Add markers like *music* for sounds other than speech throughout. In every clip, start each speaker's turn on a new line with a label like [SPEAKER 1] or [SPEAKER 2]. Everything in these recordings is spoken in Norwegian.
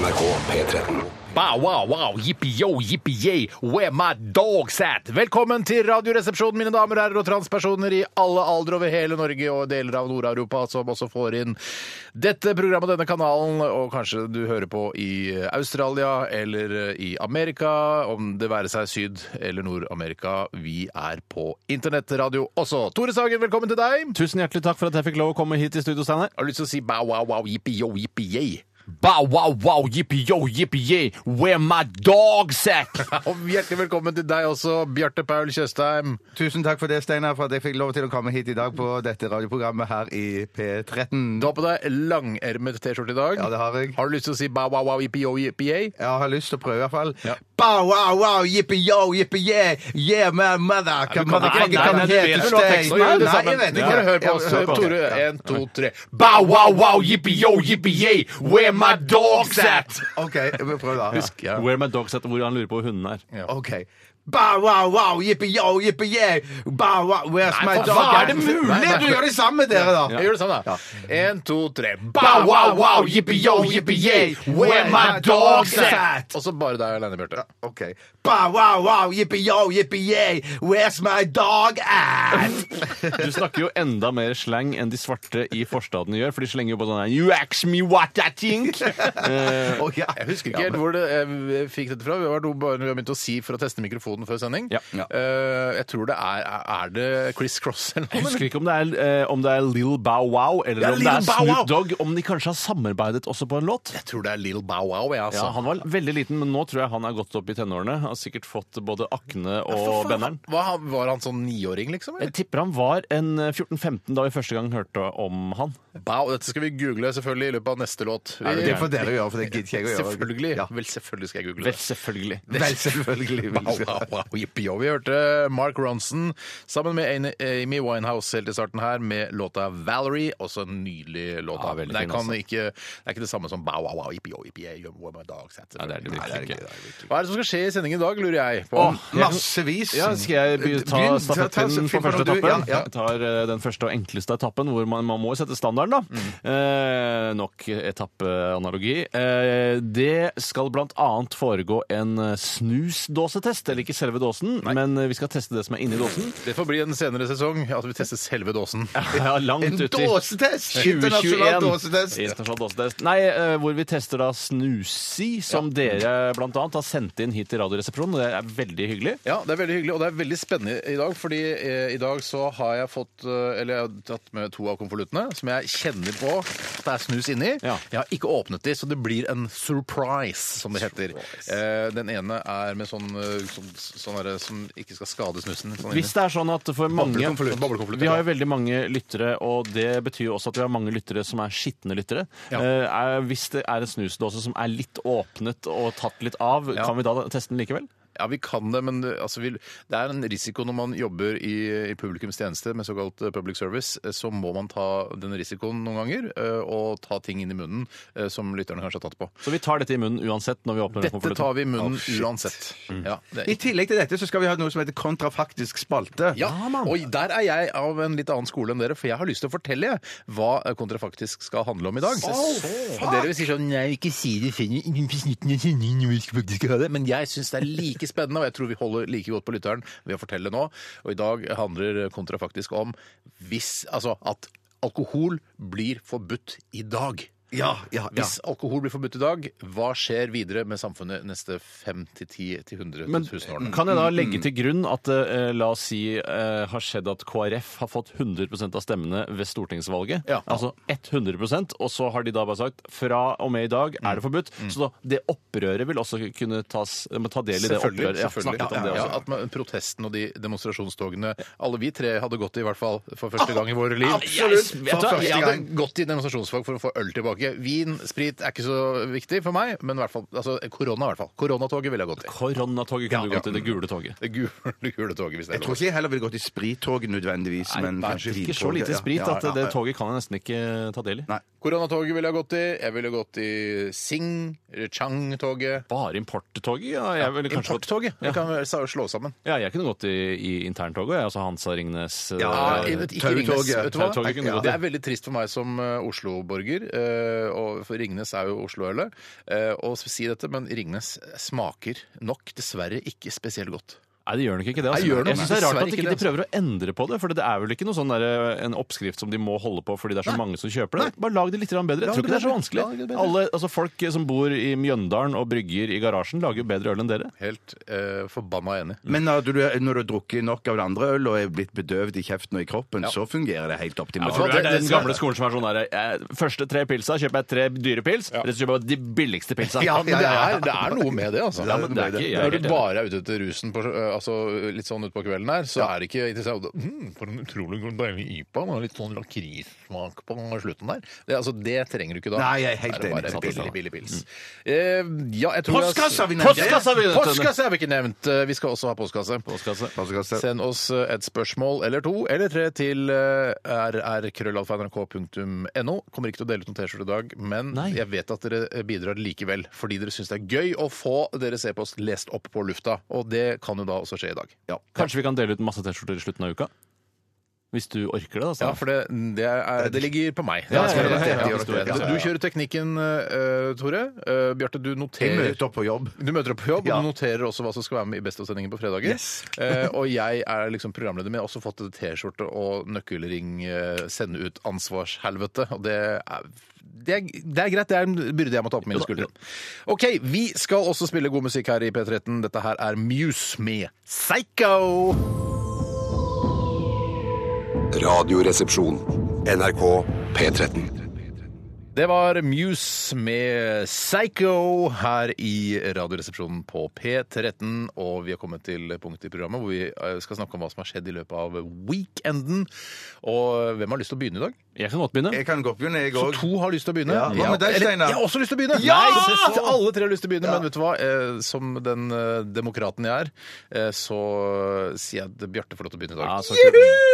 [SPEAKER 1] NRK P13.
[SPEAKER 2] Bow, wow, wow, yippee, yo, yippee, yay, where my dog's at? Velkommen til Radioresepsjonen, mine damer og herrer og transpersoner i alle aldre over hele Norge og deler av Nord-Europa som også får inn dette programmet, denne kanalen, og kanskje du hører på i Australia eller i Amerika, om det være seg Syd- eller Nord-Amerika. Vi er på internettradio også. Tore Sagen, velkommen til deg.
[SPEAKER 3] Tusen hjertelig takk for at jeg fikk lov å komme hit i studio, Steinar.
[SPEAKER 2] Har du lyst til å si bow, wow, wow, yippee, yo, yippee, yay?
[SPEAKER 3] Bow, wow, wow, yippee, yo, yippee, yay, where my dog's
[SPEAKER 2] *laughs*
[SPEAKER 3] at?
[SPEAKER 2] Og hjertelig velkommen til deg også, Bjarte Paul Tjøstheim.
[SPEAKER 4] Tusen takk for det, Steinar, for at jeg fikk lov til å komme hit i dag på dette radioprogrammet her i P13.
[SPEAKER 2] Du har på deg langermet T-skjorte i dag.
[SPEAKER 4] Ja, det har jeg.
[SPEAKER 2] Har du lyst til å si ba, wow, wow, yippee, yo, yippee, yay?
[SPEAKER 4] Jeg har lyst til å prøve, i hvert fall.
[SPEAKER 2] Ja.
[SPEAKER 4] Bow, wow, wow, yippee, yo, yippee, yeah, yeah, my mother, come
[SPEAKER 3] kan-
[SPEAKER 4] motherfucker,
[SPEAKER 3] nei, nei,
[SPEAKER 4] come
[SPEAKER 3] nei, du
[SPEAKER 4] here
[SPEAKER 3] vet
[SPEAKER 4] to
[SPEAKER 3] vel hva
[SPEAKER 4] stay.
[SPEAKER 3] teksten er,
[SPEAKER 4] Nei,
[SPEAKER 3] det
[SPEAKER 2] Nei,
[SPEAKER 4] jeg vet
[SPEAKER 2] Du
[SPEAKER 4] ikke.
[SPEAKER 2] bare hør på oss,
[SPEAKER 4] Ja, hør på.
[SPEAKER 2] Tore. Én, to, tre.
[SPEAKER 3] Bow, wow, wow, yippee, yo, yippee, yay, where my dog's at?
[SPEAKER 4] OK, vi prøver da.
[SPEAKER 2] Husk, ja.
[SPEAKER 3] Where my dog's at, hvor han lurer på hvor hunden er.
[SPEAKER 4] OK. Bow, wow, wow, yippee, yo, yippee, yeah. Bow, wow, where's my
[SPEAKER 2] for
[SPEAKER 4] dog?
[SPEAKER 2] faen,
[SPEAKER 4] Er det mulig? Du gjør det samme, dere, da.
[SPEAKER 2] Jeg gjør det samme, da. Én, to, tre.
[SPEAKER 3] Bow, wow, wow, yippee, yo, yippee, yay, where my dog's at?
[SPEAKER 2] Og så bare deg alene, Bjarte.
[SPEAKER 4] OK. Bow, wow, wow, yippee, yo, yippee, yay, where's my dog at?
[SPEAKER 2] *laughs*
[SPEAKER 3] Du snakker jo enda mer slang enn de svarte i forstaden gjør, for de slenger jo på sånn her You ask me what I think! Eh,
[SPEAKER 4] Å, ja.
[SPEAKER 2] Jeg husker ikke helt hvor det, jeg fikk dette fra. Vi har vært bare vi har begynt å si for å teste mikrofonen før sending.
[SPEAKER 3] Ja. Ja.
[SPEAKER 2] Eh, jeg tror det er Er det Chris Cross eller noe?
[SPEAKER 3] Jeg husker ikke om det er, eh, om det er Lil Bow Wow eller
[SPEAKER 2] Ja,
[SPEAKER 3] om
[SPEAKER 2] Lil
[SPEAKER 3] det er
[SPEAKER 2] Bow Wow.
[SPEAKER 3] Snoop Dogg, om de kanskje har samarbeidet også på en låt.
[SPEAKER 2] Jeg tror det er Lill Bow Wow, jeg, altså.
[SPEAKER 3] Ja, Han var veldig liten, men nå tror jeg han er gått opp i tenårene. Har sikkert fått både akne
[SPEAKER 2] For
[SPEAKER 3] og
[SPEAKER 2] faen,
[SPEAKER 3] benderen.
[SPEAKER 2] Hva, var han sånn niåring, liksom? eller?
[SPEAKER 3] Jeg tipper han var en eh, 14-15 da vi første gang hørte om han.
[SPEAKER 2] Bow, dette skal vi google selvfølgelig i løpet av neste låt. Vi,
[SPEAKER 4] Det får dere gjøre, for det gidder ikke jeg å gjøre.
[SPEAKER 2] selvfølgelig.
[SPEAKER 4] Ja.
[SPEAKER 2] Vel, selvfølgelig skal jeg google
[SPEAKER 3] Vel,
[SPEAKER 2] det.
[SPEAKER 3] selvfølgelig.
[SPEAKER 4] Vel, selvfølgelig.
[SPEAKER 2] Wow, wow, wow, *laughs* yippee, og Vi hørte Mark Ronson sammen med Amy- Amy Winehouse helt i starten her med låta 'Valerie'. Også en nydelig låt.
[SPEAKER 3] Ja,
[SPEAKER 2] Men
[SPEAKER 3] veldig
[SPEAKER 2] det,
[SPEAKER 3] fin,
[SPEAKER 2] kan
[SPEAKER 3] altså.
[SPEAKER 2] ikke, det er ikke det samme som bow, wow, wow, yippee, oh, yippee, yeah, where my dog's at.
[SPEAKER 3] Nei, det er det virkelig ikke.
[SPEAKER 2] Hva er det som skal skje i sendingen i dag, lurer jeg på.
[SPEAKER 3] Åh, jeg-
[SPEAKER 4] Massevis.
[SPEAKER 3] Ja, skal jeg begynne- ta
[SPEAKER 4] Begynn, ta- ta-
[SPEAKER 3] stafettpinnen
[SPEAKER 4] finn
[SPEAKER 3] for
[SPEAKER 4] på
[SPEAKER 3] første
[SPEAKER 4] noe du- ja,
[SPEAKER 3] etappen?
[SPEAKER 4] ja.
[SPEAKER 3] Jeg tar eh, den første og enkleste etappen, hvor man, man må jo sette standarden, da.
[SPEAKER 4] Mm.
[SPEAKER 3] Eh, nok etappeanalogi. Eh, det skal blant annet foregå en eh, snusdåsetest, eller ikke selve dåsen, men eh, vi skal teste det som er inni dåsen.
[SPEAKER 2] Det får bli en senere sesong at vi tester selve dåsen.
[SPEAKER 3] Ja, langt
[SPEAKER 4] En
[SPEAKER 3] uti.
[SPEAKER 4] dåsetest! Internasjonal
[SPEAKER 3] 2021.
[SPEAKER 4] dåsetest.
[SPEAKER 3] Internasjonal dåsetest. Nei, eh, hvor vi tester da Snusi, som dere blant annet har sendt inn hit til Radioresepsjonen. og Det er veldig hyggelig.
[SPEAKER 2] Ja, det er veldig hyggelig, og det er veldig spennende i dag, fordi eh, i dag så har jeg fått eh, Eller jeg har tatt med to av konvoluttene, som jeg kjenner på at det er snus inni.
[SPEAKER 3] Ja.
[SPEAKER 2] Jeg har ikke åpnet de, så det blir en surprise, som det heter. Eh, den ene er med sånn, eh, sånn, sånn derre som ikke skal skade snusen. Sånn
[SPEAKER 3] Hvis det er sånn at for mange
[SPEAKER 2] Boblekonvolutt. Boblekonvolutt,
[SPEAKER 3] Vi har
[SPEAKER 2] ja.
[SPEAKER 3] jo veldig mange lyttere, og det betyr jo også at vi har mange lyttere som er skitne lyttere.
[SPEAKER 2] Ja.
[SPEAKER 3] Eh, er, hvis det er en snusdåse som er litt åpnet og tatt litt av,
[SPEAKER 2] Ja.
[SPEAKER 3] kan vi da teste den likevel?
[SPEAKER 2] Ja, vi kan det, men eh, altså, vi, det er en risiko når man jobber i, i publikums tjeneste med såkalt eh, public service. eh, Så må man ta den risikoen noen ganger, eh, og ta ting inn i munnen eh, som lytterne kanskje har tatt på.
[SPEAKER 3] Så vi tar dette i munnen uansett når vi åpner den
[SPEAKER 2] Dette
[SPEAKER 3] konvolutten.
[SPEAKER 2] tar vi i munnen uansett. Ja, det
[SPEAKER 4] I
[SPEAKER 2] er
[SPEAKER 4] tillegg til dette så skal vi ha noe som heter kontrafaktisk spalte.
[SPEAKER 2] ja, og der er jeg av en litt annen skole enn dere, for jeg har lyst til å fortelle hva kontrafaktisk skal handle om i dag. og dere vil si sånn Nei, ikke si det, finner ingen på snutten av sendingen hvor vi skal faktisk ha det. Men jeg syns det er like spennende, og jeg tror vi holder like godt på lytteren ved å fortelle det nå. Og i dag handler kontrafaktisk om hvis Altså at alkohol blir forbudt i dag.
[SPEAKER 4] Ja, ja, ja.
[SPEAKER 2] Hvis alkohol blir forbudt i dag, hva skjer videre med samfunnet neste 5 til 10 til 100
[SPEAKER 3] Men
[SPEAKER 2] 000 årene?
[SPEAKER 3] kan jeg da legge til grunn at det eh, la oss si eh, har skjedd at KrF har fått 100 av stemmene ved stortingsvalget?
[SPEAKER 2] Ja.
[SPEAKER 3] Altså 100 og så har de da bare sagt fra og med i dag er
[SPEAKER 2] Mm.
[SPEAKER 3] det forbudt. Så da, det opprøret vil også kunne tas, må ta del i det opprøret. Ja, snakk litt om det
[SPEAKER 2] Ja,
[SPEAKER 3] også.
[SPEAKER 2] at man, protesten og de demonstrasjonstogene Alle vi tre hadde gått i hvert fall for første gang i våre liv.
[SPEAKER 3] Absolutt.
[SPEAKER 2] Jeg,
[SPEAKER 3] Vet du hva,
[SPEAKER 2] for første
[SPEAKER 3] jeg
[SPEAKER 2] gang gått i demonstrasjonsfag for å få øl tilbake ikke. Vin, sprit er ikke så viktig for meg, men i hvert fall, altså, korona i hvert fall. Koronatoget ville jeg gått i.
[SPEAKER 3] Koronatoget kunne du
[SPEAKER 2] Ja.
[SPEAKER 3] gått i. Det gule toget.
[SPEAKER 2] Det gule, det gule toget, hvis det
[SPEAKER 4] Jeg
[SPEAKER 2] er
[SPEAKER 4] tror
[SPEAKER 2] lov.
[SPEAKER 4] ikke jeg heller ville gått i sprittog nødvendigvis, men
[SPEAKER 3] Nei,
[SPEAKER 4] kanskje
[SPEAKER 3] ikke så
[SPEAKER 4] vintoget,
[SPEAKER 3] lite
[SPEAKER 4] ja.
[SPEAKER 3] sprit
[SPEAKER 4] Ja,
[SPEAKER 3] at
[SPEAKER 4] ja,
[SPEAKER 3] det
[SPEAKER 4] ja.
[SPEAKER 3] toget kan jeg nesten ikke ta del i.
[SPEAKER 4] Nei.
[SPEAKER 2] Koronatoget ville jeg gått i. Jeg ville gått i Sing, eller Chang-toget.
[SPEAKER 3] Bare importtoget? Ja, jeg ville kanskje gått
[SPEAKER 2] Importtoget. Det kan vi sa- slå sammen.
[SPEAKER 3] Ja, jeg kunne gått i, i interntoget, jeg. Altså Hansa Ringnes
[SPEAKER 4] Ja,
[SPEAKER 3] eh,
[SPEAKER 2] jeg vet ikke Ringnes,
[SPEAKER 4] Tautoget.
[SPEAKER 2] vet du hva?
[SPEAKER 3] Tautoget kunne
[SPEAKER 2] Ja,
[SPEAKER 3] gått i.
[SPEAKER 2] Det er veldig trist for meg som eh, Oslo-borger, eh, og for Ringnes er jo Oslo-ølet, eh, å si dette, men Ringnes smaker nok dessverre ikke spesielt godt.
[SPEAKER 3] Nei, det gjør nok ikke det. Altså.
[SPEAKER 2] Nei, gjør nok
[SPEAKER 3] jeg synes det er
[SPEAKER 2] dessverre
[SPEAKER 3] rart at
[SPEAKER 2] ikke
[SPEAKER 3] ikke
[SPEAKER 2] det, altså.
[SPEAKER 3] de prøver å endre på det, for det er vel ikke noe sånn der, eh, en oppskrift som de må holde på fordi det er så mange som kjøper det. Bare lag det litt grann bedre. Jeg
[SPEAKER 2] Lag
[SPEAKER 3] tror
[SPEAKER 2] det
[SPEAKER 3] ikke det er så
[SPEAKER 2] bedre.
[SPEAKER 3] vanskelig.
[SPEAKER 2] Lag det bedre.
[SPEAKER 3] Alle, altså, folk som bor i Mjøndalen og brygger i garasjen, lager jo bedre øl enn dere.
[SPEAKER 2] Helt eh, forbanna enig.
[SPEAKER 4] Men når du, når du har drukket nok av det andre øl og er blitt bedøvd i kjeften og i kroppen, så fungerer det helt optimalt.
[SPEAKER 3] For
[SPEAKER 2] Ja,
[SPEAKER 3] du
[SPEAKER 2] det-
[SPEAKER 3] er den
[SPEAKER 2] det-
[SPEAKER 3] gamle skolen som er sånn der eh, Første tre pilsa kjøper jeg tre dyre pils, resten kjøper jeg de billigste pilsa.
[SPEAKER 2] Ja, men det er, det er noe med det, altså.
[SPEAKER 3] Ja, men det er ikke- jeg er
[SPEAKER 2] Når
[SPEAKER 3] helt
[SPEAKER 2] du
[SPEAKER 3] enig.
[SPEAKER 2] bare er ute etter rusen på, eh, altså, litt sånn utpå kvelden her, så er det ikke interessant. Og da, Mm, for en utrolig god deilig IPA. Den har litt sånn lakrissmak på slutten der. Det, altså, det trenger du ikke da.
[SPEAKER 4] Nei, jeg er helt
[SPEAKER 2] Det
[SPEAKER 4] enig. altså. Mm.
[SPEAKER 2] bare billig, billig pils. Eh, ja, jeg tror jeg-
[SPEAKER 4] Postkasse har vi nevnt.
[SPEAKER 2] Postkasse har vi, nevnt.
[SPEAKER 3] Postkasse
[SPEAKER 2] Postkasse har vi ikke nevnt. Eh, Vi skal også ha postkasse.
[SPEAKER 3] Postkasse.
[SPEAKER 4] Postkasse.
[SPEAKER 2] Send oss eh, et spørsmål eller to eller tre til eh, rrkrøllalfa.nrk.no. Kommer ikke til å dele ut noen T-skjorte i dag, men
[SPEAKER 3] Nei.
[SPEAKER 2] jeg vet at dere eh, bidrar likevel. Fordi dere syns det er gøy å få deres e-post lest opp på lufta. Og det kan jo da også skje i dag.
[SPEAKER 4] Ja.
[SPEAKER 3] Kanskje vi kan dele ut masse T-skjorter i slutten av uka? Hvis du orker det, altså. da. Steinar.
[SPEAKER 2] Ja, for det, mm, det, er, det ligger på meg.
[SPEAKER 3] Ja,
[SPEAKER 2] Det
[SPEAKER 3] ja, ja,
[SPEAKER 2] er rett,
[SPEAKER 3] ja, ja,
[SPEAKER 2] det er
[SPEAKER 3] ja, ja,
[SPEAKER 2] rett.
[SPEAKER 3] ja.
[SPEAKER 2] Du kjører teknikken, eh, Tore. Eh, Bjarte, du
[SPEAKER 4] Jeg
[SPEAKER 2] noterer
[SPEAKER 4] møter opp på jobb.
[SPEAKER 2] Du møter opp på jobb,
[SPEAKER 4] Ja.
[SPEAKER 2] og du noterer også hva som skal være med i Best av-sendingen på fredager.
[SPEAKER 4] Yes.
[SPEAKER 2] *laughs* eh, og jeg er liksom programleder, men jeg har også fått et T-skjorte og nøkkelring eh, sende ut ansvarshelvete. Og det er, det, er, det er greit, det er en byrde jeg må ta på mine skuldre. OK, vi skal også spille god musikk her i P13. Dette her er Muse med Psycho!
[SPEAKER 1] Radioresepsjon. NRK P13.
[SPEAKER 2] Det var Muse med Psycho her i Radioresepsjonen på P13. Og vi har kommet til punktet i programmet hvor vi eh, skal snakke om hva som har skjedd i løpet av weekenden. Og hvem har lyst til å begynne i dag?
[SPEAKER 3] Jeg kan godt begynne.
[SPEAKER 4] Jeg kan godt begynne, jeg
[SPEAKER 2] Så
[SPEAKER 4] òg.
[SPEAKER 2] to har lyst til å begynne.
[SPEAKER 4] Ja, hva med deg,
[SPEAKER 2] Eller,
[SPEAKER 4] Steinar?
[SPEAKER 2] jeg har også lyst til å begynne!
[SPEAKER 4] Ja!
[SPEAKER 2] Nei, så- så alle tre har lyst til å begynne, men vet du hva? Eh, Som den eh, demokraten jeg er, eh, så sier jeg at Bjarte får lov til å begynne i dag.
[SPEAKER 3] Ja, så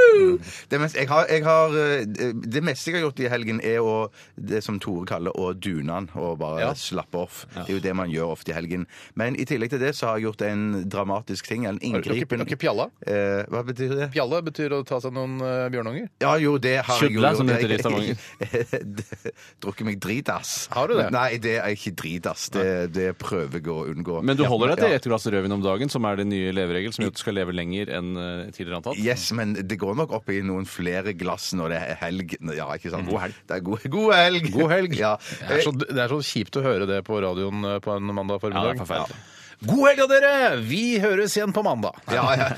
[SPEAKER 3] kult.
[SPEAKER 4] Det, mest, jeg har, jeg har, eh, det meste jeg har gjort i helgen, er å, det som Tore kaller å dune han og bare
[SPEAKER 2] Ja.
[SPEAKER 4] slappe off. Det er jo det man gjør ofte i helgen. Men i tillegg til det så har jeg gjort en dramatisk ting. En
[SPEAKER 2] Har du ikke-
[SPEAKER 4] inngripen
[SPEAKER 2] har du ikke pjalla?
[SPEAKER 4] Eh, hva betyr det?
[SPEAKER 2] Pjalle betyr å ta seg noen eh, bjørnunger.
[SPEAKER 4] Ja, jo, det har jeg jo
[SPEAKER 3] Kjødla, som det
[SPEAKER 4] gjort.
[SPEAKER 3] heter i
[SPEAKER 4] Jeg- *laughs* Drukket meg dritass.
[SPEAKER 2] Har du det?
[SPEAKER 4] Nei, det er ikke dritass. Det, det prøver jeg å unngå.
[SPEAKER 3] Men du holder deg
[SPEAKER 4] Ja.
[SPEAKER 3] til ett glass rødvin om dagen, som er den nye leveregel, som gjør at du skal leve lenger enn eh, tidligere antatt?
[SPEAKER 4] Yes, men det går nok opp i noen flere glass når det er helg. Ja, ikke sant?
[SPEAKER 3] God helg.
[SPEAKER 4] Det er god, god helg.
[SPEAKER 2] Mm. God helg.
[SPEAKER 4] Ja.
[SPEAKER 2] Det er, så, det er så kjipt å høre det på radioen eh, på en mandag
[SPEAKER 3] Ja, det
[SPEAKER 2] formiddag.
[SPEAKER 3] er forferdelig.
[SPEAKER 2] God helg av dere! Vi høres igjen på mandag.
[SPEAKER 4] *laughs* Ja, ja.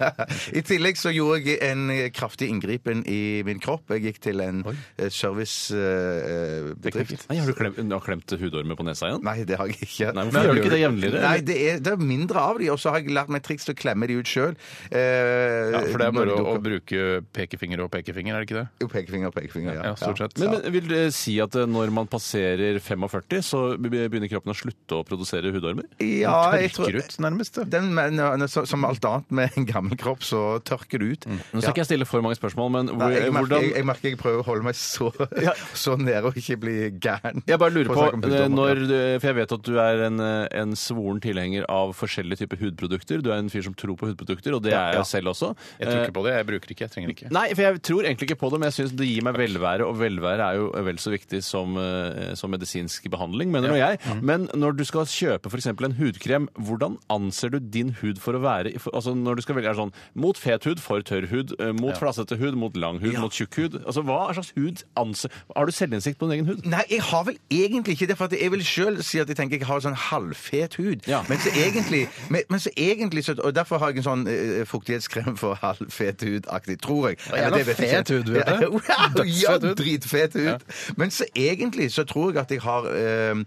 [SPEAKER 4] *laughs* I tillegg så gjorde jeg en kraftig inngripen i min kropp. Jeg gikk til en eh, servicebedrift.
[SPEAKER 3] Nei, har du klemt, du har klemt hudormer på nesa igjen?
[SPEAKER 4] eh, Nei, det har jeg ikke.
[SPEAKER 3] Nei, hvorfor
[SPEAKER 4] Men-
[SPEAKER 3] gjør du ikke det jevnligere?
[SPEAKER 4] Nei, det er, det er mindre av de, og så har jeg lært meg triks til å klemme de ut Eh, sjøl.
[SPEAKER 2] Ja, for det er bare å, å bruke pekefinger og pekefinger, er det ikke det?
[SPEAKER 4] Jo, pekefinger, pekefinger. Ja,
[SPEAKER 2] Ja, stort sett.
[SPEAKER 3] Men, men vil det si at eh, når man passerer 45, så begynner kroppen å slutte å produsere hudormer?
[SPEAKER 4] Ja, jeg tror
[SPEAKER 2] Tørker ut, nærmest. det.
[SPEAKER 4] den, men, eh, så- Som alt annet med en gammel kropp, så tørker det ut.
[SPEAKER 3] Mm. Nå skal ikke jeg stille for mange spørsmål, men hvor,
[SPEAKER 4] Nei, jeg, merker,
[SPEAKER 3] hvordan
[SPEAKER 4] jeg, jeg merker jeg prøver å holde meg så, *laughs* så nede og ikke bli gæren.
[SPEAKER 3] jeg
[SPEAKER 4] å
[SPEAKER 3] bare lurer på,
[SPEAKER 4] snakke om
[SPEAKER 3] eh,
[SPEAKER 4] hudormer.
[SPEAKER 3] når, du- for jeg vet at du er en, eh, en svoren tilhenger av forskjellige typer hudprodukter. Du er en fyr som tror på hudprodukter, og det er jeg selv også.
[SPEAKER 2] Jeg tror ikke på det. Jeg bruker det ikke. Jeg trenger det ikke.
[SPEAKER 3] Nei, for jeg tror egentlig ikke på det, men jeg syns det gir meg velvære, og velvære er jo vel så viktig som, eh, som medisinsk behandling, mener nå jeg. Men når du skal kjøpe f.eks. en hudkrem, hvordan anser du din hud for å være i for- Altså når du skal velge er det sånn mot fet hud, for tørr hud, eh, mot flassete hud, mot lang hud, mot tjukk hud. Altså hva slags hud anser Har du selvinnsikt på din egen hud?
[SPEAKER 4] Nei, jeg har vel egentlig ikke det. For at jeg vil sjøl si at jeg tenker jeg har sånn halvfet hud.
[SPEAKER 3] Ja.
[SPEAKER 4] Men så egentlig, men, men så egentlig så, Og derfor har jeg en sånn eh, fuktighetskrem for halvfet hud-aktig, tror jeg.
[SPEAKER 2] jævla
[SPEAKER 4] Eller det vet jeg ikke.
[SPEAKER 2] fet hud, vet
[SPEAKER 3] eh?
[SPEAKER 2] du.
[SPEAKER 4] Ja, *laughs* wow, ja,
[SPEAKER 2] Dødsfet hud.
[SPEAKER 4] dritfet hud. Men så egentlig så tror jeg at jeg har eh,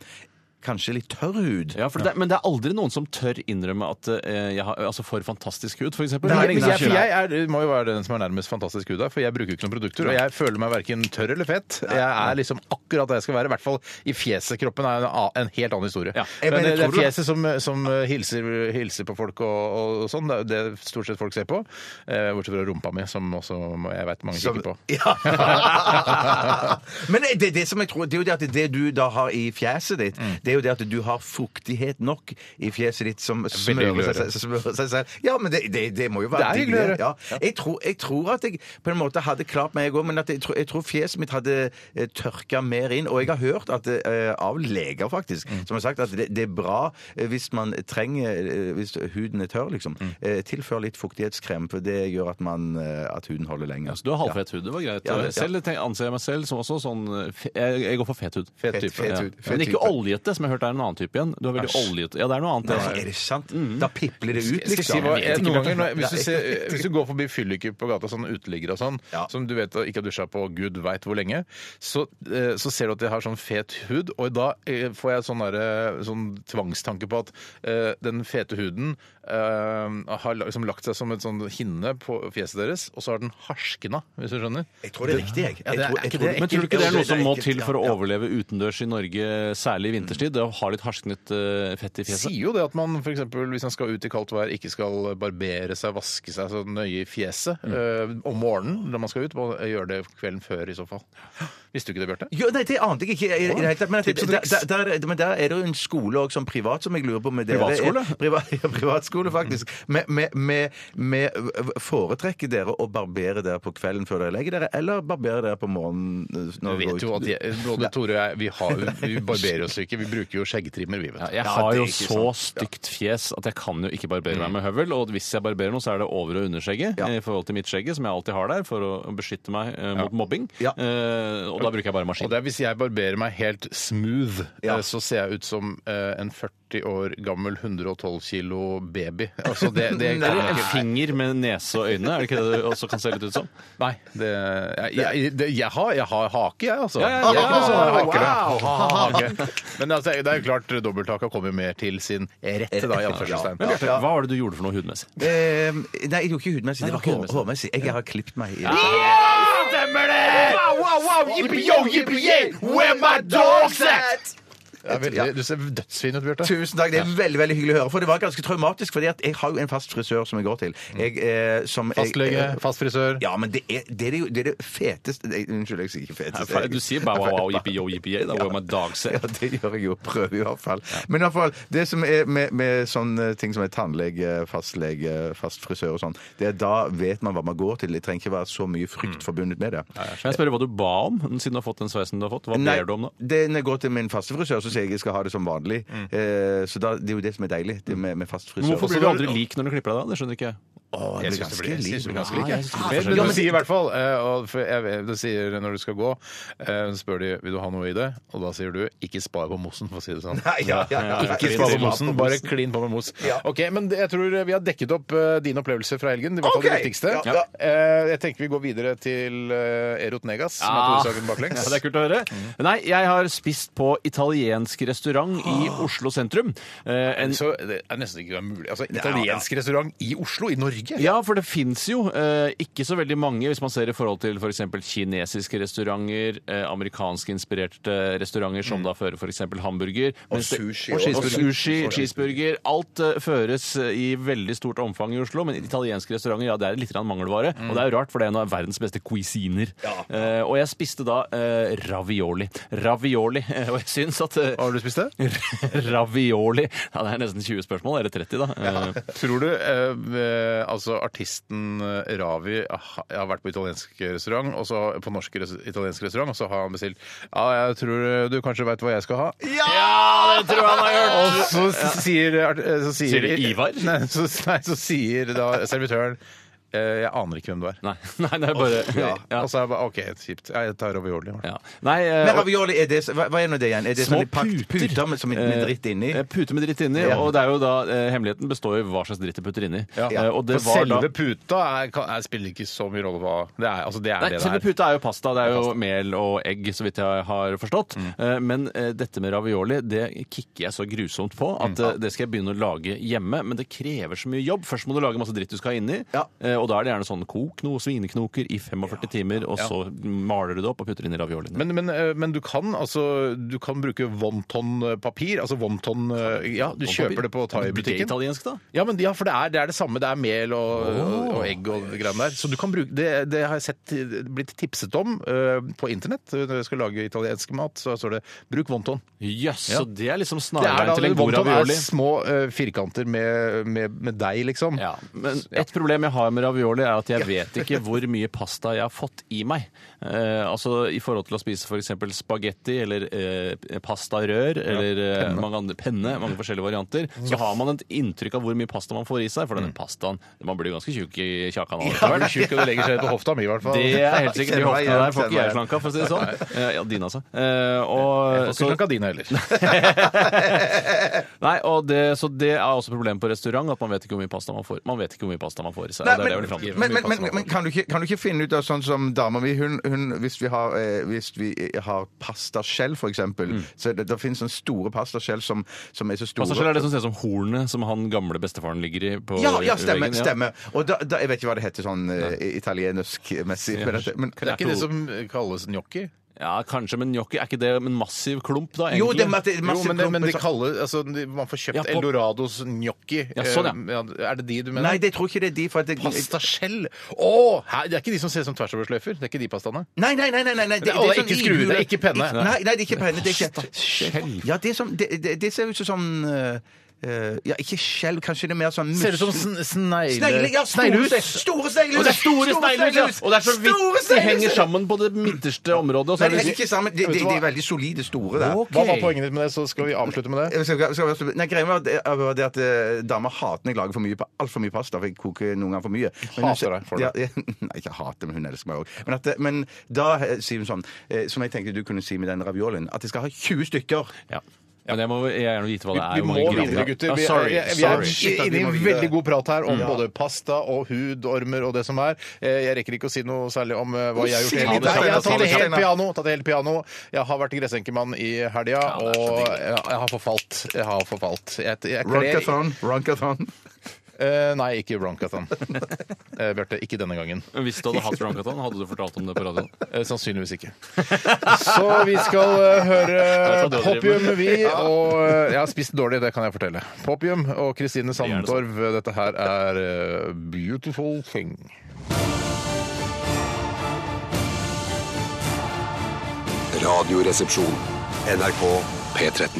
[SPEAKER 4] kanskje litt tørr hud.
[SPEAKER 3] Ja, for det, men det er aldri noen som tør innrømme at eh, jeg har altså for fantastisk hud, for eksempel. Det
[SPEAKER 2] Men
[SPEAKER 3] er
[SPEAKER 2] jeg,
[SPEAKER 3] det ingen
[SPEAKER 2] men
[SPEAKER 3] som
[SPEAKER 2] jeg, for
[SPEAKER 3] skjønner.
[SPEAKER 2] jeg er, må jo være den som er nærmest fantastisk hud her, for jeg bruker jo ikke noen produkter. Og jeg føler meg verken tørr eller fett. Jeg er liksom akkurat der jeg skal være. I hvert fall i fjeset. Kroppen er en, a- en helt annen historie.
[SPEAKER 3] Ja.
[SPEAKER 2] Men, eh,
[SPEAKER 4] Men
[SPEAKER 2] det, det
[SPEAKER 4] tror
[SPEAKER 2] er
[SPEAKER 4] du-
[SPEAKER 2] fjeset som, som eh, hilser, hilser på folk og, og sånn. Det er jo det stort sett folk ser på. Eh, bortsett fra rumpa mi, som også jeg vet mange
[SPEAKER 4] Som-
[SPEAKER 2] kikker på.
[SPEAKER 4] *laughs* Ja. Men det, det, det som jeg tror, det er jo det at det du da har i fjeset ditt,
[SPEAKER 2] Mm.
[SPEAKER 4] det er jo det at du har fuktighet nok i fjeset ditt som
[SPEAKER 2] hyggelig
[SPEAKER 4] smører
[SPEAKER 2] å
[SPEAKER 4] seg, smører seg selv. Ja, men det, det, det må jo
[SPEAKER 2] Det
[SPEAKER 4] være
[SPEAKER 2] er hyggelig å høre.
[SPEAKER 4] Ja. Jeg, tror, jeg tror at jeg på en måte hadde klart meg, jeg òg, men at jeg tror, jeg tror fjeset mitt hadde eh, tørka mer inn. Og jeg har hørt at, eh, av leger, faktisk,
[SPEAKER 3] Mm.
[SPEAKER 4] som har sagt at det, det er bra eh, hvis man trenger eh, Hvis huden er tørr, liksom.
[SPEAKER 3] Mm.
[SPEAKER 4] eh, Tilfør litt fuktighetskrem, for det gjør at, man, eh, at huden holder lenger.
[SPEAKER 3] Ja, så du har halvfett hud, det var greit.
[SPEAKER 4] Ja, det- ja.
[SPEAKER 3] Selv tenk- anser jeg meg selv som også sånn eh, fe- Jeg, jeg går for fet hud.
[SPEAKER 2] Fet type.
[SPEAKER 4] fet hud,
[SPEAKER 3] ja.
[SPEAKER 4] fet
[SPEAKER 3] Men ikke
[SPEAKER 4] type.
[SPEAKER 3] oljete, som jeg har hørt er en annen type igjen. Du er veldig
[SPEAKER 2] Æsj.
[SPEAKER 3] oljete. Ja, det er Mm. noe annet.
[SPEAKER 4] Nei,
[SPEAKER 3] det,
[SPEAKER 4] er det sant? Da pipler det ut,
[SPEAKER 2] Skal jeg si
[SPEAKER 4] liksom.
[SPEAKER 2] hva,
[SPEAKER 4] Jeg vet
[SPEAKER 2] noen
[SPEAKER 4] ikke,
[SPEAKER 2] ganger, når jeg- hvis, du
[SPEAKER 4] Nei.
[SPEAKER 2] ser, hvis du går forbi fylliker på gata, sånn uteliggere og sånn,
[SPEAKER 4] Ja.
[SPEAKER 2] som du vet ikke har dusja på gud veit hvor lenge, så, eh, så ser du at de har sånn fet hud, og da eh, får jeg sånn, derre- sånn tvangstanke på at eh, den fete huden eh, har la- liksom lagt seg som et sånn hinne på fjeset deres, og så har den harskna, hvis du skjønner.
[SPEAKER 4] Jeg tror det er riktig, jeg.
[SPEAKER 2] Ja,
[SPEAKER 4] Jeg
[SPEAKER 2] det er
[SPEAKER 4] tror-
[SPEAKER 2] ekkelt.
[SPEAKER 4] jeg tror
[SPEAKER 2] Men
[SPEAKER 3] men tror du ikke
[SPEAKER 4] ekkelt.
[SPEAKER 3] det er noe som må
[SPEAKER 4] ekkelt,
[SPEAKER 3] til for å
[SPEAKER 4] ja.
[SPEAKER 3] overleve utendørs i Norge, særlig i vinterstid? Det å ha litt harsknet eh, fett i
[SPEAKER 2] Jeg
[SPEAKER 3] fjeset?
[SPEAKER 2] sier jo det at man for eksempel, hvis man skal ut i kaldt vær, ikke skal barbere seg, vaske seg så nøye i fjeset
[SPEAKER 3] Mm.
[SPEAKER 2] eh, om morgenen når man skal ut. Man gjør det kvelden før i så fall. Visste du ikke det, Bjarte?
[SPEAKER 4] Jo, nei, det ante jeg ikke i i det hele tatt. Men, at
[SPEAKER 2] Tips og
[SPEAKER 4] det-
[SPEAKER 2] triks.
[SPEAKER 4] der, der, men der er det jo en skole også, som privat som jeg lurer på med dere.
[SPEAKER 3] Privatskole?
[SPEAKER 4] Er- *laughs* Priva, ja, privatskole, faktisk. Med, med, med, med Foretrekker dere å barbere dere på kvelden før dere legger dere, eller barbere dere på morgenen? eh, Når
[SPEAKER 2] Du
[SPEAKER 4] dere
[SPEAKER 2] vet
[SPEAKER 4] går
[SPEAKER 2] jo
[SPEAKER 4] ut?
[SPEAKER 2] at jeg, både Tore og jeg vi, har, vi
[SPEAKER 3] *laughs*
[SPEAKER 2] barberer oss ikke. Vi bruker jo skjeggtrimmer, vi, vet
[SPEAKER 3] Ja,
[SPEAKER 2] du.
[SPEAKER 3] jeg
[SPEAKER 4] Ja,
[SPEAKER 3] har
[SPEAKER 4] det er
[SPEAKER 3] jo
[SPEAKER 4] ikke
[SPEAKER 3] så stygt fjes at jeg kan jo ikke barbere meg med høvel. Og hvis jeg barberer noe, så er det over- og underskjegget
[SPEAKER 4] Ja.
[SPEAKER 3] eh, i forhold til mitt skjegget, som jeg alltid har der for å beskytte meg eh, mot mobbing.
[SPEAKER 4] Ja.
[SPEAKER 3] Eh, og da bruker jeg bare maskin.
[SPEAKER 2] Og det er Hvis jeg barberer meg helt smooth,
[SPEAKER 4] Ja.
[SPEAKER 2] eh, så ser jeg ut som eh, en 40 år gammel 112 kilo baby. Altså, det,
[SPEAKER 3] *laughs*
[SPEAKER 2] det kan
[SPEAKER 3] Eller
[SPEAKER 2] jeg
[SPEAKER 3] en
[SPEAKER 2] ikke.
[SPEAKER 3] finger med nese og øyne, er det ikke det det også kan se litt ut som?
[SPEAKER 2] Nei. Det, jeg, jeg, det, jeg, har, jeg har hake, jeg, altså.
[SPEAKER 3] Ja, ja,
[SPEAKER 2] Jeg
[SPEAKER 3] ja,
[SPEAKER 2] har ikke noe sånn
[SPEAKER 3] ja,
[SPEAKER 2] hake, da.
[SPEAKER 3] wow.
[SPEAKER 2] Ha, ha, hake. Men altså, det er jo klart, dobbelthaka kommer jo mer til sin rette, da, i
[SPEAKER 3] Men
[SPEAKER 2] anførselstegn.
[SPEAKER 3] Bjarte, hva var det du gjorde for noe hudmessig?
[SPEAKER 4] Eh, nei, jeg gjorde ikke hudmessig. Det var
[SPEAKER 3] ikke
[SPEAKER 4] hår- hårmessig. Jeg har klippet meg. i
[SPEAKER 2] Stemmer det! Wow, wow, wow! Yippee-yo, yippee-yay! Where my dogs at? Det er veldig, du ser dødsfin ut, Bjarte.
[SPEAKER 4] Tusen takk. Det er veldig veldig hyggelig å høre. For det var ganske traumatisk. fordi at jeg har jo en fast frisør som jeg går til. Jeg, eh, som jeg-
[SPEAKER 2] Fastlege,
[SPEAKER 4] eh,
[SPEAKER 2] fast frisør.
[SPEAKER 4] Ja, men det er det, er jo- det, er det feteste Nei, Unnskyld, jeg sier ikke feteste.
[SPEAKER 3] Du sier bare wow, wow, yippee-yo, yippee-yay. Da var my dog
[SPEAKER 4] Ja,
[SPEAKER 3] set.
[SPEAKER 4] det gjør jeg jo. Prøver i hvert fall. Men i hvert fall, det som er med, med sånne ting som er tannlege, fastlege, fast frisør og sånn, det er da vet man hva man går til. Det trenger ikke være så mye
[SPEAKER 3] Mm.
[SPEAKER 4] frykt forbundet med det.
[SPEAKER 3] Kan jeg spørre hva du ba om, siden du har fått den sveisen du har fått? Hva
[SPEAKER 4] Nei,
[SPEAKER 3] ber du om da?
[SPEAKER 4] det, når jeg går til min faste frisør, så sier jeg jeg skal ha det som vanlig. Eh, så da, det er jo det som er deilig det med, med fast frisør.
[SPEAKER 3] Mm. Men Hvorfor
[SPEAKER 4] Også-
[SPEAKER 3] blir du aldri lik når du klipper deg da? Det skjønner ikke jeg.
[SPEAKER 4] Å, det blir
[SPEAKER 2] Jeg syns det
[SPEAKER 4] ganske
[SPEAKER 2] blir- jeg synes det
[SPEAKER 4] lik.
[SPEAKER 2] blir ganske lik.
[SPEAKER 3] Ja,
[SPEAKER 2] jeg.
[SPEAKER 3] jeg synes det blir
[SPEAKER 2] Men
[SPEAKER 3] forskjellig.
[SPEAKER 2] men du sier i hvert fall eh, og for jeg vet- Du sier når du skal gå, eh, så spør de vil du ha noe i det, og da sier du ikke spar på mosen, for å si det sånn.
[SPEAKER 4] Nei, ja, ja, ja.
[SPEAKER 2] Ikke spar på mosen, bare klin på med mos. Ok, men det- jeg tror vi har dekket opp eh, dine opplevelser fra helgen. I hvert fall det
[SPEAKER 4] Ok.
[SPEAKER 2] viktigste.
[SPEAKER 4] Ja, ja.
[SPEAKER 2] Eh, Jeg tenker vi går videre til eh, Erot Negas, som er
[SPEAKER 3] Ah.
[SPEAKER 2] hovedsaken baklengs. Mm.
[SPEAKER 3] Ja, det er kult å høre. Nei, jeg har spist på italiensk restaurant i
[SPEAKER 2] Ah.
[SPEAKER 3] Oslo sentrum. Eh, en
[SPEAKER 2] Så det er nesten ikke mulig. Altså, italiensk restaurant i Oslo, i Norge?
[SPEAKER 3] Ja, for det fins jo eh, ikke så veldig mange, hvis man ser i forhold til f.eks. kinesiske restauranter, eh, amerikanskinspirerte restauranter som da fører f.eks. hamburger. Og
[SPEAKER 4] sushi
[SPEAKER 3] Og
[SPEAKER 4] også.
[SPEAKER 3] cheeseburger. sushi, cheeseburger. Alt eh, føres i veldig stort omfang i Oslo, men italienske restauranter ja, det er litt grann mangelvare. Og det er jo rart, for det er en av verdens beste cuisiner. Eh, og jeg spiste da eh, ravioli. Ravioli. *laughs* Og jeg syns at eh,
[SPEAKER 2] Har du spist det?
[SPEAKER 3] *laughs* Ravioli. Ja, det er nesten 20 spørsmål. Eller 30, da. Eh,
[SPEAKER 2] Tror du eh, eh, altså artisten eh, Ravi ha- har vært på italiensk restaurant, og så på norsk res italiensk restaurant, og så har han bestilt Ja, jeg tror eh, du kanskje veit hva jeg skal ha.
[SPEAKER 3] Ja, det tror jeg han har
[SPEAKER 2] Og
[SPEAKER 3] gjort!
[SPEAKER 2] så s- sier, art- eh, så sier *laughs*
[SPEAKER 3] Sier det Ivar?
[SPEAKER 2] Nei så, nei, så sier da servitøren eh, Jeg aner ikke hvem du er.
[SPEAKER 3] Nei, *laughs* nei, det er bare Eh, *laughs* ja. Ja.
[SPEAKER 2] Og så er jeg bare OK, kjipt. Jeg tar ravioli. Ja.
[SPEAKER 3] Nei, eh,
[SPEAKER 4] Men ravioli, er det, hva, hva er nå det igjen? Er det
[SPEAKER 3] Små
[SPEAKER 4] sånn i pakt-
[SPEAKER 3] puter.
[SPEAKER 4] puter med, som med- med dritt inni?
[SPEAKER 3] Eh, Pute med dritt inni.
[SPEAKER 4] Ja.
[SPEAKER 3] Og det er jo da, eh, hemmeligheten består jo i hva slags dritt de putter inni. Eh, og det
[SPEAKER 2] For
[SPEAKER 3] var
[SPEAKER 2] selve
[SPEAKER 3] da,
[SPEAKER 2] puta er, kan, er, spiller ikke så mye rolle hva Det er altså, det, er
[SPEAKER 3] Nei,
[SPEAKER 2] det
[SPEAKER 3] selve
[SPEAKER 2] det er.
[SPEAKER 3] puta er jo pasta. Det er jo mel og egg, så vidt jeg har forstått.
[SPEAKER 4] Mm.
[SPEAKER 3] Eh, Men eh, dette med ravioli det kicker jeg så grusomt på at
[SPEAKER 4] Mm.
[SPEAKER 3] eh, det skal jeg begynne å lage hjemme. Men det krever så mye jobb. Først må du lage masse dritt du skal ha inni.
[SPEAKER 4] Ja.
[SPEAKER 3] Eh, Og da er det gjerne sånn kok noe svineknoker i 45 timer, og så maler du det opp og putter inn i raviolien.
[SPEAKER 2] Men, men, eh, men du kan altså Du kan bruke wonton-papir. Altså wonton eh, Ja, du kjøper det på
[SPEAKER 3] Blir det
[SPEAKER 2] thai-butikken.
[SPEAKER 3] italiensk, da?
[SPEAKER 2] Ja, men ja, for det er, det er det samme. Det er mel og, og, og egg og greiene der. Så du kan bruke, det, det har jeg sett eh, blitt tipset om eh, på internett. Når jeg skal lage italiensk mat, så står det 'bruk wonton'.
[SPEAKER 3] Jøss,
[SPEAKER 2] Ja.
[SPEAKER 3] så det er liksom
[SPEAKER 2] Det er
[SPEAKER 3] snarveien
[SPEAKER 2] da
[SPEAKER 3] til en god
[SPEAKER 2] wonton er
[SPEAKER 3] ravioli.
[SPEAKER 2] små eh, firkanter med, med, med deig, liksom. *laughs*
[SPEAKER 3] Ja, men Et problem jeg har med ravioli, er at jeg vet ikke hvor mye pasta jeg har fått i meg. Eh, altså I forhold til å spise f.eks. spagetti eller eh, pastarør eller eh, mange andre penne, mange forskjellige varianter, så har man et inntrykk av hvor mye pasta man får i seg. For denne pastaen Man blir jo ganske tjukk i *laughs* kjakan. av Mm. det.
[SPEAKER 2] Det er vel tjukk, og det legger seg på hofta mi, i hvert fall.
[SPEAKER 3] Det er helt sikkert. De
[SPEAKER 4] Kjenner meg
[SPEAKER 3] hoftene
[SPEAKER 4] igjen,
[SPEAKER 3] der får ikke
[SPEAKER 4] kjenner
[SPEAKER 3] jeg
[SPEAKER 4] meg
[SPEAKER 3] slanka, for å si det sånn. *laughs* Eh, ja, dine, altså. Eh, og,
[SPEAKER 2] Og så
[SPEAKER 3] så,
[SPEAKER 2] ikke dine heller.
[SPEAKER 3] nei, og det, så det er også problemet på restaurant, at man vet ikke hvor mye pasta man får, man vet ikke hvor mye pasta man får i seg.
[SPEAKER 4] Nei,
[SPEAKER 3] og det er det jeg vil fram til.
[SPEAKER 4] men, men, men, men kan, du ikke, kan du ikke finne ut av sånn som dama mi hun, hun, Hvis vi har, eh, hvis vi har pastaskjell, for eksempel
[SPEAKER 2] Mm.
[SPEAKER 4] så det, det finnes sånne store pastaskjell som, som er så store
[SPEAKER 3] Passasjer er det som ser ut som hornet som han gamle bestefaren ligger i. På
[SPEAKER 4] ja, ja, stemmer.
[SPEAKER 3] veggen, ja.
[SPEAKER 4] stemmer. Og da, da, jeg vet ikke hva det heter sånn eh, italiensk-messig. men dette- men-
[SPEAKER 2] Det er ikke det som kalles gnocchi?
[SPEAKER 3] Ja, kanskje, men gnocchi er ikke det en massiv klump, da?
[SPEAKER 4] Jo, det er
[SPEAKER 3] egentlig?
[SPEAKER 4] masse,
[SPEAKER 2] Jo,
[SPEAKER 4] masse
[SPEAKER 2] men, det, men de
[SPEAKER 4] klumper-
[SPEAKER 2] kaller, altså, de, man får kjøpt
[SPEAKER 3] Ja, på-
[SPEAKER 2] Eldorados gnocchi.
[SPEAKER 3] Ja, sånn,
[SPEAKER 2] Eh, Er det de du mener?
[SPEAKER 4] Nei, det tror jeg ikke det er de. For at det,
[SPEAKER 2] Pastaskjell! Å! hæ, det er ikke de som ser ut som tværsoversløyfer. Det er ikke de pastaene.
[SPEAKER 4] Nei, nei, nei. nei, nei, nei.
[SPEAKER 2] Det- og det er
[SPEAKER 4] sånn
[SPEAKER 2] ikke skruer,
[SPEAKER 4] ihule-
[SPEAKER 2] det er ikke penne.
[SPEAKER 4] Ikke- Nei, nei, det er ikke penne. Det er ikke
[SPEAKER 3] Skjell.
[SPEAKER 4] Ja, det, er som, det, det, det ser ut som sånn eh, eh, Ja, ikke skjell, kanskje det er mer sånn
[SPEAKER 2] Ser ut som sn- snegle...
[SPEAKER 4] Snegle, ja, store,
[SPEAKER 2] sneglehus.
[SPEAKER 4] sne- store sneglehus!
[SPEAKER 3] Og det er store sneglehus! ja. Og det er så
[SPEAKER 4] Store
[SPEAKER 3] vidt de
[SPEAKER 4] sneglehus!
[SPEAKER 3] henger sammen på det midterste området. Og
[SPEAKER 4] Nei,
[SPEAKER 3] så er
[SPEAKER 4] det
[SPEAKER 3] det
[SPEAKER 4] henger ikke sammen. De, de, de er veldig solide store, der.
[SPEAKER 3] Ok.
[SPEAKER 2] Hva var poenget ditt med det? Så skal vi avslutte med det.
[SPEAKER 4] Jeg skal- skal være- Nei, greia var det, var det at eh, dama hater når jeg lager for mye, pa- alt for mye pasta. For jeg koker noen ganger for mye.
[SPEAKER 2] Hater deg for det.
[SPEAKER 4] Ja, *laughs* nei, ikke hater, men hun elsker meg òg. Men, at, eh, men da eh, sier hun sånn, eh, som jeg tenkte du kunne si med den raviolien, at jeg skal ha 20 stykker.
[SPEAKER 3] Ja. Men jeg må jeg gjerne vite hva det er.
[SPEAKER 2] Vi
[SPEAKER 3] hvor
[SPEAKER 2] må
[SPEAKER 3] mange gram det
[SPEAKER 2] videre,
[SPEAKER 3] er.
[SPEAKER 2] gutter.
[SPEAKER 3] Ja,
[SPEAKER 2] Vi
[SPEAKER 3] sorry,
[SPEAKER 2] er, vi er
[SPEAKER 3] sorry.
[SPEAKER 4] Shit, at vi
[SPEAKER 2] inne i
[SPEAKER 4] må
[SPEAKER 2] en
[SPEAKER 4] videre.
[SPEAKER 2] veldig god prat her om både pasta og hudormer og det som er. Eh, Jeg rekker ikke å si noe særlig om eh, hva jeg har
[SPEAKER 4] Si
[SPEAKER 2] gjort. i
[SPEAKER 4] litt,
[SPEAKER 2] helgen.
[SPEAKER 4] Steinar,
[SPEAKER 2] Jeg har
[SPEAKER 4] si
[SPEAKER 2] tatt det
[SPEAKER 4] litt,
[SPEAKER 2] helt
[SPEAKER 4] Steinar.
[SPEAKER 2] piano. Tatt det helt piano. Jeg har vært gressenkemann i helga, og jeg jeg har forfalt. Jeg har forfalt. Jeg, jeg kler
[SPEAKER 4] Runkathon. Runkathon.
[SPEAKER 2] Eh, Nei, ikke
[SPEAKER 3] *laughs*
[SPEAKER 2] Ronkathon. Eh, Bjarte, ikke denne gangen.
[SPEAKER 3] Men Hvis du hadde hatt Ronkatan, hadde du fortalt om det på radioen?
[SPEAKER 2] Eh, Sannsynligvis ikke. Så vi skal eh, *laughs* høre
[SPEAKER 3] Jeg vet hva du
[SPEAKER 2] Popium,
[SPEAKER 3] driver med.
[SPEAKER 2] *laughs* vi. Og eh, jeg har spist dårlig, det kan jeg fortelle. Popium og Kristine
[SPEAKER 3] gjerne
[SPEAKER 2] Sandtorv, dette her er eh, Beautiful Thing.
[SPEAKER 1] Radioresepsjon. NRK P13.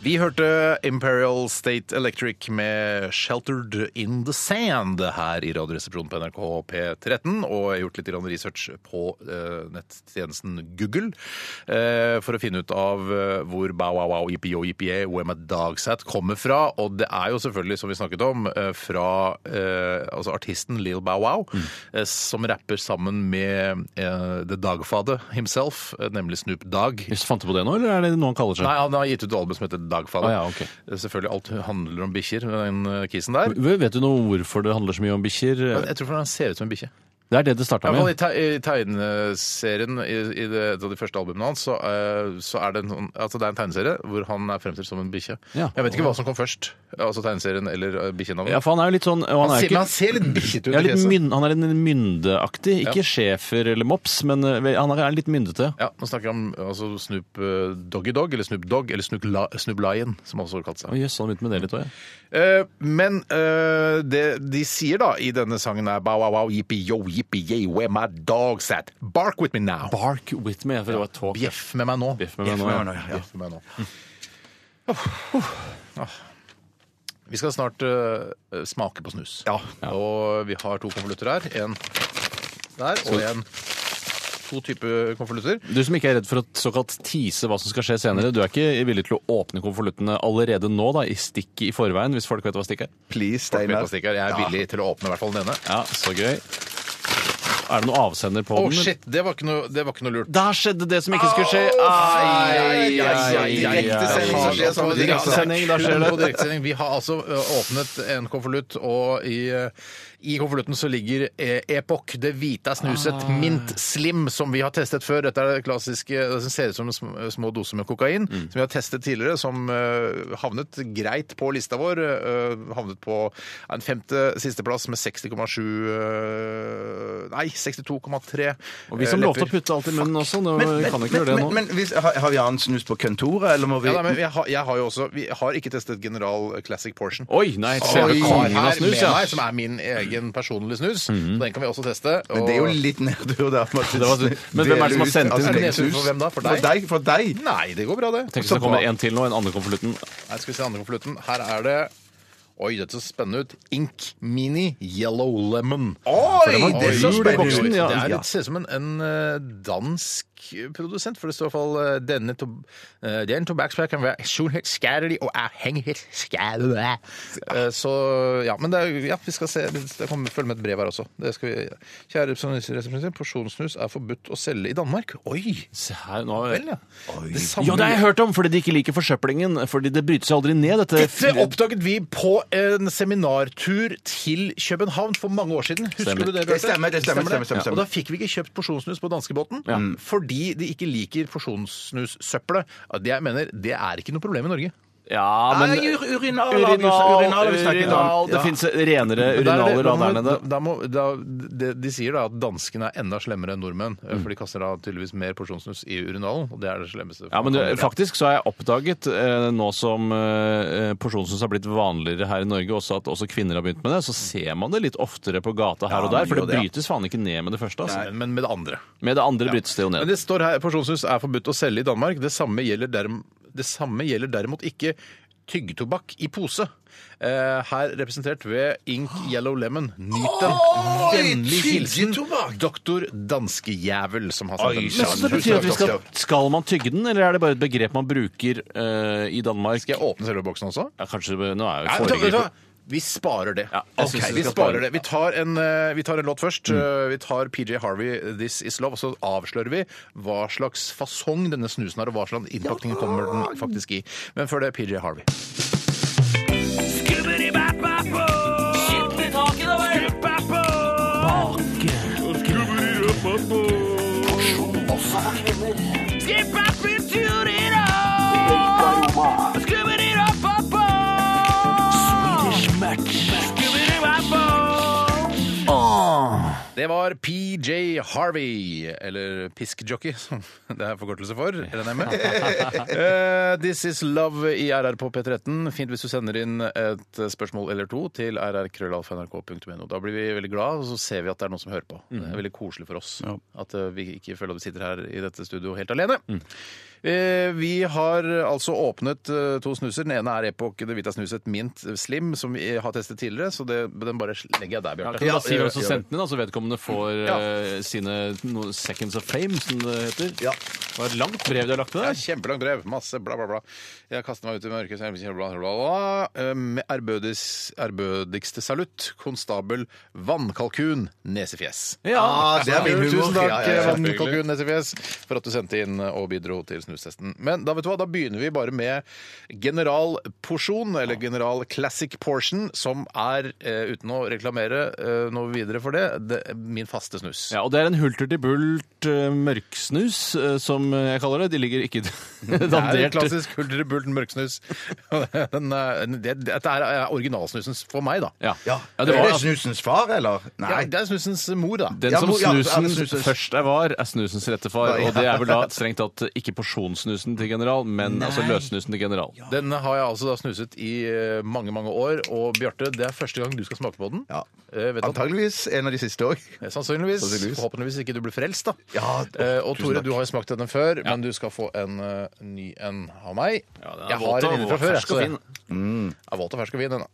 [SPEAKER 2] Vi hørte Imperial State Electric med 'Sheltered in the Sand' her i Radioresepsjonen på NRK P13. Og jeg har gjort litt grann research på eh, nettjenesten Google eh, for å finne ut av eh, hvor bow wow wow yippee-yo yippee where my dog's at kommer fra. Og det er jo selvfølgelig, som vi snakket om, eh, fra eh, altså artisten Lil Bow Wow, eh, som rapper sammen med eh, The Dogfather himself, eh, nemlig Snoop Dogg.
[SPEAKER 3] Hvis du fant du på det nå, eller er det noe han kaller seg?
[SPEAKER 2] Nei, han har gitt ut et album som heter Dagfather.
[SPEAKER 3] Å ja, ok.
[SPEAKER 2] Selvfølgelig alt handler om bikkjer, den eh, kisen der.
[SPEAKER 3] Vet du noe om hvorfor det handler så mye om bikkjer?
[SPEAKER 2] Men jeg tror han ser ut som en bikkje.
[SPEAKER 3] Det er det det
[SPEAKER 2] I
[SPEAKER 3] starta
[SPEAKER 2] hvert fall i
[SPEAKER 3] med.
[SPEAKER 2] te- i tegneserien i, i det, et av de første albumene hans, så, eh, så er det, en, sånn- altså det er en tegneserie hvor han er fremstilt som en bikkje.
[SPEAKER 3] Ja.
[SPEAKER 2] Jeg vet ikke hva som kom først, altså tegneserien eller eh, bikkjenavnet.
[SPEAKER 3] Ja, for han er jo litt sånn og han
[SPEAKER 2] han,
[SPEAKER 3] er jo
[SPEAKER 2] ser,
[SPEAKER 3] ikke-
[SPEAKER 2] men han ser litt bikkjete ut
[SPEAKER 3] Ja,
[SPEAKER 2] i
[SPEAKER 3] litt
[SPEAKER 2] fjeset.
[SPEAKER 3] mynd, han er en myndeaktig. Ikke schæfer eller mops, men eh, han er litt myndete.
[SPEAKER 2] Ja, Nå snakker jeg om altså, Snoop eh, Doggy Dog, eller Snoop Dogg, eller Snoop, La, Snoop Lion, som han også kalte seg.
[SPEAKER 3] Å, Jøss, han begynte med det litt òg, ja.
[SPEAKER 2] Eh, men eh, det de sier da i denne sangen er Bow wow wow, yippee yo, yippee yay, where my dog's at. Bark with me now.
[SPEAKER 3] Bark with me, for det var et talk.
[SPEAKER 2] Bjeff med meg nå. Mm.
[SPEAKER 3] Bjeff med meg nå, ja.
[SPEAKER 2] Bjeff med meg nå. Åh. Vi skal snart eh, smake på snus.
[SPEAKER 4] Ja.
[SPEAKER 2] Og vi har to konvolutter her. En der og en to typer konvolutter.
[SPEAKER 3] Du som ikke er redd for å såkalt tease hva som skal skje senere, du er ikke villig til å åpne konvoluttene allerede nå, da, i stikket i forveien, hvis folk vet hva stikk er?
[SPEAKER 4] Please,
[SPEAKER 2] Jeg
[SPEAKER 4] Steinar.
[SPEAKER 2] er villig til å åpne i hvert fall denne.
[SPEAKER 3] Ja, så gøy. Er det noe avsender på
[SPEAKER 2] Å,
[SPEAKER 3] den?
[SPEAKER 2] shit! Det var ikke noe, det var ikke noe lurt.
[SPEAKER 3] Der skjedde det som ikke skulle skje! Ai, ai, ai, ai, ai.
[SPEAKER 4] Direktesending som skjer samme ting, altså.
[SPEAKER 3] Direktesending, da skjer
[SPEAKER 2] *laughs* På
[SPEAKER 3] det.
[SPEAKER 2] direktesending. Vi har altså ø, åpnet en konvolutt, og i, ø, i konvolutten så ligger e Epoch, det hvite er snuset,
[SPEAKER 3] Ah.
[SPEAKER 2] Mint Slim, som vi har testet før. Dette er det klassiske, det som ser ut som en sm- små doser med kokain,
[SPEAKER 3] Mm.
[SPEAKER 2] som vi har testet tidligere, som ø, havnet greit på lista vår. ø, Havnet på en femte sisteplass med 60,7 ø, Nei, 62,3
[SPEAKER 3] Og vi som
[SPEAKER 2] ø,
[SPEAKER 3] lovte å
[SPEAKER 2] lepper.
[SPEAKER 3] putte alt i munnen også, nå kan vi ikke gjøre det
[SPEAKER 4] men,
[SPEAKER 3] nå.
[SPEAKER 4] men hvis, har, har vi annen snus på kontoret, eller må vi
[SPEAKER 2] Ja, nei, men jeg har, jeg har jo også, Vi har ikke testet General Classic Portion.
[SPEAKER 3] Oi, nei, selve
[SPEAKER 2] Oi,
[SPEAKER 3] kongen
[SPEAKER 2] her
[SPEAKER 3] av snus,
[SPEAKER 2] med
[SPEAKER 3] ja.
[SPEAKER 2] meg, som er min egen personlige snus. Så den kan vi også teste.
[SPEAKER 4] Mhm. Men det er jo litt nedtur, da. for at
[SPEAKER 3] Det var- men hvem er det som har
[SPEAKER 4] dele ut
[SPEAKER 3] sendt inn
[SPEAKER 4] avstengt
[SPEAKER 2] nedtur for
[SPEAKER 4] snus?
[SPEAKER 2] hvem da? For
[SPEAKER 4] For deg? For deg?
[SPEAKER 2] Nei, det går bra, det.
[SPEAKER 3] Tenk hvis det kommer en til nå, en annen konvolutten.
[SPEAKER 2] Her skal vi se andre konvolutten. Her er det Oi, dette ser spennende ut. Ink Mini Yellow Lemon.
[SPEAKER 4] Oi, det
[SPEAKER 2] Oi,
[SPEAKER 4] så
[SPEAKER 3] jul i
[SPEAKER 4] spennende
[SPEAKER 3] boksen,
[SPEAKER 4] ut.
[SPEAKER 3] ja.
[SPEAKER 2] Det er litt, ser ut som en, en eh, dansk produsent, for det står i hvert fall eh, denne to, eh, den tobakkspakken kan være sjonhetsskadelig og avhengighetsskadelig. Eh, Så ja, men det, er- ja, vi skal se. Det kommer følge med et brev her også. Det skal vi, Kjære resepsjonister, porsjonssnus er forbudt å selge i Danmark. Oi!
[SPEAKER 3] Se her, nå
[SPEAKER 2] Vel, ja. Det
[SPEAKER 3] Ja, det har jeg hørt om, fordi de ikke liker forsøplingen. Fordi det bryter seg aldri ned, dette.
[SPEAKER 2] Dette oppdaget vi på en seminartur til København for mange år siden. Husker
[SPEAKER 3] Stemmer.
[SPEAKER 2] du det? Bjarte?
[SPEAKER 4] Det stemmer, det stemmer, stemmer, stemmer,
[SPEAKER 2] Ja, Og da fikk vi ikke kjøpt porsjonssnus på danskebåten
[SPEAKER 3] Mm.
[SPEAKER 2] fordi de ikke liker porsjonssnussøppelet. Ja, Det jeg mener, det er ikke noe problem i Norge.
[SPEAKER 3] Ja, men
[SPEAKER 4] Nei, ur- urinal-
[SPEAKER 3] Urinal,
[SPEAKER 4] urinal vi snakker om.
[SPEAKER 3] urinal, Det
[SPEAKER 4] Ja.
[SPEAKER 3] fins renere
[SPEAKER 2] Men da er det-
[SPEAKER 3] urinaler da,
[SPEAKER 2] da
[SPEAKER 3] der
[SPEAKER 2] må-
[SPEAKER 3] nede.
[SPEAKER 2] da må, da, de, de sier da at danskene er enda slemmere enn nordmenn, eh,
[SPEAKER 3] Mm.
[SPEAKER 2] for de kaster da tydeligvis mer porsjonssnus i urinalen, og det er det slemmeste.
[SPEAKER 3] Ja, men du, faktisk så har jeg oppdaget, eh, nå som eh, porsjonsnus har blitt vanligere her i Norge, også at også kvinner har begynt med det, så ser man det litt oftere på gata her og
[SPEAKER 4] man
[SPEAKER 3] der, for
[SPEAKER 4] gjør
[SPEAKER 3] det
[SPEAKER 4] det, ja.
[SPEAKER 3] brytes faen ikke ned med det første. Altså.
[SPEAKER 2] Men- Men med det andre.
[SPEAKER 3] Med det andre brytes det jo
[SPEAKER 2] Men
[SPEAKER 3] ned.
[SPEAKER 2] det står her porsjonssnus er forbudt å selge i Danmark. Det samme gjelder, derm, det samme gjelder derimot ikke tyggetobakk i pose. Eh, her representert ved Ink Yellow Lemon. Nyt den. Vennlig hilsen doktor Danskejævel, som har sendt den.
[SPEAKER 3] Men så det betyr at vi skal, skal man tygge den, eller er det bare et begrep man bruker eh, i Danmark?
[SPEAKER 2] Skal jeg åpne selve boksen også?
[SPEAKER 3] Ja, kanskje det- Nå er
[SPEAKER 2] Nei,
[SPEAKER 3] jo
[SPEAKER 2] vet du hva, vet du hva?
[SPEAKER 3] foregrepet
[SPEAKER 2] Vi sparer det.
[SPEAKER 3] Ja,
[SPEAKER 2] Jeg
[SPEAKER 3] ok,
[SPEAKER 2] synes
[SPEAKER 3] vi
[SPEAKER 2] vi
[SPEAKER 3] skal spare
[SPEAKER 2] sparer
[SPEAKER 3] Mm.
[SPEAKER 2] det. Vi tar en, eh, vi tar en låt først. Eh, Vi tar PJ Harvey, 'This Is Love', og så avslører vi hva slags fasong denne snusen har, og hva slags innpakning kommer den faktisk i. Men før det, PJ Harvey. Det var PJ Harvey, eller piskjockey, som det er forkortelse for. regner jeg med. Eh, This is love i RR på P13. Fint hvis du sender inn et spørsmål eller to til rrkrøllalfa.nrk.no. Da blir vi veldig glad, og så ser vi at det er noen som hører på. Det er veldig koselig for oss at eh, vi ikke føler at vi sitter her i dette studio helt alene. Eh, Vi har altså åpnet eh, to snuser. Den ene er Epoch det hvite er snuset Mint Slim, som vi har testet tidligere. Så det, den bare legger jeg
[SPEAKER 3] Ja,
[SPEAKER 2] der, Bjarte.
[SPEAKER 3] kan du
[SPEAKER 2] Ja,
[SPEAKER 3] da si hvem som
[SPEAKER 2] gjør det.
[SPEAKER 3] sendte den, altså vedkommende får eh, sine no, seconds of fame, som det heter.
[SPEAKER 2] Ja.
[SPEAKER 3] Det var et langt brev du har lagt til
[SPEAKER 2] Ja,
[SPEAKER 3] der.
[SPEAKER 2] kjempelangt brev. Masse bla, bla, bla. Jeg kaster meg ut i mørket. så jeg bla, bla, bla, bla. Eh, Med ærbødigst- ærbødigste salutt, konstabel Vannkalkun Nesefjes.
[SPEAKER 3] Ja,
[SPEAKER 4] Ah, det er min humor.
[SPEAKER 2] Tusen takk, eh,
[SPEAKER 4] Ja, ja, ja, selvfølgelig.
[SPEAKER 2] Vannkalkun Nesefjes, for at du sendte inn og bidro til snustesten. Men da vet du hva, da begynner vi bare med General Porsjon, eller General Classic Portion, som er, eh, uten å reklamere eh, noe videre for det, det min faste snus.
[SPEAKER 3] Ja, og det er en hulter til bult eh, mørksnus, eh, som jeg kaller det. De ligger ikke
[SPEAKER 2] *laughs* Det er en
[SPEAKER 3] dandert.
[SPEAKER 2] klassisk *laughs* Hulter i bulten *laughs* mørksnus. Den, eh, det- Dette er eh, originalsnusen for meg, da.
[SPEAKER 3] Ja.
[SPEAKER 4] Ja.
[SPEAKER 3] ja, det
[SPEAKER 4] Er
[SPEAKER 3] var altså-
[SPEAKER 4] det snusens far, eller?
[SPEAKER 2] Ja,
[SPEAKER 4] Nei.
[SPEAKER 2] det er snusens mor, da.
[SPEAKER 3] den
[SPEAKER 4] Ja,
[SPEAKER 3] som
[SPEAKER 4] hvor- ja,
[SPEAKER 3] snusen
[SPEAKER 4] ja, snusen-
[SPEAKER 3] først er var, er snusens rette far.
[SPEAKER 4] Nei, ja.
[SPEAKER 3] Og det er vel da strengt tatt ikke porsjonssnusen til general, men altså løssnusen til general.
[SPEAKER 2] Den har jeg altså da snuset i eh, mange, mange år. Og Bjarte, det er første gang du skal smake på den.
[SPEAKER 4] Ja.
[SPEAKER 2] Eh, vet du at-
[SPEAKER 4] Antageligvis en av de siste òg.
[SPEAKER 2] Eh, Sannsynligvis.
[SPEAKER 4] Sannsynligvis.
[SPEAKER 2] Forhåpentligvis ikke du blir frelst, da.
[SPEAKER 4] Ja, å,
[SPEAKER 2] Eh, og
[SPEAKER 4] tusen
[SPEAKER 2] Tore,
[SPEAKER 4] takk.
[SPEAKER 2] du har jo smakt denne før, men du skal få en eh, ny en av meg.
[SPEAKER 3] Ja, den er
[SPEAKER 2] jeg
[SPEAKER 3] våt og
[SPEAKER 2] har en inne fra
[SPEAKER 3] våt,
[SPEAKER 2] før. jeg,
[SPEAKER 3] fersk og
[SPEAKER 2] så
[SPEAKER 3] fin.
[SPEAKER 2] Jeg er våt og fersk og fin, den, da.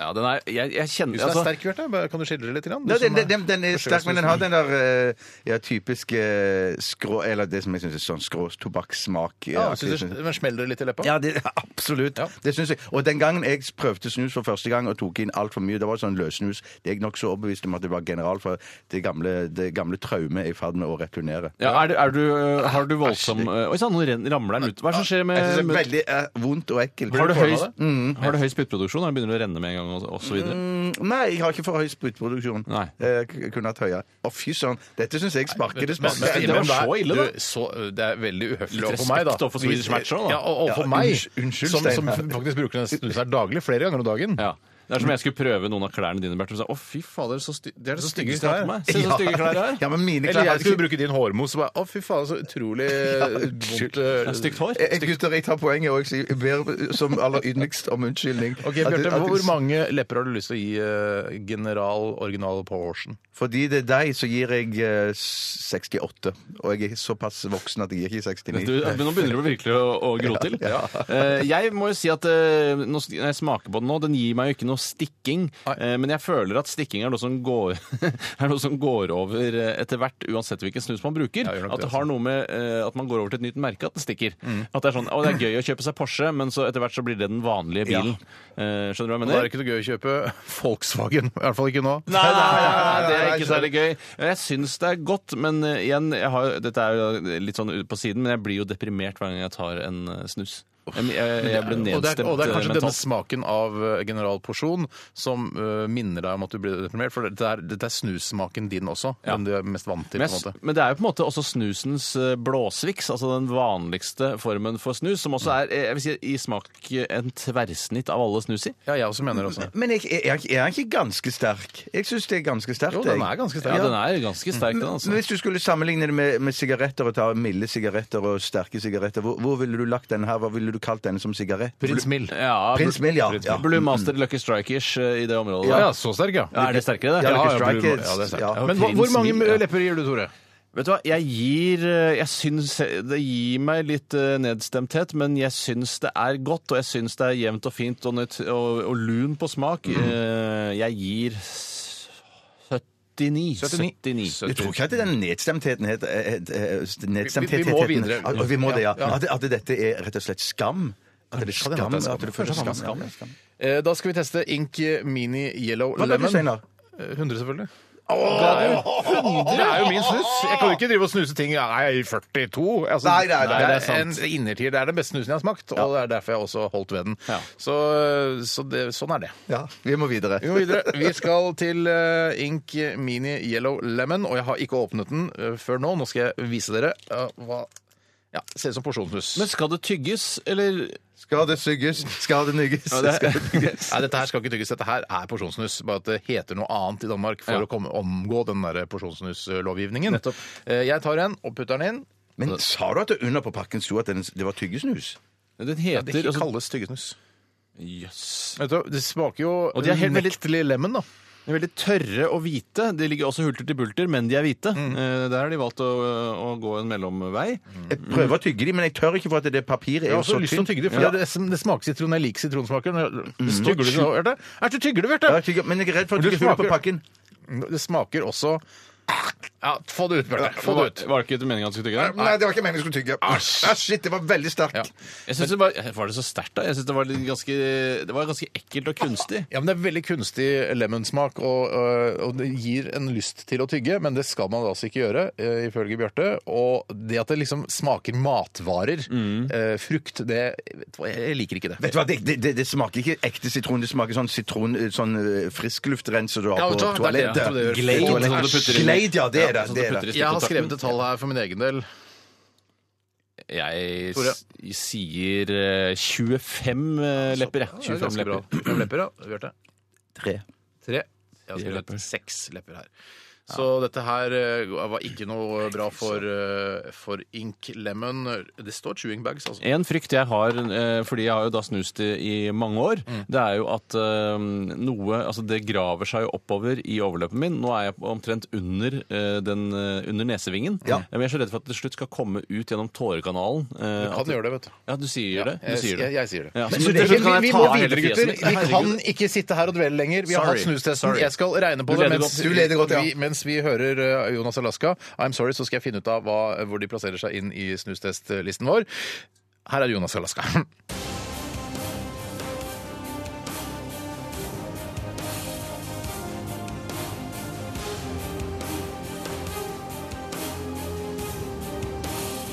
[SPEAKER 3] Ja, den er, jeg, jeg kjenner
[SPEAKER 2] Hvis den
[SPEAKER 3] altså-
[SPEAKER 2] er sterk, Bjarte, bare- kan du skildre litt? Grann? Du
[SPEAKER 4] Nei, den, den,
[SPEAKER 2] som
[SPEAKER 4] den, den er sterk, men den har den der eh, ja, typiske eh, skrå... Eller det som jeg syns er sånn skrå tobakkssmak. eh,
[SPEAKER 2] Ja,
[SPEAKER 3] altså,
[SPEAKER 4] aktig.
[SPEAKER 2] synes du, men smeller det litt i
[SPEAKER 4] *laughs*
[SPEAKER 2] leppa?
[SPEAKER 4] Ja, det, absolutt.
[SPEAKER 2] Ja.
[SPEAKER 4] Det synes jeg. Og den gangen jeg prøvde snus for første gang og tok inn altfor mye, det var sånn løssnus, det er jeg nokså overbevist om at det var general for det gamle, det gamle traumet jeg er i ferd med å returnere.
[SPEAKER 3] ja, er, du- er du, eh, har du voldsom eh, Oi sann, nå renn- ramler den ut. Hva er det som skjer
[SPEAKER 4] Jeg synes det
[SPEAKER 3] med
[SPEAKER 4] er veldig eh, vondt og ekkelt.
[SPEAKER 3] Har du høy,
[SPEAKER 2] av det? Mhm.
[SPEAKER 3] mm, har du høy spyttproduksjon? Eller begynner det å renne med en gang? og- Og så videre?
[SPEAKER 4] Mm, Nei, jeg har ikke for høy spyttproduksjon.
[SPEAKER 3] Nei.
[SPEAKER 4] Eh, k- kunne hatt høyere. Å, fy søren. Dette syns jeg sparker det
[SPEAKER 2] Men-
[SPEAKER 4] sparker.
[SPEAKER 2] men-
[SPEAKER 3] det var
[SPEAKER 2] men-
[SPEAKER 3] så ille, da.
[SPEAKER 2] du, så- øh, det er veldig uhøflig
[SPEAKER 3] Litt
[SPEAKER 2] overfor meg, da.
[SPEAKER 3] respekt overfor Swedish Match også, da.
[SPEAKER 2] Ja, og overfor
[SPEAKER 4] Ja,
[SPEAKER 2] meg,
[SPEAKER 4] unnskyld- unnskyld,
[SPEAKER 2] som, som
[SPEAKER 4] Stein.
[SPEAKER 2] faktisk bruker den snusen her daglig, flere ganger om dagen.
[SPEAKER 3] Ja. Det er som om jeg skulle prøve noen av klærne dine, Bert. Og sa, å, fy fader, så sty det er det
[SPEAKER 2] Så stygge
[SPEAKER 3] styggeste jeg har på
[SPEAKER 2] klær.
[SPEAKER 3] meg. Se så stygge klær jeg har.
[SPEAKER 4] Ja, men mine
[SPEAKER 2] *laughs* Eller
[SPEAKER 4] klær
[SPEAKER 2] jeg
[SPEAKER 4] hadde
[SPEAKER 2] skulle
[SPEAKER 4] ikke
[SPEAKER 2] bruke din hårmos. og bare, Å, fy faen, så
[SPEAKER 3] *laughs*
[SPEAKER 2] utrolig øh, vondt eh,
[SPEAKER 3] Stygt hår.
[SPEAKER 4] Eh, Gutter, jeg tar poenget òg, så jeg ber som aller ydmykst om unnskyldning.
[SPEAKER 2] Ok,
[SPEAKER 4] At-
[SPEAKER 2] Bjarte,
[SPEAKER 4] at-
[SPEAKER 2] hvor mange lepper har du lyst til å gi eh, general original proportion?
[SPEAKER 4] Fordi det er deg, så gir jeg eh, 68. Og jeg er såpass voksen at jeg gir ikke
[SPEAKER 3] Du,
[SPEAKER 4] 69.
[SPEAKER 3] nå begynner det virkelig å, å gro til. Eh, jeg må jo si at eh, nå, s- når jeg smaker på den nå, den gir meg jo ikke noe stikking.
[SPEAKER 2] Nei.
[SPEAKER 3] Eh, men jeg føler at stikking er noe som går, *laughs* er noe som går over eh, etter hvert, uansett hvilken snus man bruker.
[SPEAKER 2] Ja, gjør nok det,
[SPEAKER 3] at det har
[SPEAKER 2] altså. Mm.
[SPEAKER 3] noe med eh, at man går over til et nytt merke, at den stikker. At det er sånn, å, det er gøy å kjøpe seg Porsche, men så etter hvert så blir det den vanlige bilen. Eh, skjønner du hva jeg
[SPEAKER 2] Da er
[SPEAKER 3] mener?
[SPEAKER 2] det ikke noe gøy å kjøpe *laughs* Volkswagen. I hvert fall ikke nå.
[SPEAKER 3] Nei, nei, nei, nei, det er
[SPEAKER 4] nei,
[SPEAKER 3] ikke
[SPEAKER 4] nei,
[SPEAKER 3] særlig gøy. Jeg syns det er godt, men eh, igjen, jeg har, dette er jo litt sånn ut på siden, men jeg blir jo deprimert hver gang jeg tar en eh, snus. Jeg, jeg, jeg blir
[SPEAKER 2] Og det,
[SPEAKER 3] nedstemt
[SPEAKER 2] er, og det er
[SPEAKER 3] eh,
[SPEAKER 2] kanskje denne
[SPEAKER 3] mentalt.
[SPEAKER 2] smaken av eh, general porsjon som eh, minner deg om at du blir deprimert, for dette er, dette er snussmaken din også,
[SPEAKER 3] Ja.
[SPEAKER 2] den du er mest vant til.
[SPEAKER 3] Men,
[SPEAKER 2] på en
[SPEAKER 3] jeg,
[SPEAKER 2] måte.
[SPEAKER 3] men det er jo på en måte også snusens eh, blåsviks, altså den vanligste formen for snus, som også er eh, jeg vil si, i smak eh, en tverrsnitt av alle snus i.
[SPEAKER 2] Ja, jeg også mener også.
[SPEAKER 4] Men jeg, er, er han ikke ganske sterk? Jeg syns det er ganske sterkt.
[SPEAKER 2] Jo,
[SPEAKER 4] jeg.
[SPEAKER 2] den er ganske sterk.
[SPEAKER 3] Ja, den er ganske sterk, den.
[SPEAKER 4] Men
[SPEAKER 3] altså.
[SPEAKER 4] hvis du skulle sammenligne det med, med sigaretter og ta milde sigaretter og sterke sigaretter, hvor, hvor ville du lagt den her? Hva ville du kalt denne som sigarett?
[SPEAKER 2] Prins Mild.
[SPEAKER 3] Ja,
[SPEAKER 4] Prins Mill, ja.
[SPEAKER 3] Prins
[SPEAKER 4] Ja.
[SPEAKER 3] Blue Master Lucky Strikers eh, i det området.
[SPEAKER 2] Ja,
[SPEAKER 3] der.
[SPEAKER 2] ja, så sterk, ja.
[SPEAKER 3] Ja, er det sterkere, det?
[SPEAKER 4] Ja, Lucky
[SPEAKER 3] ja, Blue-
[SPEAKER 4] Strike
[SPEAKER 3] ja, det er
[SPEAKER 4] er-
[SPEAKER 3] sterkt.
[SPEAKER 4] ja.
[SPEAKER 3] Ja,
[SPEAKER 2] Men hvor,
[SPEAKER 3] Prins
[SPEAKER 2] hvor mange
[SPEAKER 3] Mild, ja.
[SPEAKER 2] lepper gir du, Tore?
[SPEAKER 3] Vet du hva, jeg gir eh, Jeg syns det gir meg litt eh, nedstemthet, men jeg syns det er godt, og jeg syns det er jevnt og fint og, nøyt, og, og lun på smak.
[SPEAKER 2] Mm.
[SPEAKER 3] Eh, Jeg gir s- 79.
[SPEAKER 2] 79.
[SPEAKER 3] 79.
[SPEAKER 4] Jeg tror ikke at den nedstemtheten heter eh, eh, eh, nedstemtheten-
[SPEAKER 2] Vi- vi må videre.
[SPEAKER 4] At- at Vi må det, ja.
[SPEAKER 2] Ja.
[SPEAKER 4] At, at dette er rett og slett skam. At det er
[SPEAKER 2] Kanskje det
[SPEAKER 4] skam.
[SPEAKER 2] er skam.
[SPEAKER 4] At du føler
[SPEAKER 2] Kanskje det er
[SPEAKER 4] skam.
[SPEAKER 2] skam.
[SPEAKER 4] Ja, skam.
[SPEAKER 2] Eh, Da skal vi teste Ink Mini Yellow
[SPEAKER 4] Hva ble
[SPEAKER 2] Lemon.
[SPEAKER 4] du, Steinar?
[SPEAKER 2] Eh, 100, selvfølgelig. Det er jo min snus! Jeg kan jo ikke drive og snuse ting Nei, 42. Altså,
[SPEAKER 4] Nei, nei, nei,
[SPEAKER 2] det
[SPEAKER 3] det er
[SPEAKER 2] er en innertier. Det er den beste snusen jeg har smakt, og det er derfor jeg også holdt ved den.
[SPEAKER 3] Ja.
[SPEAKER 2] Så, så det, sånn er det.
[SPEAKER 4] Ja, vi må videre.
[SPEAKER 2] Vi må videre. *laughs* Vi skal til eh, Ink Mini Yellow Lemon, og jeg har ikke åpnet den eh, før nå. Nå skal jeg vise dere eh, hva Ja, ser ut som porsjonssnus.
[SPEAKER 3] Men skal det tygges, eller
[SPEAKER 4] Skal det sugges, skal det nugges. skal det nugges.
[SPEAKER 2] Nei, dette her skal ikke tygges. Dette her er porsjonssnus. Bare at det heter noe annet i Danmark for
[SPEAKER 3] Ja.
[SPEAKER 2] å komme, omgå den der porsjonssnuslovgivningen.
[SPEAKER 3] Nettopp.
[SPEAKER 2] Eh, Jeg tar en og putter den inn.
[SPEAKER 4] Men sa du at det under på pakken sto at den- det var tyggesnus?
[SPEAKER 3] Den
[SPEAKER 2] Ja, det
[SPEAKER 3] heter altså-
[SPEAKER 2] kalles tyggesnus.
[SPEAKER 3] Jøss.
[SPEAKER 2] Vet du, det smaker jo
[SPEAKER 3] Og de er helt veldig-
[SPEAKER 2] unektelig lemon, da.
[SPEAKER 3] De er veldig tørre og hvite. De ligger også hulter til bulter, men de er hvite.
[SPEAKER 2] Mm.
[SPEAKER 3] Eh, Der har de valgt å, å gå en mellomvei.
[SPEAKER 4] Jeg prøver å tygge de, men jeg tør ikke for at det papiret er
[SPEAKER 2] Jeg
[SPEAKER 4] jo
[SPEAKER 2] har også
[SPEAKER 4] så
[SPEAKER 2] altså, lyst til å
[SPEAKER 4] tynt.
[SPEAKER 2] tygge det, for
[SPEAKER 4] Ja.
[SPEAKER 2] det, det smaker sitron. Jeg liker sitronsmaker. Det står tygger du nå, Bjarte? Er det tygger du,
[SPEAKER 4] Ja,
[SPEAKER 2] Bjarte?
[SPEAKER 4] jeg tygger, men jeg er redd for at det
[SPEAKER 2] Men
[SPEAKER 4] ikke
[SPEAKER 2] du
[SPEAKER 4] huller på
[SPEAKER 2] smaker-
[SPEAKER 4] pakken.
[SPEAKER 2] Det smaker også Ja, få det ut, Bjarte. Få det ut.
[SPEAKER 3] Var det ikke meningen at du skulle tygge det?
[SPEAKER 4] det var ikke meningen jeg skulle tygge. Æsj, shit, det var veldig sterkt.
[SPEAKER 2] Ja.
[SPEAKER 3] Jeg synes det var, var det så sterkt, da? Jeg synes det var, litt ganske, det var ganske ekkelt og kunstig.
[SPEAKER 2] Ja, men Det er veldig kunstig lemonsmak, og, øh, og det gir en lyst til å tygge, men det skal man altså ikke gjøre, øh, ifølge Bjarte. Og det at det liksom smaker matvarer,
[SPEAKER 3] Mm.
[SPEAKER 2] øh, frukt, det vet du hva, Jeg liker ikke det.
[SPEAKER 4] Vet du hva, det, det, det, det smaker ikke ekte sitron, det smaker sånn sitron, eh, sånn eh, friskluftrenser du har
[SPEAKER 2] Ja,
[SPEAKER 4] på
[SPEAKER 2] vet du hva, det er det
[SPEAKER 4] toalettet.
[SPEAKER 2] jeg tror det gjør.
[SPEAKER 4] Glade,
[SPEAKER 2] Glade,
[SPEAKER 3] sånn du putter i-
[SPEAKER 4] Glade, ja, det er det. det,
[SPEAKER 3] sånn du
[SPEAKER 4] er
[SPEAKER 3] putter
[SPEAKER 4] det.
[SPEAKER 3] i
[SPEAKER 2] Jeg har
[SPEAKER 3] stikkontakten.
[SPEAKER 2] skrevet et tall her for min egen del.
[SPEAKER 3] Jeg
[SPEAKER 2] Tore.
[SPEAKER 3] s- sier eh, 25 eh, lepper, jeg. 25 lepper.
[SPEAKER 2] Fem lepper, ja. Bjarte?
[SPEAKER 4] Tre.
[SPEAKER 2] Tre. Jeg
[SPEAKER 3] Fire
[SPEAKER 2] har
[SPEAKER 3] lepper.
[SPEAKER 2] skrevet seks lepper her. Så dette her eh, var ikke noe bra for, eh, for Ink Lemon. Det står chewing bags, altså.
[SPEAKER 3] En frykt jeg har, eh, fordi jeg har jo da snust i, i mange år, det er jo at eh, noe Altså, det graver seg jo oppover i overløpet min. Nå er jeg omtrent under, eh, den, eh, under nesevingen.
[SPEAKER 4] Ja.
[SPEAKER 3] Men jeg er så redd for at det til slutt skal komme ut gjennom tårekanalen. eh,
[SPEAKER 2] Du
[SPEAKER 3] at-
[SPEAKER 2] kan gjøre det, vet du.
[SPEAKER 3] Ja, du sier det. Du
[SPEAKER 2] Jeg,
[SPEAKER 3] sier
[SPEAKER 2] jeg,
[SPEAKER 3] det.
[SPEAKER 2] jeg sier det.
[SPEAKER 3] Ja,
[SPEAKER 4] Men
[SPEAKER 3] så
[SPEAKER 4] så
[SPEAKER 3] til
[SPEAKER 4] det-
[SPEAKER 3] slutt kan
[SPEAKER 2] Vi,
[SPEAKER 3] jeg
[SPEAKER 2] vi
[SPEAKER 3] ta
[SPEAKER 2] må
[SPEAKER 3] hele
[SPEAKER 2] videre,
[SPEAKER 3] fjeset
[SPEAKER 2] gutter.
[SPEAKER 3] mitt.
[SPEAKER 2] Vi kan
[SPEAKER 3] Herregud.
[SPEAKER 2] ikke sitte her og dvele lenger. Vi har
[SPEAKER 3] Sorry.
[SPEAKER 2] hatt snustesten.
[SPEAKER 3] Sorry.
[SPEAKER 2] Jeg skal regne på
[SPEAKER 3] Du
[SPEAKER 2] det
[SPEAKER 3] leder
[SPEAKER 2] mens,
[SPEAKER 3] godt. Du
[SPEAKER 4] leder godt, ja.
[SPEAKER 2] vi, mens vi hører eh, Jonas Alaska. I'm sorry, så skal jeg finne ut av hva, hvor de plasserer seg inn i snustestlisten vår. Her er Jonas Alaska. *laughs*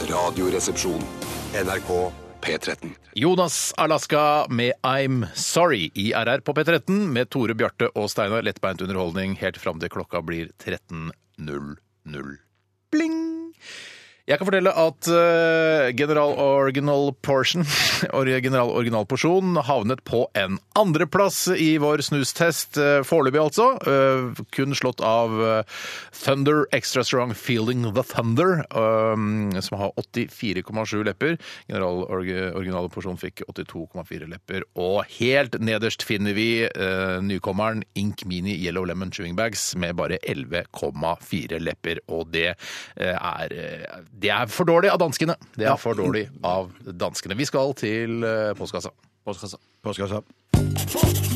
[SPEAKER 1] Radioresepsjon. NRK P13.
[SPEAKER 2] Jonas Alaska med I'm Sorry i RR på P13 med Tore Bjarte og Steinar. Lettbeint underholdning helt fram til klokka blir 13.00. Bling! Jeg kan fortelle at eh, General Original Portion *laughs* or- General Original Porsjon havnet på en andreplass i vår snustest, eh, foreløpig altså. eh, kun slått av eh, Thunder Extra Strong Feeling the Thunder, eh, som har 84,7 lepper. General Org- Original Porsjon fikk 82,4 lepper. Og helt nederst finner vi eh, nykommeren Ink Mini Yellow Lemon Chewing Bags med bare 11,4 lepper. Og det eh, er, eh, det er for dårlig av danskene. Det er for dårlig av danskene. Vi skal til eh, postkassa.
[SPEAKER 3] Postkassa.
[SPEAKER 4] Postkassa.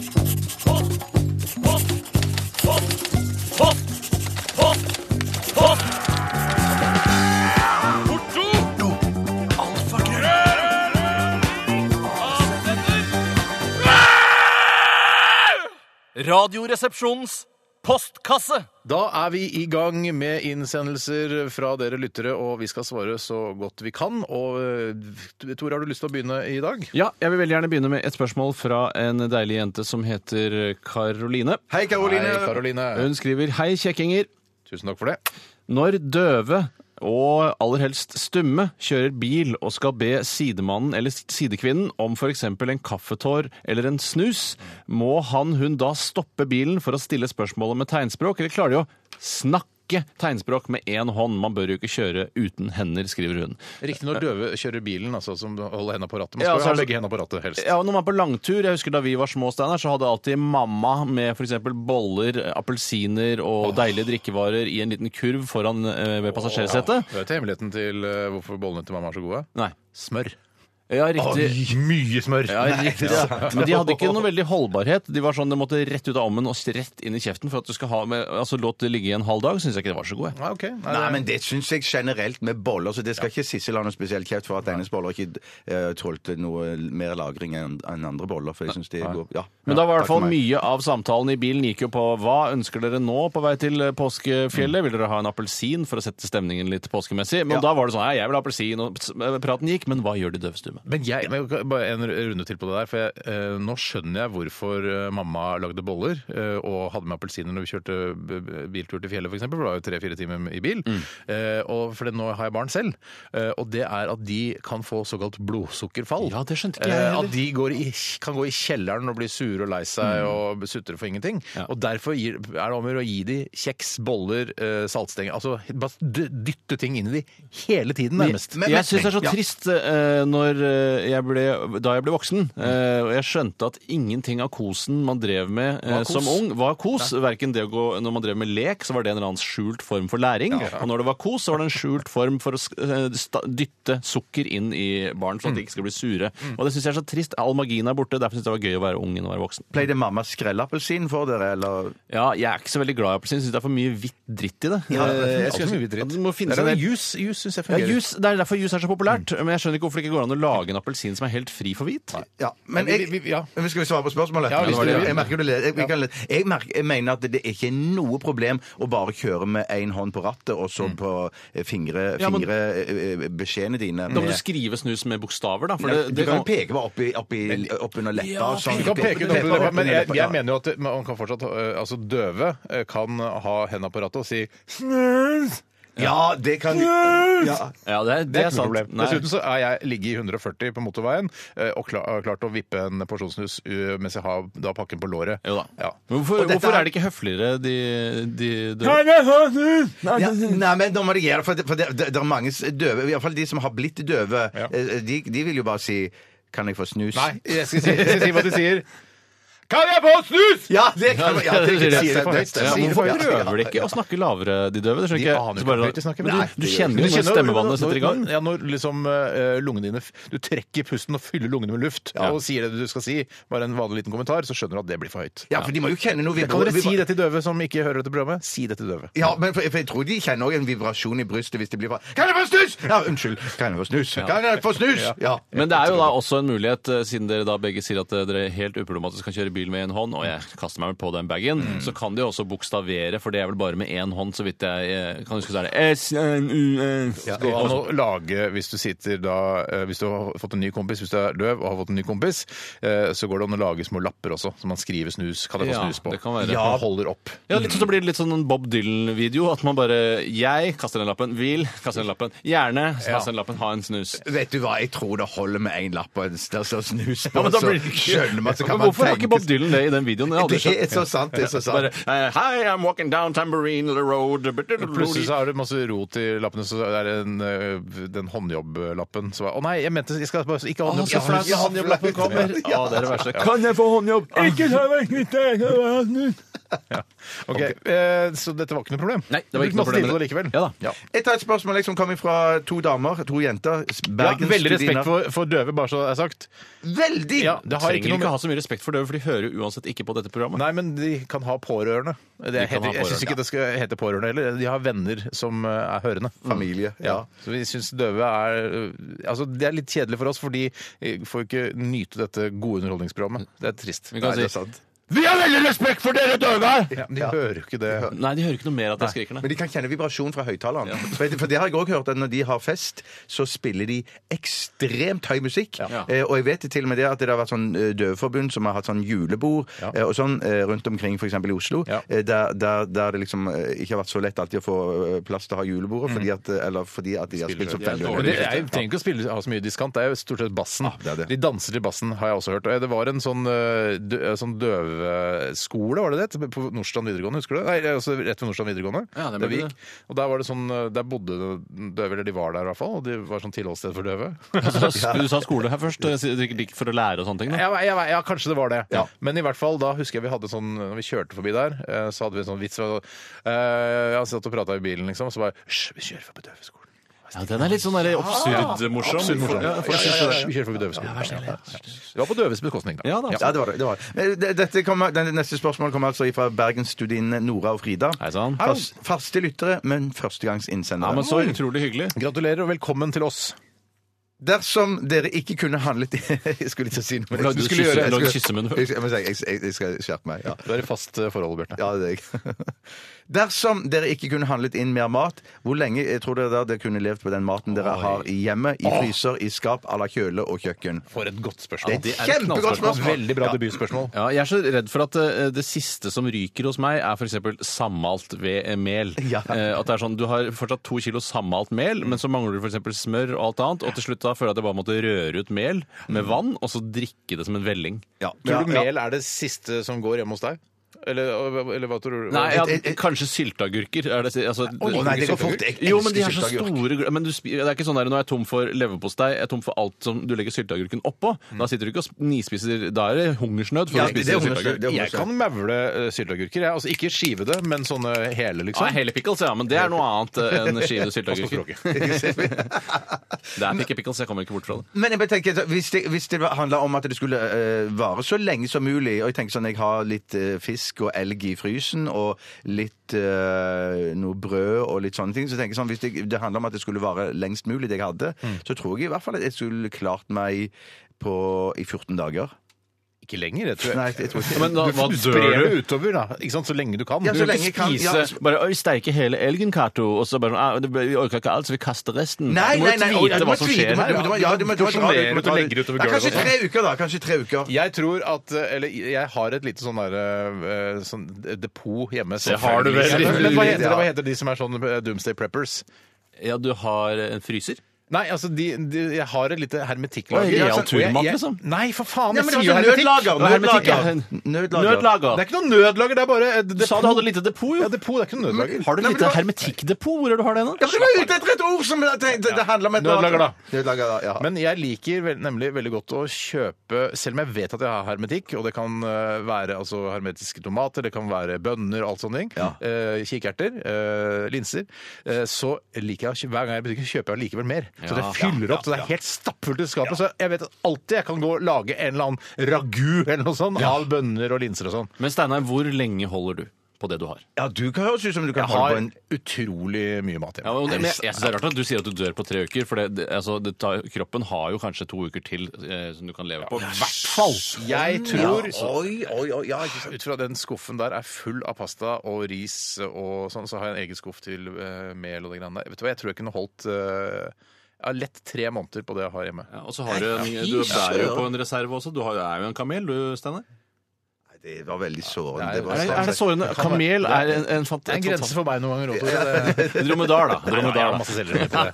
[SPEAKER 5] Radioresepsjonens postkasse.
[SPEAKER 2] Da er vi i gang med innsendelser fra dere lyttere, og vi skal svare så godt vi kan. Og eh, Tore, har du lyst til å begynne i dag?
[SPEAKER 3] Ja, jeg vil veldig gjerne begynne med et spørsmål fra en deilig jente som heter Karoline.
[SPEAKER 4] Hei, Karoline.
[SPEAKER 2] Hei, Karoline.
[SPEAKER 3] Hun skriver Hei, kjekkinger.
[SPEAKER 2] Tusen takk for det.
[SPEAKER 3] Når døve og aller helst stumme kjører bil og skal be sidemannen eller sidekvinnen om f.eks. en kaffetår eller en snus, må han hun da stoppe bilen for å stille spørsmålet med tegnspråk, eller klarer de å snakke tegnspråk med én hånd? Man bør jo ikke kjøre uten hender, skriver hun.
[SPEAKER 2] Riktig når døve kjører bilen, altså, som holder henda på rattet. Man
[SPEAKER 3] Ja, så
[SPEAKER 2] skal
[SPEAKER 3] er
[SPEAKER 2] jo ha
[SPEAKER 3] det-
[SPEAKER 2] begge henda på rattet, helst.
[SPEAKER 3] Ja, og når man er på langtur, jeg husker Da vi var små, Steinar, så hadde alltid mamma med f.eks. boller, appelsiner og deilige drikkevarer i en liten kurv foran eh, ved passasjersetet.
[SPEAKER 2] Vet du hemmeligheten til eh, hvorfor bollene til mamma er så gode?
[SPEAKER 3] Nei.
[SPEAKER 2] Smør.
[SPEAKER 3] Ja, riktig.
[SPEAKER 2] mye smør!
[SPEAKER 3] Ja, riktig, ja. Men de hadde ikke noe veldig holdbarhet. De var sånn, det måtte rett ut av ommen og rett inn i kjeften for at du skal ha med, altså låt det ligge i en halv dag. Syns jeg ikke det var så god. jeg.
[SPEAKER 2] Nei, ok. Nei,
[SPEAKER 4] Nei,
[SPEAKER 2] det-
[SPEAKER 4] men det syns jeg generelt med boller. Så det skal ikke Sissel ha noe spesielt kjeft for at hennes boller ikke uh, tålte noe mer lagring enn enn andre boller. For jeg synes det går ja.
[SPEAKER 3] Men da
[SPEAKER 4] Takk
[SPEAKER 3] var i hvert fall
[SPEAKER 4] for meg.
[SPEAKER 3] mye av samtalen i bilen gikk jo på hva ønsker dere nå på vei til eh, påskefjellet? Vil dere ha en appelsin for å sette stemningen litt påskemessig? Men
[SPEAKER 4] Ja.
[SPEAKER 3] da var det sånn ja, jeg vil ha appelsin, og ps- praten gikk, men hva gjør de døvstumme?
[SPEAKER 2] Men jeg, men bare en runde til på det der, for jeg, eh, nå skjønner jeg hvorfor eh, mamma lagde boller eh, og hadde med appelsiner når vi kjørte b- b- biltur til fjellet, f.eks., for eksempel, for det var jo tre-fire timer i bil.
[SPEAKER 3] Mm.
[SPEAKER 2] Eh, og for det, nå har jeg barn selv, eh, og det er at de kan få såkalt blodsukkerfall.
[SPEAKER 3] Ja, det skjønte ikke jeg
[SPEAKER 2] Eh,
[SPEAKER 3] heller.
[SPEAKER 2] At de går i, kan gå i kjelleren og bli sure og lei seg og sutre for ingenting.
[SPEAKER 3] Mm. Ja.
[SPEAKER 2] Og derfor gir, er det om å gjøre å gi de kjeks, boller, eh, saltstenger Altså bare d- dytte ting inn i de hele tiden, nærmest.
[SPEAKER 4] Men-
[SPEAKER 3] jeg syns det er så
[SPEAKER 4] ja.
[SPEAKER 3] trist eh, når eh, jeg ble, da jeg ble voksen, eh, og jeg skjønte at ingenting av kosen man drev med eh,
[SPEAKER 2] Var kos.
[SPEAKER 3] som ung, var kos. Verken det å gå Når man drev med lek, så var det en eller annen skjult form for læring. Og når det var kos, så var det en skjult form for å sk- eh, sta- dytte sukker inn i barn, sånn at
[SPEAKER 4] Mm.
[SPEAKER 3] de ikke skal bli sure. Og det syns jeg er så trist. All magien er borte. Derfor syns jeg det var gøy å være ung enn å være voksen.
[SPEAKER 4] Pleide mamma skrellappelsin for dere, eller?
[SPEAKER 3] Ja, jeg er ikke så veldig glad i appelsin. Syns det er for mye hvitt dritt i det.
[SPEAKER 4] Ja, det er
[SPEAKER 3] Eh, jeg
[SPEAKER 2] alltid
[SPEAKER 3] synes-
[SPEAKER 2] mye hvitt dritt.
[SPEAKER 3] at Det må finnes en
[SPEAKER 2] Nei,
[SPEAKER 3] del
[SPEAKER 2] men Jus jus syns jeg
[SPEAKER 3] Ja,
[SPEAKER 2] fungerer.
[SPEAKER 3] jus, Det er derfor jus er så populært. Men jeg skjønner ikke hvorfor det ikke går an å lage en appelsin som er helt fri for hvit.
[SPEAKER 4] Ja, men
[SPEAKER 2] Men vi-
[SPEAKER 4] jeg,
[SPEAKER 2] vi- vi- ja.
[SPEAKER 4] Men Skal vi svare på spørsmålet?
[SPEAKER 2] Ja, hvis
[SPEAKER 4] det var
[SPEAKER 2] du
[SPEAKER 4] det.
[SPEAKER 2] vil.
[SPEAKER 4] jeg merker du leder. Jeg, vi kan lede. jeg, merker, jeg mener at det ikke er noe problem å bare kjøre med én hånd på rattet og så på eh, fingre,
[SPEAKER 3] Ja, men-
[SPEAKER 4] fingre eh, eh, beskjedene dine.
[SPEAKER 3] Da må
[SPEAKER 4] med-
[SPEAKER 3] du skrive snus med bokstaver, da. For
[SPEAKER 4] Nei,
[SPEAKER 3] det,
[SPEAKER 4] du
[SPEAKER 3] det
[SPEAKER 4] kan jo peke bare opp, i, opp, i, opp under leppa.
[SPEAKER 3] Ja,
[SPEAKER 4] og sånn.
[SPEAKER 2] Du kan peke ut opp, men jeg,
[SPEAKER 4] Ja.
[SPEAKER 2] jeg mener jo at man kan fortsatt, eh, altså døve eh, kan ha hendene på rattet og si snus!
[SPEAKER 4] Ja, det kan ja.
[SPEAKER 3] Ja, det, er- det
[SPEAKER 2] Det er
[SPEAKER 3] er
[SPEAKER 2] ikke noe
[SPEAKER 3] sant.
[SPEAKER 2] problem.
[SPEAKER 3] Nei.
[SPEAKER 2] Dessuten så er jeg ligget i 140 på motorveien eh, og klar, har klart å vippe en porsjonssnus uh, mens jeg har da pakken på låret.
[SPEAKER 3] Jo da.
[SPEAKER 2] Ja.
[SPEAKER 3] Men Hvorfor,
[SPEAKER 4] Og dette
[SPEAKER 3] hvorfor
[SPEAKER 4] er-
[SPEAKER 3] er det ikke høfligere, de, de, de
[SPEAKER 4] Ja, nei, men da må det gjøre For det, for det, det, det er mange s- døve, iallfall de som har blitt døve,
[SPEAKER 2] Ja.
[SPEAKER 4] eh, de, de vil jo bare si Kan jeg få snus?
[SPEAKER 2] Nei, jeg skal, si, jeg skal si hva de sier. Kan jeg få en snus?!
[SPEAKER 4] Ja, det kan ja, det,
[SPEAKER 3] Sier det
[SPEAKER 2] for
[SPEAKER 3] Ja,
[SPEAKER 2] høyt. Sier det
[SPEAKER 3] hvorfor
[SPEAKER 2] for høyt.
[SPEAKER 3] prøver de ikke å snakke lavere, de døve? Det skjønner
[SPEAKER 2] De
[SPEAKER 3] ikke jeg.
[SPEAKER 2] aner
[SPEAKER 3] Så bare-
[SPEAKER 2] jo ikke hvor høyt de snakker. men
[SPEAKER 3] Men
[SPEAKER 2] de-
[SPEAKER 3] Du, du kjenner jo når stemmebandet setter i gang.
[SPEAKER 2] Ja, når liksom eh, lungene dine f- Du trekker pusten og fyller lungene med luft og sier det du skal si, bare en vanlig liten kommentar, så skjønner du at det blir for høyt.
[SPEAKER 4] Ja, for de må jo kjenne noe
[SPEAKER 2] Kan dere
[SPEAKER 4] vibra-
[SPEAKER 2] si det til døve som ikke hører dette programmet? Si det til døve.
[SPEAKER 4] Ja, men for, for jeg tror de kjenner òg en vibrasjon i brystet hvis de blir for Kan jeg få snus?! Ja, unnskyld. Kan jeg få snus? Kan jeg få snus? Ja.
[SPEAKER 3] Men det er jo da også en mulighet, eh, siden dere da begge sier at eh, dere helt uproblematisk kan kjøre bil med én hånd, og jeg kaster meg vel på den bagen, så kan de jo også bokstavere, for det er vel bare med én hånd, så vidt jeg eh, kan huske. Så er det S, N, U, S
[SPEAKER 2] Det går an å lage hvis du sitter da eh, Hvis du har fått en ny kompis, hvis du er døv og har fått en ny kompis, eh, så går det an å lage små lapper også, som man skriver snus. Kan jeg få
[SPEAKER 3] Ja,
[SPEAKER 2] snus på?
[SPEAKER 3] det kan være.
[SPEAKER 2] Ja, man holder opp.
[SPEAKER 3] Ja, litt, så blir det litt sånn en Bob Dylan-video. At man bare Jeg kaster den lappen. Vil kaster den lappen. Gjerne kaster den lappen. Ha en snus.
[SPEAKER 4] Vet du hva, jeg tror det holder med én lapp og en der står snus på,
[SPEAKER 3] Ja, men da
[SPEAKER 4] så
[SPEAKER 3] blir det ikke-
[SPEAKER 4] skjønner man så kan
[SPEAKER 3] Men
[SPEAKER 4] man
[SPEAKER 3] hvorfor har ikke Bob
[SPEAKER 4] tenke-
[SPEAKER 3] Dylan det i den videoen? Jeg har aldri
[SPEAKER 4] Det er
[SPEAKER 3] skjønt.
[SPEAKER 4] så sant, det er så sant.
[SPEAKER 3] Bare, eh, Hi, I'm walking down Tambourine Road
[SPEAKER 2] Plutselig så har du masse rot i lappene, så er det en, eh, den håndjobblappen som er Å nei, jeg mente jeg skal bare ikke ha
[SPEAKER 3] Å, så
[SPEAKER 2] håndjobb.
[SPEAKER 3] flaut.
[SPEAKER 2] Ja,
[SPEAKER 3] Håndjobblappen kommer. Å, det er det verste. Kan jeg få håndjobb? Ikke ta meg knyttet!
[SPEAKER 2] Ok, eh, Så dette var ikke noe problem?
[SPEAKER 3] Nei, det var ikke noe
[SPEAKER 2] Masse tid
[SPEAKER 3] problem.
[SPEAKER 2] på det likevel.
[SPEAKER 3] Ja da.
[SPEAKER 4] Jeg tar et spørsmål jeg, som kommer fra to damer, to jenter.
[SPEAKER 2] Ja,
[SPEAKER 4] Bergens
[SPEAKER 2] veldig
[SPEAKER 4] Studina.
[SPEAKER 2] respekt for, for døve, bare så det er sagt.
[SPEAKER 4] Veldig!
[SPEAKER 2] Ja, det har ikke
[SPEAKER 3] Trenger
[SPEAKER 2] noe
[SPEAKER 3] ikke
[SPEAKER 2] med
[SPEAKER 3] ha så mye respekt for døve, for de hører jo uansett ikke på dette programmet.
[SPEAKER 2] Nei, men de kan ha pårørende. Det
[SPEAKER 3] De kan
[SPEAKER 2] heter,
[SPEAKER 3] ha
[SPEAKER 2] jeg syns
[SPEAKER 3] pårørende,
[SPEAKER 2] ikke det skal hete pårørende heller. De har venner som eh, er hørende.
[SPEAKER 3] Mm.
[SPEAKER 4] Familie.
[SPEAKER 2] Ja. Så vi syns døve er eh, Altså, det er litt kjedelig for oss, for de eh, får jo ikke nyte dette gode underholdningsprogrammet. Det er trist.
[SPEAKER 3] Vi kan
[SPEAKER 4] Nei, det er
[SPEAKER 3] si
[SPEAKER 4] sant.
[SPEAKER 3] Vi har veldig respekt for dere døve!
[SPEAKER 2] Ja, men de hører jo ikke det.
[SPEAKER 3] Nei, de hører ikke noe mer at jeg skriker. nei.
[SPEAKER 4] Men *laughs* de kan kjenne vibrasjon fra høyttaleren. For for det har jeg også hørt at når de har fest, så spiller de ekstremt høy musikk. Eh, og jeg vet til og med det at det har vært sånn eh, døveforbund som har hatt sånn julebord eh, og sånn eh, rundt omkring, f.eks. i Oslo,
[SPEAKER 2] Ja.
[SPEAKER 4] eh, der, der, der det liksom eh, ikke har vært så lett alltid å få eh, plass til å ha julebordet, fordi at, eh, eller fordi at de har spilt så
[SPEAKER 3] høyt.
[SPEAKER 4] veldig
[SPEAKER 3] Ja,
[SPEAKER 2] Mm. Men
[SPEAKER 4] høyt.
[SPEAKER 2] det er, jeg trenger ikke å spille, ha så mye diskant, det er jo stort sett bassen.
[SPEAKER 4] er det.
[SPEAKER 2] De danser til bassen, har jeg også hørt. Og Det var en sånn, eh, dø, sånn døveskole, var det det? På Nordstrand videregående, husker du det? Nei, det er også rett ved Nordstrand videregående.
[SPEAKER 3] Ja, det
[SPEAKER 2] der vi
[SPEAKER 3] burde
[SPEAKER 2] gikk. Og der, var det sånn, eh, der bodde døve, eller de var der i hvert fall, og det var sånn tilholdssted for døve.
[SPEAKER 3] Altså, Du sa skole her først, eh, sikkert ikke for å lære og sånne ting. da.
[SPEAKER 2] Ja, jeg, vet- ja, kanskje det var det. Men i hvert fall, da husker jeg vi hadde sånn Når vi kjørte forbi der, eh, så hadde vi en sånn vits. Uh, jeg satt og prata i bilen, liksom, og så bare Hysj, vi kjører forbi døveskolen.
[SPEAKER 3] Ja, den er litt sånn der absurd-morsom.
[SPEAKER 2] Absurd morsomt.
[SPEAKER 3] Ja,
[SPEAKER 2] Ja, ja, ja, ja. Vi kjører forbi døveskolen. Ja, ja. Det var på døves bekostning, da.
[SPEAKER 3] Ja da.
[SPEAKER 4] Ja, det var det. det, var det. Men det- Dette kommer, den neste spørsmål kommer altså fra Bergensstudiene Nora og Frida.
[SPEAKER 3] Hei sann.
[SPEAKER 4] Fast, faste lyttere, men førstegangsinnsendere.
[SPEAKER 3] Ja, men så utrolig hyggelig.
[SPEAKER 2] Gratulerer og velkommen til oss.
[SPEAKER 4] Dersom dere ikke kunne handlet *laughs* Jeg skulle ikke si noe. men
[SPEAKER 3] Lagde
[SPEAKER 4] jeg
[SPEAKER 3] du
[SPEAKER 4] skulle gjøre det.
[SPEAKER 3] kysse- lagde
[SPEAKER 4] Jeg skulle-
[SPEAKER 3] kyssemunn?
[SPEAKER 4] Jeg, skal- jeg, må si, jeg, jeg, jeg skal skjerpe meg. Ja.
[SPEAKER 2] Du er i fast eh, forhold, Bjarte.
[SPEAKER 4] Ja, det er jeg. *laughs* Dersom dere ikke kunne handlet inn mer mat, hvor lenge eh, tror dere da dere kunne levd på den maten dere har i hjemmet, i fryser, i skap, à la kjøle og kjøkken?
[SPEAKER 2] For et godt spørsmål.
[SPEAKER 4] Det er et
[SPEAKER 2] et
[SPEAKER 4] kjempegodt
[SPEAKER 2] knallgodt
[SPEAKER 4] spørsmål.
[SPEAKER 2] Veldig bra debutspørsmål.
[SPEAKER 3] Ja, jeg er så redd for at eh, det siste som ryker hos meg, er f.eks. sammalt ved eh, mel.
[SPEAKER 2] *laughs*
[SPEAKER 4] Ja.
[SPEAKER 3] Eh, at det er sånn, Du har fortsatt to kilo sammalt mel, men så mangler du f.eks. smør og alt annet. Og til slutt da føler jeg at jeg bare måtte røre ut mel med vann, og så drikke det som en velling.
[SPEAKER 4] Ja.
[SPEAKER 2] Tror du
[SPEAKER 4] Ja, ja.
[SPEAKER 2] mel er det siste som går hjemme hos deg? Eller, eh, eller hva tror du?
[SPEAKER 3] Nei, ja,
[SPEAKER 4] Et- et- et-
[SPEAKER 3] kanskje sylteagurker. Er det, si- altså,
[SPEAKER 4] Å, nei, det går fort. Jeg
[SPEAKER 3] Jo, men de
[SPEAKER 4] elsker
[SPEAKER 3] er så
[SPEAKER 4] sylteagurk.
[SPEAKER 3] store gl- men du, spi- Det er ikke sånn der, Nå er jeg tom for leverpostei, jeg er tom for alt som du legger sylteagurken oppå. Da sitter du ikke og sp- nispiser Da er det hungersnød for
[SPEAKER 4] Mm. Ja,
[SPEAKER 3] å
[SPEAKER 4] det-
[SPEAKER 3] spise
[SPEAKER 4] det er hungersnød,
[SPEAKER 3] sylteagurk.
[SPEAKER 4] det er
[SPEAKER 2] Jeg kan mavle eh, sylteagurker. jeg. Altså, ikke skive det, men sånne hele,
[SPEAKER 3] Ja,
[SPEAKER 2] liksom.
[SPEAKER 3] hele pickles, ja, men det er noe annet eh, enn
[SPEAKER 4] *laughs*
[SPEAKER 3] skive sylteagurker.
[SPEAKER 2] Språket.
[SPEAKER 3] Det er ikke pickles, jeg kommer ikke bort fra det.
[SPEAKER 4] Men jeg bare tenker, så hvis det, hvis det handla om at det skulle eh, vare så lenge som mulig Og jeg tenker sånn, jeg har litt eh, fisk og elg i frysen, og litt eh, noe brød og litt sånne ting. Så tenker jeg sånn, Hvis det, det handla om at det skulle vare lengst mulig, det jeg hadde, så tror jeg i hvert fall at jeg skulle klart meg på, i 14 dager.
[SPEAKER 2] Ikke lenger, jeg
[SPEAKER 4] *laughs*
[SPEAKER 2] tror jeg.
[SPEAKER 4] Nei, jeg tror ikke
[SPEAKER 3] Men da, hva
[SPEAKER 2] du
[SPEAKER 3] dør
[SPEAKER 2] sprer
[SPEAKER 3] du?
[SPEAKER 2] det utover, da. Ikke sant? Så lenge du kan.
[SPEAKER 4] Ja,
[SPEAKER 2] Du
[SPEAKER 4] så
[SPEAKER 2] vil
[SPEAKER 4] lenge
[SPEAKER 2] ikke
[SPEAKER 4] kan-
[SPEAKER 2] spise
[SPEAKER 4] ja, altså-
[SPEAKER 3] Bare «Oi, steike hele elgen, Cato. Og så bare sånn, «Ah, det ble- Vi orka ikke alt, så vi kaster resten.
[SPEAKER 4] Nei,
[SPEAKER 3] du må
[SPEAKER 4] nei,
[SPEAKER 3] jo
[SPEAKER 4] nei,
[SPEAKER 3] vite
[SPEAKER 4] du må
[SPEAKER 3] hva som
[SPEAKER 4] tvite, du
[SPEAKER 3] skjer
[SPEAKER 4] må-
[SPEAKER 3] her.
[SPEAKER 4] du må- ja, du må- du må-
[SPEAKER 3] Porsjonere
[SPEAKER 4] du må-
[SPEAKER 3] ut og legge det utover
[SPEAKER 4] Ja,
[SPEAKER 3] gulvet og
[SPEAKER 4] Kanskje
[SPEAKER 3] sånn.
[SPEAKER 4] tre uker, da. Kanskje tre uker.
[SPEAKER 2] Jeg tror at Eller jeg har et lite sånn derre sånn depot hjemme.
[SPEAKER 3] Det har du vel.
[SPEAKER 2] Men hva heter,
[SPEAKER 4] Ja.
[SPEAKER 2] det, hva heter de som er sånn eh, Doomsday Preppers?
[SPEAKER 3] Ja, du har en fryser?
[SPEAKER 2] Nei, altså, de, de, jeg har et lite
[SPEAKER 3] Oi,
[SPEAKER 2] hermetikklager.
[SPEAKER 3] real
[SPEAKER 2] Ja, sånn- og jeg-
[SPEAKER 3] turmat,
[SPEAKER 2] jeg-
[SPEAKER 3] liksom?
[SPEAKER 2] Nei, for faen!
[SPEAKER 4] Ja,
[SPEAKER 2] Jeg
[SPEAKER 4] men
[SPEAKER 2] sier
[SPEAKER 4] det
[SPEAKER 2] jo
[SPEAKER 4] var
[SPEAKER 3] altså
[SPEAKER 2] hermetikk.
[SPEAKER 4] nødlager,
[SPEAKER 2] Det var hermetikk, ja.
[SPEAKER 4] nødlager. Nødlager.
[SPEAKER 3] Nødlager.
[SPEAKER 2] Det er ikke noe nødlager, det er bare et
[SPEAKER 3] Du sa
[SPEAKER 2] depot.
[SPEAKER 3] du hadde lite depot,
[SPEAKER 2] Ja,
[SPEAKER 3] jo.
[SPEAKER 2] depot, det er ikke noe nødlager.
[SPEAKER 3] Har du
[SPEAKER 4] Nei, men
[SPEAKER 3] et lite
[SPEAKER 4] det var-
[SPEAKER 3] hermetikkdepot? Hvor er det du har det nå?
[SPEAKER 4] Ja, men du var ute etter et ord som det, det, det handler om et
[SPEAKER 2] Nødlager, da.
[SPEAKER 4] Nødlager, da, ja.
[SPEAKER 2] Men jeg liker vel, nemlig veldig godt å kjøpe Selv om jeg vet at jeg har hermetikk, og det kan eh, være altså, hermetiske tomater, det kan være bønner og alt sånne ting, eh, kikerter, eh, linser, eh, så liker jeg å kjø- hver gang jeg er i butikken, kjøper jeg allikevel mer. Så det
[SPEAKER 3] Ja.
[SPEAKER 2] fyller opp, så det er helt stappfullt i skapet. Så jeg vet at alltid jeg kan gå og lage en eller annen ragu eller noe sånt av bønner og linser og sånn.
[SPEAKER 3] Men Steinar, hvor lenge holder du på det du har?
[SPEAKER 4] ja, du kan høres ut som du kan
[SPEAKER 2] Jeg
[SPEAKER 4] holde på
[SPEAKER 2] har
[SPEAKER 4] en
[SPEAKER 2] utrolig mye mat
[SPEAKER 3] Ja,
[SPEAKER 2] hjemme.
[SPEAKER 3] men jeg, jeg synes det er rart at du sier at du dør på tre uker, for det, det, altså, det tar, kroppen har jo kanskje to uker til eh, som du kan leve på. Hvert fall!
[SPEAKER 2] Jeg tror
[SPEAKER 4] Oi, oi, oi. Ja, ikke sant.
[SPEAKER 2] Ut fra den skuffen der er full av pasta og ris og sånn, så har jeg en egen skuff til eh, mel og det greiene der. Vet du hva, jeg tror jeg kunne holdt eh, jeg har lett tre måneder på det jeg har hjemme.
[SPEAKER 3] Ja, og så har du, en, du bærer jo på en reserve også. Du har, er jo en kamel, du, Steinar.
[SPEAKER 4] Nei, Det var veldig sårende.
[SPEAKER 2] Nei,
[SPEAKER 4] Det var
[SPEAKER 2] er det-
[SPEAKER 4] sånn.
[SPEAKER 2] er det
[SPEAKER 3] sårende? Kamel er en, en,
[SPEAKER 2] Det er en grense for meg noen ganger *laughs* òg, Tore. Det-
[SPEAKER 3] Dromedar, da.
[SPEAKER 2] Nei, nei, jeg har
[SPEAKER 3] Dromedar, da.
[SPEAKER 2] masse selleri til det.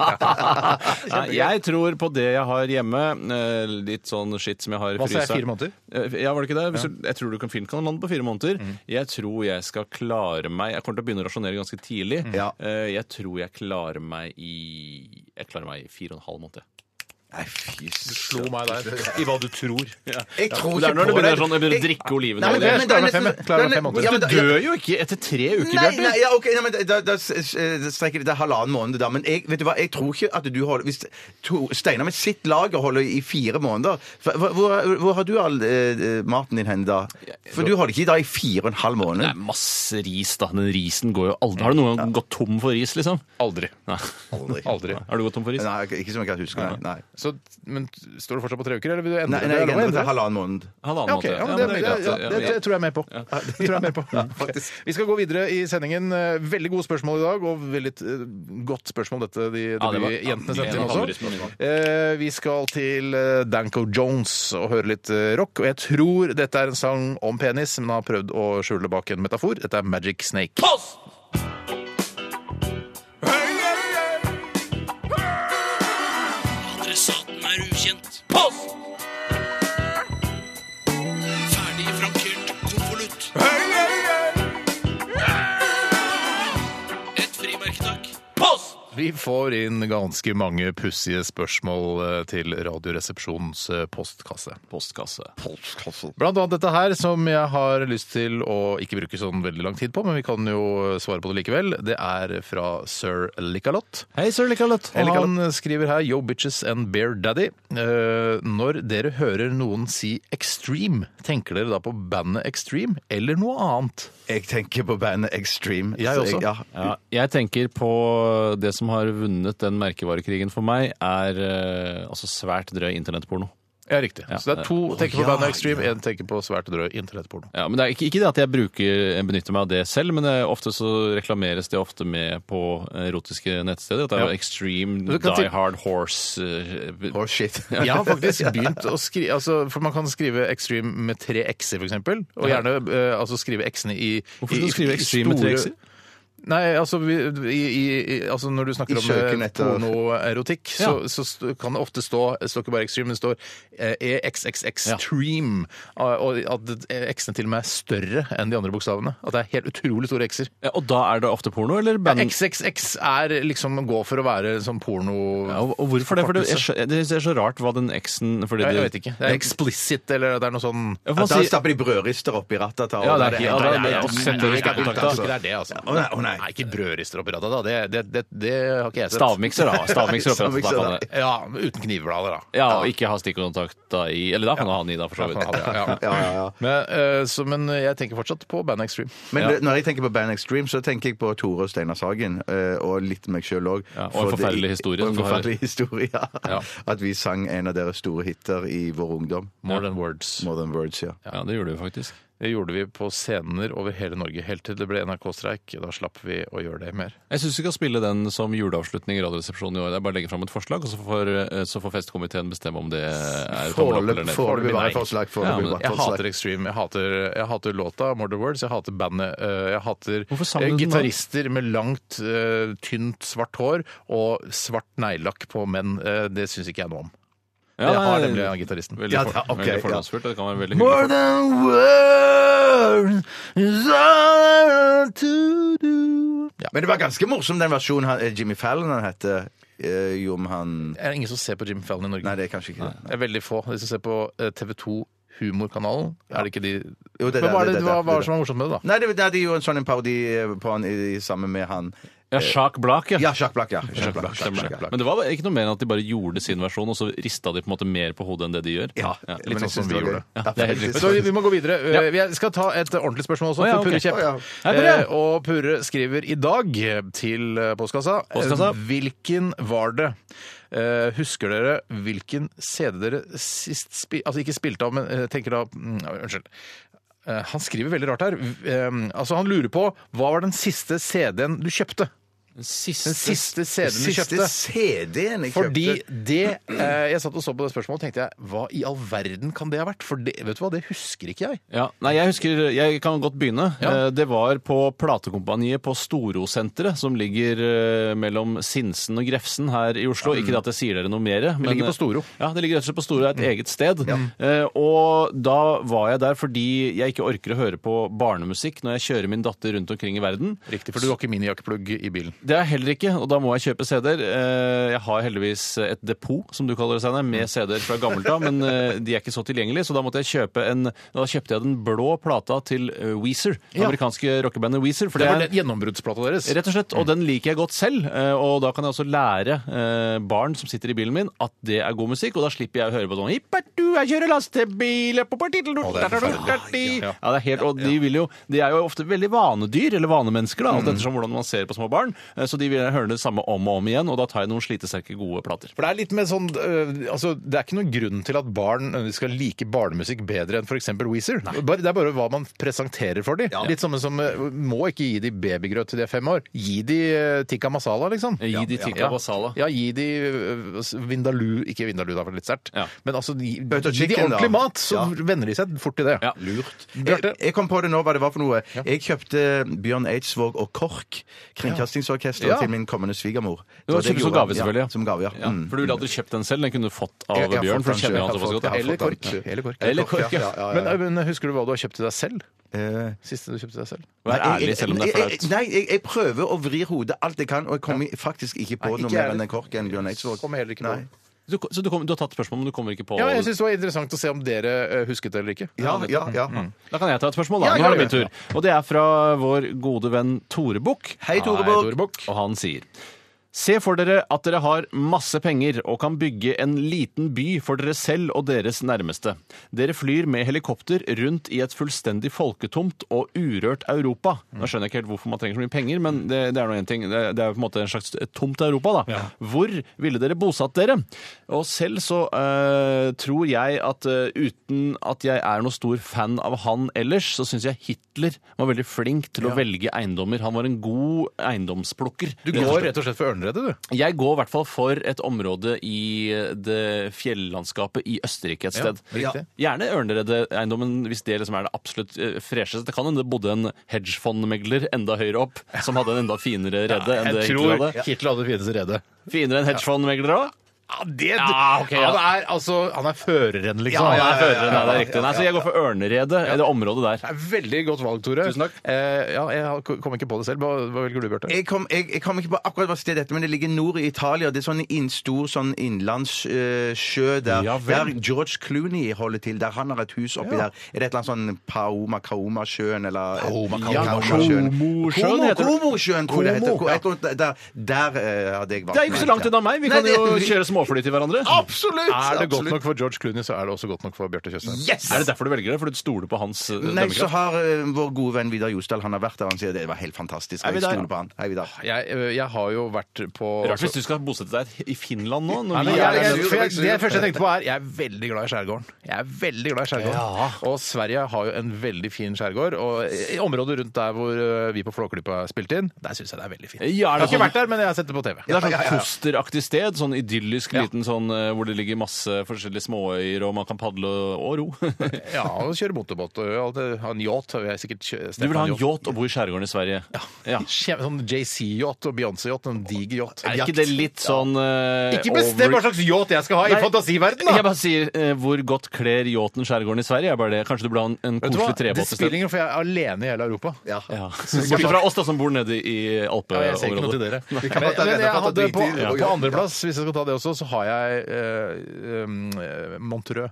[SPEAKER 3] Nei, jeg tror på det jeg har hjemme. eh, Litt sånn skitt som jeg har i
[SPEAKER 2] Hva sa jeg,
[SPEAKER 3] fryseren.
[SPEAKER 2] fire måneder?
[SPEAKER 3] Eh, Ja, var det ikke det? Hvis du, jeg tror du kan fint kan lande på fire måneder. Jeg tror jeg skal klare meg Jeg kommer til å begynne å rasjonere ganske tidlig.
[SPEAKER 4] Ja.
[SPEAKER 3] Eh, Jeg tror jeg klarer meg i Jeg klarer meg i fire og en halv måned.
[SPEAKER 4] Nei, fy
[SPEAKER 2] Slo meg der. I hva du tror.
[SPEAKER 4] Jeg tror ikke
[SPEAKER 3] Det er når du
[SPEAKER 4] på
[SPEAKER 3] begynner,
[SPEAKER 4] deg.
[SPEAKER 3] sånn, jeg begynner å
[SPEAKER 4] Jeg-
[SPEAKER 3] drikke
[SPEAKER 4] Nei, men-
[SPEAKER 3] olivenolje.
[SPEAKER 2] Jeg
[SPEAKER 4] men det er
[SPEAKER 2] klarer meg fem-
[SPEAKER 4] nesten-
[SPEAKER 2] klarer meg fem
[SPEAKER 4] det er-
[SPEAKER 2] måneder.
[SPEAKER 4] ja, men
[SPEAKER 3] Du
[SPEAKER 4] da-
[SPEAKER 3] dør jo ikke etter tre uker,
[SPEAKER 4] Nei,
[SPEAKER 3] Bjarte!
[SPEAKER 4] nei, ja, ok, nei, men da, da, da s- eh, strekker det til halvannen måned. Da. Men jeg, vet du hva, jeg tror ikke at du holder Hvis to, Steinar med sitt lager holder i fire måneder hva- hva- Hvor, hvor har du all eh, maten din hen da? For du holder ikke da i fire og en halv måned?
[SPEAKER 3] Det er masse ris, da. Den risen går jo aldri Har du noen gang gått tom for ris, liksom?
[SPEAKER 2] Aldri.
[SPEAKER 3] Nei.
[SPEAKER 4] Aldri.
[SPEAKER 2] Aldri.
[SPEAKER 3] Har du gått tom for ris?
[SPEAKER 4] Nei, ikke- ikke som jeg kan huske. Nei, nei.
[SPEAKER 2] Så, men står du fortsatt på tre uker, eller vil du endre
[SPEAKER 4] nei,
[SPEAKER 2] det?
[SPEAKER 4] nei jeg
[SPEAKER 2] Det er lov å
[SPEAKER 4] endrer til
[SPEAKER 2] endre det.
[SPEAKER 4] halvannen måned.
[SPEAKER 3] Halvannen
[SPEAKER 2] Ja, ok. Ja, men
[SPEAKER 3] måned.
[SPEAKER 2] det,
[SPEAKER 3] Ja, men det er greit,
[SPEAKER 2] ja, det, det, tror jeg er med på. *laughs* Det tror jeg er med på. Vi skal gå videre i sendingen. Eh, Veldig gode spørsmål i dag, og veldig eh, godt spørsmål dette de, det
[SPEAKER 3] Ja, det var-
[SPEAKER 2] blir jentene
[SPEAKER 3] ja,
[SPEAKER 2] sendte inn
[SPEAKER 3] det var
[SPEAKER 2] også.
[SPEAKER 3] favorittspørsmål.
[SPEAKER 2] Eh, Vi skal til eh, Danko Jones og høre litt eh, rock. Og jeg tror dette er en sang om penis, men har prøvd å skjule bak en metafor. Dette er Magic Snake.
[SPEAKER 6] Adressaten er ukjent. Post! Ferdig frankert konvolutt. Et frimerke, takk. Post!
[SPEAKER 2] Vi får inn ganske mange pussige spørsmål eh, til Radioresepsjonens eh, postkasse.
[SPEAKER 3] Postkasse.
[SPEAKER 2] Blant annet dette her, som jeg har lyst til å ikke bruke sånn veldig lang tid på, men vi kan jo svare på det likevel. Det er fra sir Likalot.
[SPEAKER 3] Hei, sir Likalot.
[SPEAKER 2] Og han skriver her Yo bitches and bear daddy. Eh, når dere hører noen si extreme, tenker dere da på bandet Extreme eller noe annet?
[SPEAKER 4] Jeg tenker på bandet Extreme.
[SPEAKER 2] Jeg
[SPEAKER 4] Så
[SPEAKER 2] også.
[SPEAKER 4] ja.
[SPEAKER 3] Ja, jeg tenker på det som har vunnet den merkevarekrigen for meg, er eh, altså svært drøy internettporno.
[SPEAKER 2] Ja, riktig. Så det er to tenker på
[SPEAKER 4] ja,
[SPEAKER 2] bandet Extreme, én tenker på svært drøy internettporno.
[SPEAKER 3] Ja, men det er ikke, ikke det at jeg bruker, benytter meg av det selv, men det er ofte så reklameres det ofte med på eh, erotiske nettsteder. At det er
[SPEAKER 2] Ja.
[SPEAKER 3] extreme,
[SPEAKER 2] Du kan til-
[SPEAKER 3] die hard horse eh,
[SPEAKER 4] Oh, shit.
[SPEAKER 2] *laughs* Jeg har
[SPEAKER 3] *laughs*
[SPEAKER 2] faktisk begynt å skrive altså, For man kan skrive Extreme med tre x-er, f.eks. Og gjerne eh, altså, skrive x-ene i
[SPEAKER 3] Hvorfor skal
[SPEAKER 2] i-
[SPEAKER 3] du skrive
[SPEAKER 2] i
[SPEAKER 3] extreme med tre
[SPEAKER 2] store-
[SPEAKER 3] x-er?
[SPEAKER 2] Nei, altså, vi, i, i, i- altså når du snakker
[SPEAKER 4] I
[SPEAKER 2] om
[SPEAKER 4] søken
[SPEAKER 2] eh,
[SPEAKER 4] etter-
[SPEAKER 2] pornoerotikk,
[SPEAKER 3] Ja.
[SPEAKER 2] så, så st- kan det ofte stå det står ikke bare extreme, men det står eh, EXX Extreme. Og at det- x-ene til og med er større enn de andre bokstavene. At det er helt utrolig store x-er.
[SPEAKER 3] Ja, og da er det ofte porno, eller band?
[SPEAKER 2] XXX er liksom å gå for å være sånn porno...
[SPEAKER 3] Ja, og og hvorfor det? For det jeg skjø- det er så rart hva den X-en fordi
[SPEAKER 2] jeg,
[SPEAKER 3] det-
[SPEAKER 2] jeg vet ikke. Det er explicit, eller det er noe sånn
[SPEAKER 3] Ja, for
[SPEAKER 4] Da
[SPEAKER 3] man sier-
[SPEAKER 4] stapper de brødrister oppi rattet.
[SPEAKER 3] Ja, det er ikke- ja,
[SPEAKER 4] helt-
[SPEAKER 3] det
[SPEAKER 4] nei,
[SPEAKER 3] er-
[SPEAKER 4] nei,
[SPEAKER 3] det er-
[SPEAKER 4] nei,
[SPEAKER 3] setter
[SPEAKER 4] nei,
[SPEAKER 3] ikke
[SPEAKER 4] nei,
[SPEAKER 3] kontakt,
[SPEAKER 4] altså.
[SPEAKER 2] Det er det, altså.
[SPEAKER 4] Å nei, å nei, Nei.
[SPEAKER 2] Nei, ikke brødrister oppi rattet, da. Det, det, det, det har ikke jeg sett.
[SPEAKER 3] Stavmikser, da. Stavmikser oppi rattet,
[SPEAKER 4] Stavmikser,
[SPEAKER 3] da kan det.
[SPEAKER 2] Ja, men uten knivblader, da.
[SPEAKER 3] Ja, og ikke ha stikkontakta i Eller da kan du ha den i, da, for så
[SPEAKER 2] Ja,
[SPEAKER 3] vidt.
[SPEAKER 2] ja, ja.
[SPEAKER 4] Ja, ja, ja.
[SPEAKER 2] Men, eh, så, men jeg tenker fortsatt på Band Extreme.
[SPEAKER 4] Men det- når jeg tenker på Band Extreme, så tenker jeg på Tore og Steinar Sagen, eh, og litt meg sjøl òg.
[SPEAKER 3] Ja, og en forferdelig historie
[SPEAKER 4] Og en
[SPEAKER 3] som du har.
[SPEAKER 4] forferdelig historie, ja. At vi sang en av deres store hiter i vår ungdom.
[SPEAKER 2] More than words.
[SPEAKER 4] More Than Words, ja.
[SPEAKER 3] Ja, det gjorde vi faktisk.
[SPEAKER 2] Det gjorde vi på scener over hele Norge, helt til det ble NRK-streik. Da slapp vi å gjøre det mer.
[SPEAKER 3] Jeg syns vi skal spille den som juleavslutning i Radioresepsjonen i år. Det er bare å legge fram et forslag, og så får, eh, så får festkomiteen bestemme om det er tommel opp eller
[SPEAKER 4] Forelø-
[SPEAKER 3] ned.
[SPEAKER 4] Foreløpig bare
[SPEAKER 2] Nei.
[SPEAKER 4] forslag.
[SPEAKER 3] Ja,
[SPEAKER 4] Foreløpig
[SPEAKER 3] men
[SPEAKER 4] bare
[SPEAKER 2] Jeg
[SPEAKER 4] forslag.
[SPEAKER 2] hater Extreme. Jeg hater, jeg hater låta Murder Words. Jeg hater bandet. eh, Jeg hater
[SPEAKER 3] Hvorfor sang du
[SPEAKER 2] eh,
[SPEAKER 3] den da?
[SPEAKER 2] gitarister med langt, eh, tynt svart hår og svart neglelakk på menn. Eh, Det syns ikke jeg noe om.
[SPEAKER 3] Ja,
[SPEAKER 2] jeg har
[SPEAKER 3] nei,
[SPEAKER 2] nemlig han gitaristen.
[SPEAKER 3] Veldig,
[SPEAKER 4] Ja,
[SPEAKER 3] for,
[SPEAKER 4] da, ok,
[SPEAKER 3] veldig
[SPEAKER 4] ja.
[SPEAKER 3] fordomsfullt. og Det kan være veldig hyggelig.
[SPEAKER 2] More than words is all to do. Ja.
[SPEAKER 4] Men det var ganske morsom den versjonen han, eh, Jimmy Fallon han heter. Eh, jo, om han
[SPEAKER 2] Er det ingen som ser på Jim Fallon i Norge?
[SPEAKER 4] Nei, det er kanskje ikke det.
[SPEAKER 2] Det er veldig få. De som ser på eh, TV 2 Humorkanalen, er det ikke de
[SPEAKER 4] Jo, det er
[SPEAKER 2] Men hva
[SPEAKER 4] det, det
[SPEAKER 2] er
[SPEAKER 4] er
[SPEAKER 2] det, hva,
[SPEAKER 4] det,
[SPEAKER 2] hva
[SPEAKER 4] det er
[SPEAKER 2] som er morsomt med det, da?
[SPEAKER 4] Nei, det, det, de gjorde en sånn en parodi på han i, i, sammen med han
[SPEAKER 3] Ja, Jacques Blak, ja.
[SPEAKER 4] Ja, Jacques Black, ja. Jacques Black,
[SPEAKER 3] Stemmer
[SPEAKER 4] Jacques
[SPEAKER 3] det.
[SPEAKER 4] Black.
[SPEAKER 3] Men det var ikke noe mer enn at de bare gjorde sin versjon, og så rista de på en måte mer på hodet enn det de gjør.
[SPEAKER 4] Ja, men
[SPEAKER 3] litt
[SPEAKER 4] jeg
[SPEAKER 3] sånn
[SPEAKER 4] synes
[SPEAKER 3] som
[SPEAKER 4] det
[SPEAKER 3] vi
[SPEAKER 4] var
[SPEAKER 3] gjorde.
[SPEAKER 4] gøy.
[SPEAKER 3] Ja, det er helt
[SPEAKER 4] faktisk.
[SPEAKER 3] riktig.
[SPEAKER 2] Så vi, vi må gå videre. Eh, Jeg skal ta et ordentlig spørsmål også,
[SPEAKER 3] Å, ja,
[SPEAKER 2] for Purre
[SPEAKER 3] ok.
[SPEAKER 2] Kjepp.
[SPEAKER 4] Å, ja.
[SPEAKER 3] Hei, Purre.
[SPEAKER 2] Eh, Og Purre skriver i dag til eh, postkassa, eh,
[SPEAKER 3] Postkassa.
[SPEAKER 2] Hvilken var det? Eh, husker dere hvilken CD dere sist spilte Altså ikke spilte av, men eh, tenker da mm, ja, Unnskyld. Eh, han skriver veldig rart her. V- eh, altså Han lurer på hva var den siste CD-en du kjøpte?
[SPEAKER 3] Siste,
[SPEAKER 2] Den siste CD-en du
[SPEAKER 4] Siste
[SPEAKER 2] kjøpte?
[SPEAKER 4] CD-en jeg
[SPEAKER 2] Fordi
[SPEAKER 4] kjøpte
[SPEAKER 2] det eh, Jeg satt og så på det spørsmålet og tenkte jeg, hva i all verden kan det ha vært? For det, vet du hva, det husker ikke jeg.
[SPEAKER 3] Ja, nei, jeg husker, jeg kan godt begynne.
[SPEAKER 2] Ja.
[SPEAKER 3] Eh, Det var på platekompaniet på Storosenteret, som ligger eh, mellom Sinsen og Grefsen her i Oslo. Ikke det at jeg sier dere noe mer. men- eh,
[SPEAKER 2] ligger på Storo. Mm.
[SPEAKER 3] Ja, det ligger rett og slett på Storo, det er et eget sted. Eh, Og da var jeg der fordi jeg ikke orker å høre på barnemusikk når jeg kjører min datter rundt omkring i verden.
[SPEAKER 2] Riktig, for du har ikke minijakkeplugg i bilen.
[SPEAKER 3] Det er jeg heller ikke, og da må jeg kjøpe CD-er. Eh, Jeg har heldigvis et depot, som du kaller det, Steinar, med CD-er fra gammelt av, men eh, de er ikke så tilgjengelige, så da måtte jeg kjøpe en Da kjøpte jeg den blå plata til eh, Weezer, det
[SPEAKER 2] Ja.
[SPEAKER 3] amerikanske rockebandet Weezer. For
[SPEAKER 2] Det
[SPEAKER 3] det
[SPEAKER 2] var
[SPEAKER 3] er
[SPEAKER 2] den gjennombruddsplata deres.
[SPEAKER 3] Rett og slett, og den liker jeg godt selv. eh, Og da kan jeg også lære eh, barn som sitter i bilen min, at det er god musikk. Og da slipper jeg å høre på sånn «Hippa, du, jeg kjører lastebil på partitel, du,
[SPEAKER 2] det
[SPEAKER 3] da, da, da,
[SPEAKER 2] er
[SPEAKER 3] da, da».
[SPEAKER 2] forferdelig.
[SPEAKER 3] Ja, det er helt, og de, vil jo, de er jo ofte veldig vanedyr, eller vanemennesker, da, alt ettersom hvordan man ser på små barn. Eh, Så de vil høre det samme om og om igjen, og da tar jeg noen slitesterke, gode plater.
[SPEAKER 2] For Det er litt mer sånn, øh, altså, det er ikke noen grunn til at barn øh, skal like barnemusikk bedre enn f.eks. Weezer. Bare, det er bare hva man presenterer for dem. Litt samme som øh, Må ikke gi de babygrøt til de er fem år. Gi de øh, tikka masala, liksom.
[SPEAKER 3] Gi de tikka masala.
[SPEAKER 2] Ja, gi de øh, s- vindaloo Ikke vindaloo, da, for det er litt sterkt.
[SPEAKER 3] Ja.
[SPEAKER 2] Men altså, gi, gi
[SPEAKER 4] Butter
[SPEAKER 2] de
[SPEAKER 4] chicken, da.
[SPEAKER 2] ordentlig mat, så
[SPEAKER 4] Ja.
[SPEAKER 2] venner de seg fort til det.
[SPEAKER 3] Ja.
[SPEAKER 2] Lurt.
[SPEAKER 4] jeg,
[SPEAKER 2] Bjarte,
[SPEAKER 4] jeg kom på det nå, hva det var for noe. Jeg kjøpte Bjørn Eidsvåg og KORK, Kringkastingsorkesteret,
[SPEAKER 2] Ja.
[SPEAKER 4] til min kommende svigermor.
[SPEAKER 3] Det var
[SPEAKER 4] det jeg
[SPEAKER 3] kjøpt som
[SPEAKER 4] gjorde.
[SPEAKER 3] gave, selvfølgelig.
[SPEAKER 4] Ja, som gave, ja.
[SPEAKER 3] Ja,
[SPEAKER 4] Mm.
[SPEAKER 3] for du ville aldri kjøpt den selv, den kunne du fått av
[SPEAKER 4] Jeg- jeg har
[SPEAKER 3] Bjørn,
[SPEAKER 4] fått
[SPEAKER 3] for
[SPEAKER 4] den
[SPEAKER 3] du
[SPEAKER 4] selv,
[SPEAKER 3] kjenner jo
[SPEAKER 4] jeg
[SPEAKER 3] han
[SPEAKER 4] har
[SPEAKER 3] såpass
[SPEAKER 4] fått-
[SPEAKER 3] godt.
[SPEAKER 4] jeg har
[SPEAKER 2] eller
[SPEAKER 4] fått den.
[SPEAKER 2] kork. Eller kork.
[SPEAKER 4] Eller kork, ja.
[SPEAKER 2] ja.
[SPEAKER 4] Ja, ja, ja.
[SPEAKER 2] Men, øh, Men husker du hva du har kjøpt til deg selv?
[SPEAKER 4] Eh,
[SPEAKER 2] Siste du kjøpte deg selv?
[SPEAKER 3] Vær
[SPEAKER 4] nei,
[SPEAKER 3] ærlig,
[SPEAKER 4] jeg-
[SPEAKER 3] selv om det er
[SPEAKER 4] jeg-
[SPEAKER 3] flaut.
[SPEAKER 4] Nei, jeg, jeg prøver å vri hodet alt jeg kan, og jeg kommer faktisk ikke på
[SPEAKER 2] Nei, ikke
[SPEAKER 4] noe
[SPEAKER 2] jeg
[SPEAKER 4] mer enn
[SPEAKER 2] heller.
[SPEAKER 4] den KORK-en Bjørn Eidsvåg.
[SPEAKER 2] Kommer heller ikke på.
[SPEAKER 4] Nei.
[SPEAKER 3] Du, så du, kom, du har tatt spørsmål, men du kommer ikke på
[SPEAKER 2] Ja, jeg syns det var interessant å se om dere eh, husket det eller ikke.
[SPEAKER 4] Ja, ja, ja.
[SPEAKER 3] Da kan jeg ta et spørsmål, da. Nå
[SPEAKER 2] Ja,
[SPEAKER 3] er det
[SPEAKER 2] gjør
[SPEAKER 3] min tur. Og det er fra vår gode venn Tore Bukk.
[SPEAKER 4] Hei, Tore
[SPEAKER 2] Hei,
[SPEAKER 4] Borg.
[SPEAKER 2] Tore Bukk.
[SPEAKER 3] Og han sier Se for dere at dere har masse penger og kan bygge en liten by for dere selv og deres nærmeste. Dere flyr med helikopter rundt i et fullstendig folketomt og urørt Europa. Nå skjønner jeg ikke helt hvorfor man trenger så mye penger, men det, det er nå en ting. Det, det er jo på en måte en slags et tomt Europa, da. Hvor ville dere bosatt dere? Og selv så eh, tror jeg at eh, uten at jeg er noe stor fan av han ellers, så syns jeg Hitler var veldig flink til å velge eiendommer. Han var en god eiendomsplukker.
[SPEAKER 2] Du går rett og slett for ørneredet, du.
[SPEAKER 3] Jeg går i hvert fall for et område i det fjellandskapet i Østerrike et sted.
[SPEAKER 2] riktig.
[SPEAKER 3] Gjerne Ørneredet-eiendommen, hvis det liksom er det absolutt eh, fresheste. Det kan hende det bodde en hedgefondmegler enda høyere opp, som hadde en enda finere rede enn det Hitler hadde.
[SPEAKER 2] Hitler hadde fineste redet.
[SPEAKER 3] Finere enn hedgefondmegler òg?
[SPEAKER 2] Ja, det,
[SPEAKER 3] Ja, ok, ja.
[SPEAKER 2] han, er, altså, han er føreren, liksom.
[SPEAKER 3] Ah, Ja, ja, ja,
[SPEAKER 2] Han er
[SPEAKER 3] ja,
[SPEAKER 2] føreren,
[SPEAKER 3] det er
[SPEAKER 2] ja.
[SPEAKER 3] riktig. Nei, så jeg går for Ørneredet, eller området der.
[SPEAKER 2] Det er Veldig godt valg, Tore.
[SPEAKER 3] Tusen takk.
[SPEAKER 2] Eh, ja, jeg har- kom ikke på det selv. Hva, hva velger du, Bjarte?
[SPEAKER 4] Jeg kom, jeg, jeg kom ikke på akkurat hva sted dette men det ligger nord i Italia. Det er sånn inn, stor sånn innlandssjø der,
[SPEAKER 3] Ja vel.
[SPEAKER 4] der George Clooney holder til. Der han har et hus oppi der. Er det et eller annet sånn Paoma Kaomasjøen eller
[SPEAKER 2] Paoma,
[SPEAKER 4] Ja,
[SPEAKER 2] Kaomasjøen.
[SPEAKER 3] Komosjøen heter det.
[SPEAKER 4] Komo- Komosjøen, tror jeg det heter.
[SPEAKER 2] Komo, ja.
[SPEAKER 4] Jeg tror det- Der, der eh, hadde jeg vært.
[SPEAKER 3] Det er jo ikke så langt unna meg. Vi kan
[SPEAKER 4] Nei, det-
[SPEAKER 3] jo kjøre småfly til hverandre.
[SPEAKER 4] Absolutt!
[SPEAKER 2] Er det godt
[SPEAKER 4] absolutt.
[SPEAKER 2] nok for George Clooney, så er det også godt nok for Bjarte Tjøstheim.
[SPEAKER 4] Yes!
[SPEAKER 3] Er det derfor du velger det? Fordi du stoler på hans eh,
[SPEAKER 4] Nei, så
[SPEAKER 3] dømmekraft?
[SPEAKER 4] har eh, vår gode venn Vidar Josdal Han har vært der. Han sier det var helt fantastisk.
[SPEAKER 3] Er
[SPEAKER 4] og Jeg
[SPEAKER 3] Vidar- Ah,
[SPEAKER 4] stoler på han. Hei, Vidar.
[SPEAKER 2] Jeg, eh, jeg har jo vært på
[SPEAKER 3] Rart hvis du skal bosette deg i Finland nå.
[SPEAKER 2] Nei,
[SPEAKER 3] Når
[SPEAKER 2] men
[SPEAKER 3] vi er
[SPEAKER 2] jeg, jeg,
[SPEAKER 3] der
[SPEAKER 2] for jeg, det første jeg tenkte på, er jeg er veldig glad i skjærgården. Jeg er veldig glad i skjærgården. Og Sverige har jo en veldig fin skjærgård. Og i området rundt der hvor eh, vi på Flåklypa spilte inn, der syns jeg det er veldig fint. Jeg
[SPEAKER 3] Ja, er
[SPEAKER 2] har
[SPEAKER 3] det
[SPEAKER 2] ikke
[SPEAKER 3] sånn-
[SPEAKER 2] vært der, men jeg har sett det på TV.
[SPEAKER 3] Det er sånn kosteraktig sted, sånn idyllisk liten sånn eh, hvor det ligger masse forskjellige småøyer og man kan padle og, og
[SPEAKER 2] *laughs*
[SPEAKER 3] ro.
[SPEAKER 2] Ja, og kjøre motorbåt og alt det. Ha en yacht. har Jeg sikkert kjø-
[SPEAKER 3] Du vil ha en
[SPEAKER 2] Stefan-yacht.
[SPEAKER 3] yacht og bo i skjærgården i Sverige. Ja.
[SPEAKER 2] Kjem- Sånn JC-yacht og Beyoncé-yacht. En diger yacht.
[SPEAKER 3] Er ikke det litt sånn eh,
[SPEAKER 2] Ikke bestem hva
[SPEAKER 3] over-
[SPEAKER 2] slags yacht jeg skal ha
[SPEAKER 3] Nei,
[SPEAKER 2] i fantasiverdenen,
[SPEAKER 3] Jeg
[SPEAKER 2] da!
[SPEAKER 3] bare sier eh, hvor godt kler yachten skjergården i Sverige. Er bare det. Kanskje du burde ha en, en
[SPEAKER 2] Vet du hva?
[SPEAKER 3] koselig
[SPEAKER 2] Det
[SPEAKER 3] trebåt i
[SPEAKER 2] spiller
[SPEAKER 3] stedet.
[SPEAKER 2] ingen rolle, for jeg er alene i hele Europa.
[SPEAKER 3] Ja.
[SPEAKER 2] *laughs*
[SPEAKER 3] Bortsett fra oss da som bor nede i
[SPEAKER 2] Ja, jeg ser ikke noe til
[SPEAKER 3] alpeområdet.
[SPEAKER 2] dere. Men,
[SPEAKER 4] kan godt ta
[SPEAKER 2] men
[SPEAKER 4] denne
[SPEAKER 2] jeg
[SPEAKER 4] for at
[SPEAKER 2] hadde
[SPEAKER 4] det
[SPEAKER 2] på,
[SPEAKER 4] driter i-
[SPEAKER 2] ja.
[SPEAKER 4] og-
[SPEAKER 2] på andreplass, hvis jeg skal ta det også, så har jeg eh, um, eh, Montreux.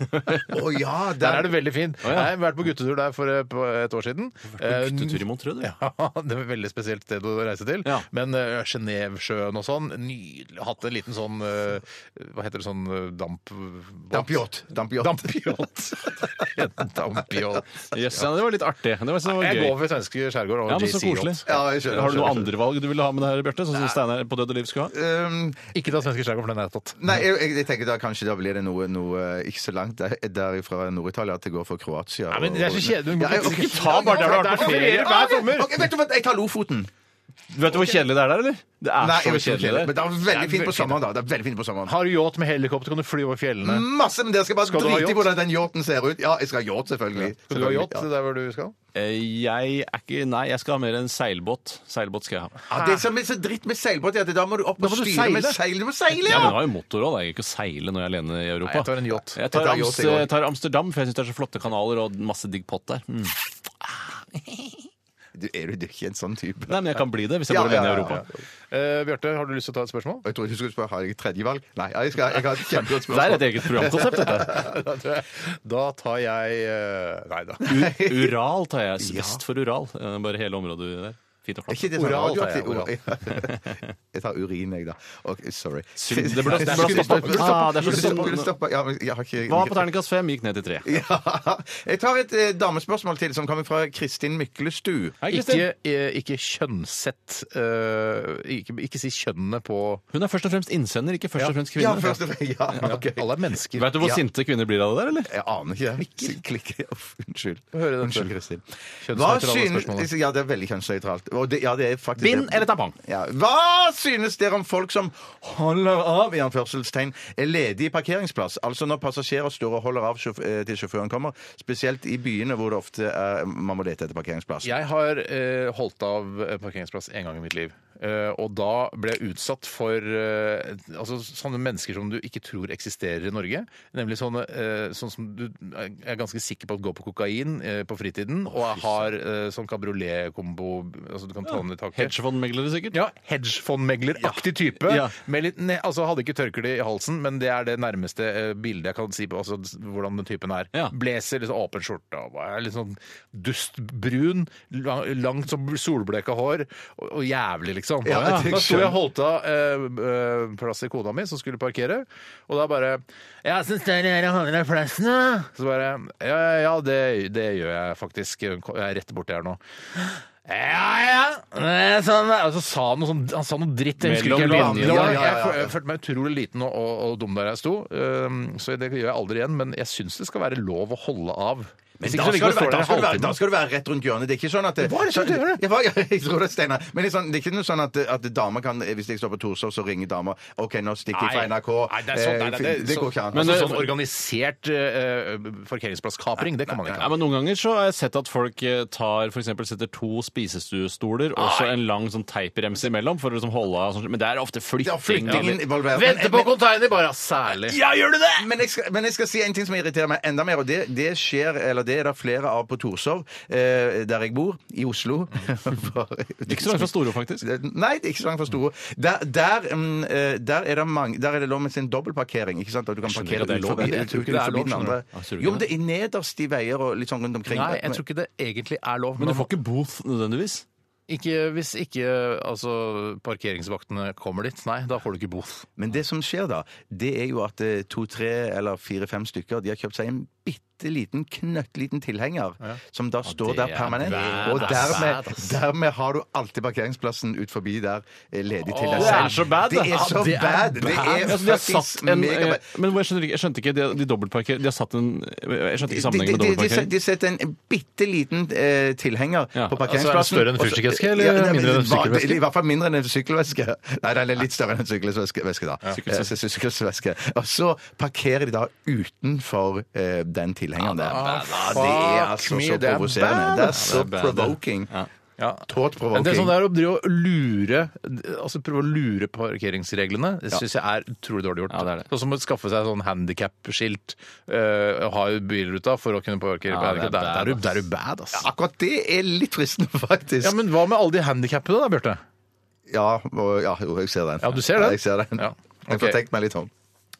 [SPEAKER 4] Å ja,
[SPEAKER 2] Der er det veldig fint.
[SPEAKER 3] Å, ja.
[SPEAKER 2] Jeg har vært på guttetur der for eh, på et år siden. Eh,
[SPEAKER 3] Guttetur i Montreux, du.
[SPEAKER 2] *laughs* Ja, det var et veldig spesielt sted å reise til.
[SPEAKER 3] Ja.
[SPEAKER 2] Men uh, Genévesjøen og sånn, nydelig. Hatt en liten sånn eh, Hva heter det sånn eh, damp...
[SPEAKER 4] Dampyacht. Dampyacht.
[SPEAKER 2] Dampyacht. *laughs* En dampyacht.
[SPEAKER 3] Jøss, ja, det var litt artig. Det var, så
[SPEAKER 2] Jeg
[SPEAKER 3] gøy.
[SPEAKER 2] går for svenske skjærgård og
[SPEAKER 3] Ja, men så koselig.
[SPEAKER 2] JC-yacht.
[SPEAKER 4] Ja, jeg skjønner,
[SPEAKER 3] Har du noe
[SPEAKER 4] skjønner,
[SPEAKER 3] andre valg du ville ha med det her, Bjarte? Sånn som Steinar på Død og liv skulle ha?
[SPEAKER 4] Um,
[SPEAKER 2] Ikke ta svenske skjærgård, for den er tatt.
[SPEAKER 4] Nei, jeg, jeg, jeg tenker da kanskje da blir det noe, noe eh, ikke så langt der, derifra Nord-Italia at det går for Kroatia.
[SPEAKER 2] Nei, men det er så kjedelig. Du må
[SPEAKER 4] Ja, jeg-
[SPEAKER 2] ikke
[SPEAKER 4] ok.
[SPEAKER 2] ta bare der du har vært på
[SPEAKER 4] Ja,
[SPEAKER 2] ferie
[SPEAKER 4] ja,
[SPEAKER 2] hver
[SPEAKER 4] ja,
[SPEAKER 2] sommer.
[SPEAKER 4] ok, vet du hva, jeg tar Lofoten.
[SPEAKER 3] Vet du hvor kjedelig det er der, eller? Det er
[SPEAKER 4] Nei, jeg
[SPEAKER 3] så
[SPEAKER 4] vet ikke hvor
[SPEAKER 3] kjedelig
[SPEAKER 4] kjedelig, men
[SPEAKER 3] der.
[SPEAKER 4] det er veldig
[SPEAKER 2] Det er
[SPEAKER 4] fint på
[SPEAKER 2] veldig
[SPEAKER 4] sommeren da. Det er veldig fint på sommeren.
[SPEAKER 2] Har du yacht med helikopter, kan du fly over
[SPEAKER 3] Mm.
[SPEAKER 2] fjellene.
[SPEAKER 4] Masse, men dere skal bare
[SPEAKER 2] Skal du ha
[SPEAKER 4] drite i
[SPEAKER 2] yacht?
[SPEAKER 4] hvordan den yachten ser ut. Ja, jeg skal ha yacht, selvfølgelig.
[SPEAKER 2] Skal du ha
[SPEAKER 4] Selvfølgelig,
[SPEAKER 2] yacht
[SPEAKER 4] ja.
[SPEAKER 2] der hvor du skal?
[SPEAKER 3] Eh, Jeg er ikke Nei, jeg skal ha mer en seilbåt. Seilbåt skal jeg ha.
[SPEAKER 4] Ja, det som er så dritt med seilbåt, er at da må du opp og
[SPEAKER 2] må du
[SPEAKER 4] styre med
[SPEAKER 2] seile.
[SPEAKER 4] seil. Du må seile,
[SPEAKER 3] Ja, men jeg
[SPEAKER 4] ja!
[SPEAKER 3] har jo motor òg. Jeg greier ikke å seile når jeg er alene i Europa.
[SPEAKER 2] Nei, jeg tar en yacht.
[SPEAKER 3] Jeg tar,
[SPEAKER 4] Jeg tar yacht,
[SPEAKER 3] Amst-
[SPEAKER 4] jeg går.
[SPEAKER 3] jeg tar Amsterdam, for jeg syns det er så flotte kanaler og masse digg pott der. Mm.
[SPEAKER 4] Du er jo ikke en sånn type.
[SPEAKER 3] Nei, men jeg kan bli det hvis jeg
[SPEAKER 4] Ja,
[SPEAKER 3] bor alene
[SPEAKER 4] ja,
[SPEAKER 3] i
[SPEAKER 4] ja,
[SPEAKER 3] Europa.
[SPEAKER 2] Eh, Bjarte, har du lyst til å ta et spørsmål?
[SPEAKER 4] Jeg tror ikke du skulle spørre, har jeg et tredje valg? Nei, jeg, skal, jeg har et kjempegodt
[SPEAKER 3] Det er
[SPEAKER 4] spørsmål.
[SPEAKER 3] et eget programkonsept,
[SPEAKER 4] *laughs*
[SPEAKER 3] dette.
[SPEAKER 2] Da tror jeg- Da tar jeg eh, Nei da.
[SPEAKER 3] Ural tar jeg. Vest for Ural. Eh, Bare hele området der. Fint og
[SPEAKER 4] Er
[SPEAKER 3] flott.
[SPEAKER 4] *laughs* ikke det sånn
[SPEAKER 2] Oral,
[SPEAKER 4] radioaktiv-
[SPEAKER 2] tar jeg,
[SPEAKER 4] oral. *laughs* Jeg tar urin, jeg, da. Ok, sorry. *laughs*
[SPEAKER 3] Synd, det burde- det burde
[SPEAKER 4] Skulle
[SPEAKER 3] stoppet.
[SPEAKER 4] stoppet.
[SPEAKER 3] Ah, det er så
[SPEAKER 4] Skulle
[SPEAKER 3] synd.
[SPEAKER 4] skulle stoppet. Ja, men jeg har ikke
[SPEAKER 3] Hva på terningkast fem gikk ned til tre.
[SPEAKER 4] *laughs* Ja. Jeg tar et eh, damespørsmål til, som kommer fra Kristin Myklestu.
[SPEAKER 3] Hei, Kristin.
[SPEAKER 2] Ikke, eh, ikke kjønnsett eh, ikke, ikke si kjønnene på
[SPEAKER 3] Hun er først og fremst innsender, ikke først og fremst
[SPEAKER 4] Ja,
[SPEAKER 3] kvinne.
[SPEAKER 4] først og fremst. *laughs* Ja, ok.
[SPEAKER 2] Alle er mennesker.
[SPEAKER 3] Vet du hvor
[SPEAKER 4] Ja.
[SPEAKER 3] sinte kvinner blir av det der, eller?
[SPEAKER 4] Jeg aner ikke. Klikker. *laughs* Klikker. Uff, unnskyld.
[SPEAKER 2] høre den
[SPEAKER 4] Unnskyld,
[SPEAKER 2] før.
[SPEAKER 4] Kristin. Hva
[SPEAKER 2] Kjønnsnøytrale
[SPEAKER 4] synes
[SPEAKER 2] spørsmålet.
[SPEAKER 4] Ja, det er veldig kjønnsnøytralt. Og det- Ja, det er faktisk
[SPEAKER 3] Bind
[SPEAKER 4] det.
[SPEAKER 3] eller tampong?
[SPEAKER 4] Ja. Hva synes dere om folk som holder av i anførselstegn er ledige i parkeringsplass? Altså når passasjerer står og holder av sjåf eh, til sjåføren kommer, spesielt i byene hvor det ofte er, man må lete etter parkeringsplass.
[SPEAKER 2] Jeg har eh, holdt av en parkeringsplass en gang i mitt liv. Eh, og da ble jeg utsatt for eh, altså, sånne mennesker som du ikke tror eksisterer i Norge. Nemlig sånne eh, sånn som du er ganske sikker på at går på kokain eh, på fritiden, og har eh, sånn kabriolet-kombo altså, Du kan ta den i taket.
[SPEAKER 3] Hedgefondmeglere, sikkert.
[SPEAKER 2] Ja, hedgefondmegleraktig type.
[SPEAKER 3] Ja.
[SPEAKER 2] Med litt, ne, altså Hadde ikke tørkle i halsen, men det er det nærmeste eh, bildet jeg kan si på altså, s- hvordan den typen er.
[SPEAKER 3] Ja.
[SPEAKER 2] Blazer, liksom, åpen skjorte, og bare litt sånn dustbrun, lang, langt som solbleka hår, og, og jævlig, liksom.
[SPEAKER 4] Ja,
[SPEAKER 2] Da-
[SPEAKER 4] jeg
[SPEAKER 2] da sto jeg og holdt av eh, eh, plass til kona mi, som skulle parkere, og da bare Ja, syns dere dere holder av plassen, da? Så bare Ja, ja, ja, det, det gjør jeg faktisk. Jeg er rett borti her nå. Ja, ja. Det er Sånn, og så sa han noe, sånn, han sa noe dritt. Jeg husker
[SPEAKER 3] Mellom
[SPEAKER 2] ikke helt hva han-
[SPEAKER 3] linjene.
[SPEAKER 2] Det
[SPEAKER 4] Ja,
[SPEAKER 2] var-
[SPEAKER 4] ja, ja, ja.
[SPEAKER 2] Jeg, fø- følte meg utrolig liten og, ehm, og, og dum der jeg sto, um, så det gjør jeg aldri igjen. Men jeg syns det skal være lov å holde av.
[SPEAKER 4] Men
[SPEAKER 2] Hvis
[SPEAKER 4] da
[SPEAKER 2] ikke så ligger
[SPEAKER 4] skal,
[SPEAKER 2] det
[SPEAKER 4] du,
[SPEAKER 2] og står
[SPEAKER 4] være- da,
[SPEAKER 2] der en
[SPEAKER 4] skal du være, da skal du
[SPEAKER 2] halvtime.
[SPEAKER 4] være rett rundt hjørnet. Det er ikke sånn at det,
[SPEAKER 2] Hva er det som
[SPEAKER 4] sånn-
[SPEAKER 2] gjør det?
[SPEAKER 4] Ja, hva- *laughs* jeg tror det, Steinar. Men det er, sånn, det er ikke noe sånn at, at damer kan Hvis jeg står på Torshov, så ringer dama OK, nå stikker jeg fra
[SPEAKER 2] Nei.
[SPEAKER 4] NRK.
[SPEAKER 2] Nei, det, er sånn, nei,
[SPEAKER 4] Eh,
[SPEAKER 2] nei,
[SPEAKER 4] det,
[SPEAKER 2] så-
[SPEAKER 4] går ikke an.
[SPEAKER 2] Men
[SPEAKER 4] Altså,
[SPEAKER 2] altså,
[SPEAKER 4] sånn-
[SPEAKER 2] sånn organisert eh, parkeringsplasskapring, det kan man ikke
[SPEAKER 3] Ja,
[SPEAKER 2] ha.
[SPEAKER 3] men Noen ganger så har jeg sett at folk eh, tar for eksempel, setter to spisestuestoler og så en lang sånn teipremse imellom. for å liksom holde av, og sånn, Men det er ofte
[SPEAKER 4] Ja,
[SPEAKER 3] flytting.
[SPEAKER 4] flyttingen involverer men-
[SPEAKER 2] Vente på container, bare! Særlig.
[SPEAKER 3] Ja, gjør du det?!
[SPEAKER 4] men jeg, skal, men jeg skal si en ting som irriterer meg enda mer, og det, det skjer, eller det er det flere av på Torshov, eh, der jeg bor, i Oslo. *laughs*
[SPEAKER 3] Ikke så langt fra Storo, faktisk.
[SPEAKER 4] Nei, det er ikke så langt fra Storo. Der, der, mm, eh, der, er det mange, der er det lov med sin dobbeltparkering. Ikke sant? At du kan
[SPEAKER 3] skjønner
[SPEAKER 4] parkere
[SPEAKER 3] ikke at det er
[SPEAKER 4] ut
[SPEAKER 3] lov.
[SPEAKER 4] forbi,
[SPEAKER 3] Jeg tror ikke det er
[SPEAKER 4] forbi
[SPEAKER 3] lov,
[SPEAKER 4] den
[SPEAKER 3] skjønner
[SPEAKER 4] andre.
[SPEAKER 3] du. Ja, tror du
[SPEAKER 4] Jo, men
[SPEAKER 3] det?
[SPEAKER 4] det er nederst i veier og litt sånn rundt omkring.
[SPEAKER 2] Nei, jeg tror ikke det egentlig er lov.
[SPEAKER 3] Men du får ikke booth nødvendigvis.
[SPEAKER 2] Ikke hvis ikke altså, parkeringsvaktene kommer dit. Nei, da får du ikke bot.
[SPEAKER 4] Men det som skjer da, det er jo at eh, to, tre eller fire-fem stykker de har kjøpt seg en bitte liten, knøttliten tilhenger, som da står der
[SPEAKER 2] er
[SPEAKER 4] permanent.
[SPEAKER 2] bad,
[SPEAKER 4] Og
[SPEAKER 2] ass.
[SPEAKER 4] dermed,
[SPEAKER 2] Bad, ass.
[SPEAKER 4] dermed har du alltid parkeringsplassen ut forbi der eh, ledig til deg
[SPEAKER 3] det er så bad,
[SPEAKER 4] Det
[SPEAKER 3] det.
[SPEAKER 4] er
[SPEAKER 3] Ja,
[SPEAKER 4] så
[SPEAKER 2] det er
[SPEAKER 4] bad! Det
[SPEAKER 2] bad.
[SPEAKER 4] er
[SPEAKER 3] Ja, så de har satt
[SPEAKER 4] fuckings
[SPEAKER 3] en, eh,
[SPEAKER 4] megabad.
[SPEAKER 3] men hvor jeg skjønte ikke, jeg skjønte ikke de, de dobbeltparkerer De har satt en Jeg skjønte ikke
[SPEAKER 4] De,
[SPEAKER 3] sammenhengen med
[SPEAKER 4] de, de,
[SPEAKER 3] dobbeltparkering.
[SPEAKER 4] de setter en bitte liten eh, tilhenger
[SPEAKER 3] Ja,
[SPEAKER 4] på
[SPEAKER 3] altså er det
[SPEAKER 4] parkeringsplassen.
[SPEAKER 2] større enn en
[SPEAKER 4] og så-
[SPEAKER 2] fyrstikkeske, eller
[SPEAKER 4] Ja, nei, men
[SPEAKER 2] mindre enn en
[SPEAKER 4] det var-
[SPEAKER 2] sykkelveske?
[SPEAKER 4] det- I hvert fall mindre enn en sykkelveske. Nei, den er litt større enn en sykkelveske, veske, da. Eh, så Sykkelveske. Og så parkerer de da utenfor eh, den tilhengeren der. Ja,
[SPEAKER 2] Ah,
[SPEAKER 4] det er altså
[SPEAKER 2] me,
[SPEAKER 4] så
[SPEAKER 2] det er
[SPEAKER 4] provoserende.
[SPEAKER 2] bad.
[SPEAKER 4] Det er så
[SPEAKER 3] Ja, det er bad, det.
[SPEAKER 4] provoking.
[SPEAKER 2] Ja.
[SPEAKER 4] Tåt
[SPEAKER 2] Men det er
[SPEAKER 4] provoking.
[SPEAKER 2] sånn der å drive og lure Altså prøve å lure parkeringsreglene, det syns jeg er utrolig dårlig gjort.
[SPEAKER 3] Ja, det er det.
[SPEAKER 2] Sånn som å skaffe seg sånn handikap-skilt, øh, ha i bilruta for å kunne parkere
[SPEAKER 3] Ja,
[SPEAKER 2] på
[SPEAKER 3] det er
[SPEAKER 2] handicap. Der, der, er
[SPEAKER 3] bad,
[SPEAKER 2] du- der er du bad, ass. Ja.
[SPEAKER 4] Akkurat det er litt fristende, *laughs* faktisk. Ja,
[SPEAKER 2] men hva med alle de handikappede da, Bjarte?
[SPEAKER 4] og- ja, jo, jeg ser den.
[SPEAKER 2] Ja, du ser den?
[SPEAKER 4] jeg ser den.
[SPEAKER 2] Ja.
[SPEAKER 4] Jeg får
[SPEAKER 2] Ok.
[SPEAKER 4] tenkt meg litt om.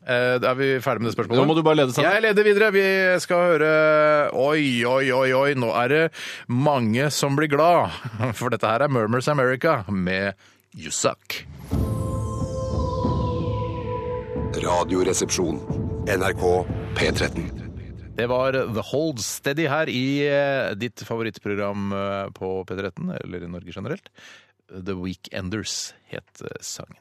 [SPEAKER 2] Eh, er vi ferdig med det spørsmålet?
[SPEAKER 3] Nå må du bare lede, Sander.
[SPEAKER 2] Jeg leder videre. Vi skal høre Oi, oi, oi, oi, nå er det mange som blir glad. *laughs* For dette her er Murmurs America med You Suck.
[SPEAKER 1] Radioresepsjon. NRK P13.
[SPEAKER 2] Det var The Hold Steady her i eh, ditt favorittprogram eh, på P13, eller i Norge generelt. The Weekenders het eh, sangen.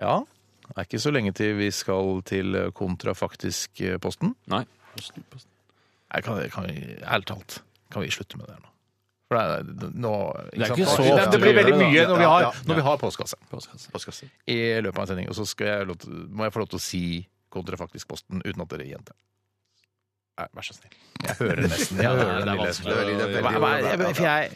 [SPEAKER 2] Ja, det er ikke så lenge til vi skal til eh, kontrafaktisk eh, posten.
[SPEAKER 3] Nei.
[SPEAKER 2] Nei, kan, kan vi, ærlig talt, kan vi slutte med det her nå? For det, er- det, nå,
[SPEAKER 3] Det er ikke så
[SPEAKER 2] det,
[SPEAKER 3] ofte
[SPEAKER 2] det blir
[SPEAKER 3] vi gjør
[SPEAKER 2] veldig
[SPEAKER 3] det, da.
[SPEAKER 2] mye når vi har,
[SPEAKER 4] Ja, ja.
[SPEAKER 2] når vi har postkasse
[SPEAKER 4] Postkasse.
[SPEAKER 2] i løpet av en sending. Og så skal jeg, lov til- må jeg få lov til å si kontrafaktisk posten uten at dere gjenter. Nei, vær så snill. Jeg hører
[SPEAKER 4] *laughs*
[SPEAKER 2] nesten. Jeg hører den lille
[SPEAKER 4] Det er veldig- det er
[SPEAKER 2] Hva-
[SPEAKER 4] veldig-
[SPEAKER 2] hva- jeg- for jeg,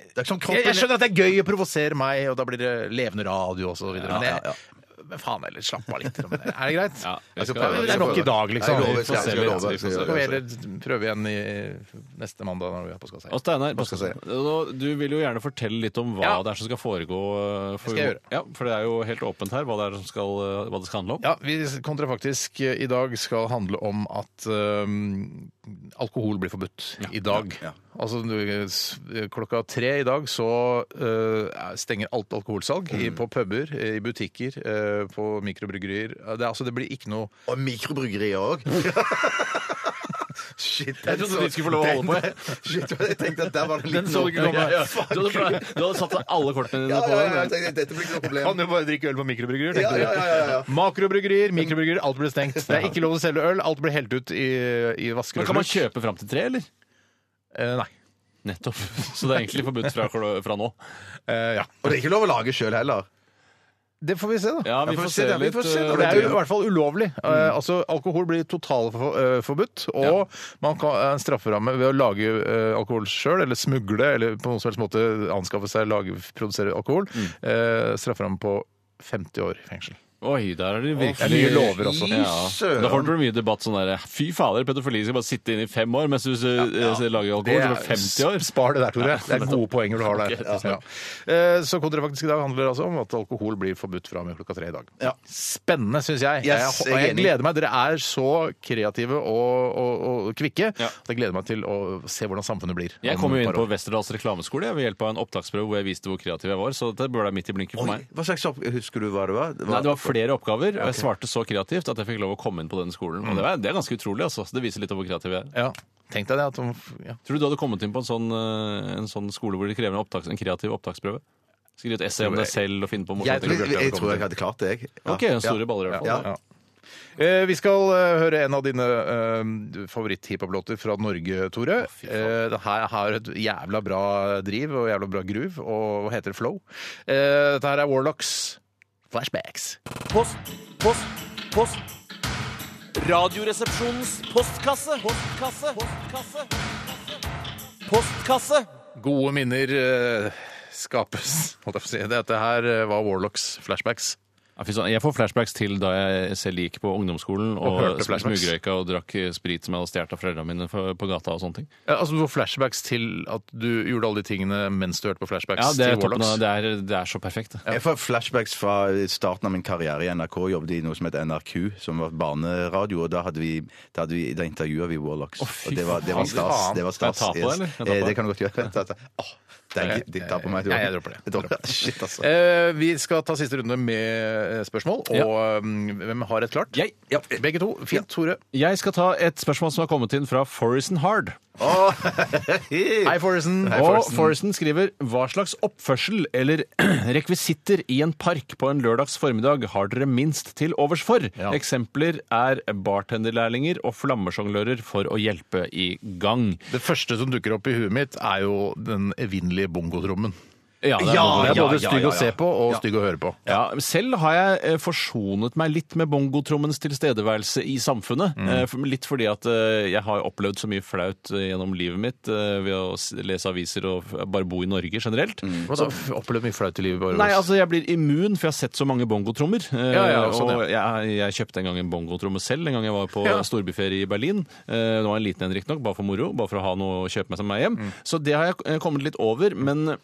[SPEAKER 4] Det er ikke sånn
[SPEAKER 2] jeg,
[SPEAKER 4] kroppen
[SPEAKER 2] jeg skjønner at det er gøy å provosere meg, og da blir det levende radio og så videre. Men,
[SPEAKER 4] Ja, ja,
[SPEAKER 2] jeg, men faen heller, slapp av litt. Er det greit?
[SPEAKER 3] Ja, jeg
[SPEAKER 2] Jeg skal
[SPEAKER 3] skal
[SPEAKER 2] prøve.
[SPEAKER 3] prøve.
[SPEAKER 2] Det er nok i dag, liksom.
[SPEAKER 4] Jeg lover,
[SPEAKER 2] Vi får
[SPEAKER 4] jeg
[SPEAKER 2] se
[SPEAKER 4] skal
[SPEAKER 2] litt.
[SPEAKER 4] love, jeg skal
[SPEAKER 2] Så
[SPEAKER 4] love.
[SPEAKER 2] kan vi heller prøve igjen i neste mandag når vi er på Skassheim.
[SPEAKER 3] Og Steinar,
[SPEAKER 4] Hva skal jeg
[SPEAKER 3] nå- du vil jo gjerne fortelle litt om hva
[SPEAKER 2] Ja.
[SPEAKER 3] det er som skal foregå. eh, For,
[SPEAKER 2] Det skal jeg gjøre.
[SPEAKER 3] Ja, for det er jo helt åpent her hva det, er som skal, eh, hva det skal handle om.
[SPEAKER 2] Ja, vi kontrafaktisk eh, i dag skal handle om at øhm, alkohol blir forbudt i dag. Altså du, s- klokka tre i dag så øh, er- stenger alt alkoholsalg i, på puber, eh, i butikker, eh, på mikrobryggerier. Eh, Det, er- altså det blir ikke noe
[SPEAKER 4] Og mikrobryggerier *laughs* òg. Shit,
[SPEAKER 3] Jeg trodde de skulle få lov å holde på, jeg.
[SPEAKER 4] *laughs* Shit, jeg tenkte at der var det en
[SPEAKER 3] Den
[SPEAKER 4] liten
[SPEAKER 3] så du ikke komme.
[SPEAKER 4] Ja, ja,
[SPEAKER 3] Du hadde,
[SPEAKER 4] fuck.
[SPEAKER 3] fra- du hadde satt alle kortene dine
[SPEAKER 4] Ja,
[SPEAKER 3] på
[SPEAKER 4] ja, ja,
[SPEAKER 3] den.
[SPEAKER 4] jeg tenkte, dette blir ikke noe problem.
[SPEAKER 2] Kan jo bare drikke øl på mikrobryggerier,
[SPEAKER 4] Ja,
[SPEAKER 2] tenkte du.
[SPEAKER 4] ja, ja, ja, ja.
[SPEAKER 2] Makrobryggerier, mikrobryggerier, alt blir stengt. Det er ikke lov å selge øl, alt blir helt ut i, i
[SPEAKER 3] Men kan man
[SPEAKER 2] vaskerøl.
[SPEAKER 3] kjøpe fram til tre, eller?
[SPEAKER 2] Eh, Nei.
[SPEAKER 3] Nettopp. *laughs* Så det er egentlig forbudt fra, fra nå.
[SPEAKER 2] Eh, ja.
[SPEAKER 4] Og det er ikke lov å lage sjøl heller.
[SPEAKER 2] Det får vi se, da.
[SPEAKER 3] Ja,
[SPEAKER 4] Ja,
[SPEAKER 3] vi
[SPEAKER 4] får
[SPEAKER 3] får
[SPEAKER 4] se
[SPEAKER 3] se
[SPEAKER 4] det, vi
[SPEAKER 3] litt.
[SPEAKER 4] får se det. Mm.
[SPEAKER 3] eh,
[SPEAKER 2] For det er jo i hvert fall ulovlig. Eh, altså, alkohol blir totalforbudt, og man kan ha en strafferamme ved å lage eh, alkohol sjøl, eller smugle, eller på noen som helst måte anskaffe seg, lage, produsere alkohol.
[SPEAKER 4] Mm.
[SPEAKER 2] Eh, strafferamme på 50 år i fengsel.
[SPEAKER 3] Oi, der er det
[SPEAKER 2] Det er
[SPEAKER 3] virkelig
[SPEAKER 2] mye lover
[SPEAKER 4] altså.
[SPEAKER 2] også.
[SPEAKER 3] Ja. Da får du mye debatt sånn der Fy fader, pedofili skal bare sitte inne i fem år mens du eh, lager alkohol. Det er 50 år.
[SPEAKER 2] Spar det der, Tore. Det er gode poenger du har der. Ja. Eh, Så kontrafaktisk i dag handler det altså om at alkohol blir forbudt fra og med klokka tre i dag.
[SPEAKER 4] Ja.
[SPEAKER 2] Spennende, syns jeg.
[SPEAKER 4] Yes,
[SPEAKER 2] jeg.
[SPEAKER 4] jeg
[SPEAKER 2] Og
[SPEAKER 4] er
[SPEAKER 2] jeg
[SPEAKER 4] enig.
[SPEAKER 2] gleder meg. Dere er så kreative og, og, og kvikke.
[SPEAKER 3] Ja.
[SPEAKER 2] at Jeg gleder meg til å se hvordan samfunnet blir.
[SPEAKER 3] Jeg
[SPEAKER 2] om
[SPEAKER 3] kom jo
[SPEAKER 2] et
[SPEAKER 3] inn
[SPEAKER 2] par
[SPEAKER 3] på
[SPEAKER 2] år.
[SPEAKER 3] Westerdals reklameskole jeg, ved hjelp av en opptaksprøve hvor jeg viste hvor kreativ jeg var, så det burde være midt i blinken for
[SPEAKER 4] Oi,
[SPEAKER 3] meg.
[SPEAKER 4] hva slags opp... Husker du hva det var?
[SPEAKER 3] Nei, Det var flere oppgaver, og jeg svarte så kreativt at jeg fikk lov å komme inn på den skolen. Og det, var, det er ganske utrolig, altså. Det viser litt av hvor kreativ jeg er.
[SPEAKER 2] ja. Tenk deg det. At, ja.
[SPEAKER 3] Tror du du hadde kommet inn på en sånn, eh, en sånn skole hvor de krever en, opptaks, en kreativ opptaksprøve? Skrive et essay om deg selv og finne på morsomme
[SPEAKER 2] Jeg
[SPEAKER 3] ting.
[SPEAKER 2] tror-
[SPEAKER 4] jeg, jeg tror jeg hadde klart det, jeg. Ja.
[SPEAKER 3] Ok, store baller i hvert fall.
[SPEAKER 4] Ja.
[SPEAKER 2] Ja. Eh, vi skal eh, høre en av dine eh, favoritt-hiphop-låter fra Norge, Tore. Eh, det her har et jævla bra driv og jævla bra groove, og hva heter det? Flow. Eh, dette her er Warlocks Flashbacks.
[SPEAKER 5] Post, post, post. Radioresepsjonens postkasse. Postkasse. Postkasse. Postkasse.
[SPEAKER 2] Gode minner eh, skapes, holdt jeg på å si. Dette her eh, var Warlocks Flashbacks.
[SPEAKER 3] Ja, fy søren. Jeg får flashbacks til da jeg selv gikk på ungdomsskolen og,
[SPEAKER 2] hørte
[SPEAKER 3] og
[SPEAKER 2] flashbacks.
[SPEAKER 3] smugrøyka og drakk sprit som jeg hadde stjålet av foreldrene mine for- på gata og sånne ting.
[SPEAKER 2] Ja, altså Du får flashbacks til at du gjorde alle de tingene mens du hørte på flashbacks
[SPEAKER 3] Ja, det er,
[SPEAKER 2] til
[SPEAKER 3] toppen,
[SPEAKER 2] Warlocks.
[SPEAKER 3] av- det er, det er så perfekt. det.
[SPEAKER 4] Jeg får flashbacks fra starten av min karriere i NRK. Jeg jobbet i noe som het NRQ, som var barneradio. og Da, hadde vi- da, hadde vi- da intervjua vi Warlocks.
[SPEAKER 3] fy
[SPEAKER 4] og det var, det var
[SPEAKER 3] faen.
[SPEAKER 4] stas. Det var stas.
[SPEAKER 3] Kan jeg ta på det, eller? Kan jeg ta på
[SPEAKER 4] Eh,
[SPEAKER 3] det?
[SPEAKER 4] Det kan du godt gjøre. Vent, vent, vent. Åh, deilig. De tar på meg.
[SPEAKER 2] Nei, jeg dropper det.
[SPEAKER 4] Jeg dropper det. Shit, altså.
[SPEAKER 2] Eh, vi skal ta siste runde med eh, spørsmål, og mm, hvem har et klart?
[SPEAKER 3] Jeg,
[SPEAKER 2] Begge to. Fint, Tore.
[SPEAKER 3] jeg skal ta et spørsmål som har kommet inn fra Forresten Hard.
[SPEAKER 2] Hei, Forresten.
[SPEAKER 3] Og Forresten skriver Hva slags oppførsel eller *clears throat* rekvisitter i en park på en lørdags formiddag har dere minst til overs for? Eksempler er bartenderlærlinger og flammesjonglører for å hjelpe i gang.
[SPEAKER 2] Det første som dukker opp i huet mitt, er jo den evinnelige bongotrommen.
[SPEAKER 3] Ja, det er
[SPEAKER 2] Den
[SPEAKER 3] noe-
[SPEAKER 2] er
[SPEAKER 3] Ah, ja,
[SPEAKER 2] både
[SPEAKER 3] ja,
[SPEAKER 2] stygg
[SPEAKER 3] ja,
[SPEAKER 2] å
[SPEAKER 3] ja.
[SPEAKER 2] se på og stygg å høre på.
[SPEAKER 3] Ja, selv har jeg eh, forsonet meg litt med bongotrommens tilstedeværelse i samfunnet. Eh, for- Litt fordi at eh, jeg har opplevd så mye flaut eh, gjennom livet mitt eh, ved å s- lese aviser og f- bare bo i Norge generelt.
[SPEAKER 2] Hva da? F- Opplevd mye flaut i livet? Bare
[SPEAKER 3] Nei, altså jeg blir immun, for jeg har sett så mange bongotrommer. Eh,
[SPEAKER 2] Ja, ja, sånn,
[SPEAKER 3] og jeg, jeg kjøpte en gang en bongotromme selv, en gang jeg var på
[SPEAKER 2] Ja.
[SPEAKER 3] storbyferie i Berlin. Eh, Det var en liten en riktignok, bare for moro, bare for å ha noe å kjøpe med seg med meg hjem.
[SPEAKER 2] Mm.
[SPEAKER 3] Så det har jeg eh, kommet litt over, men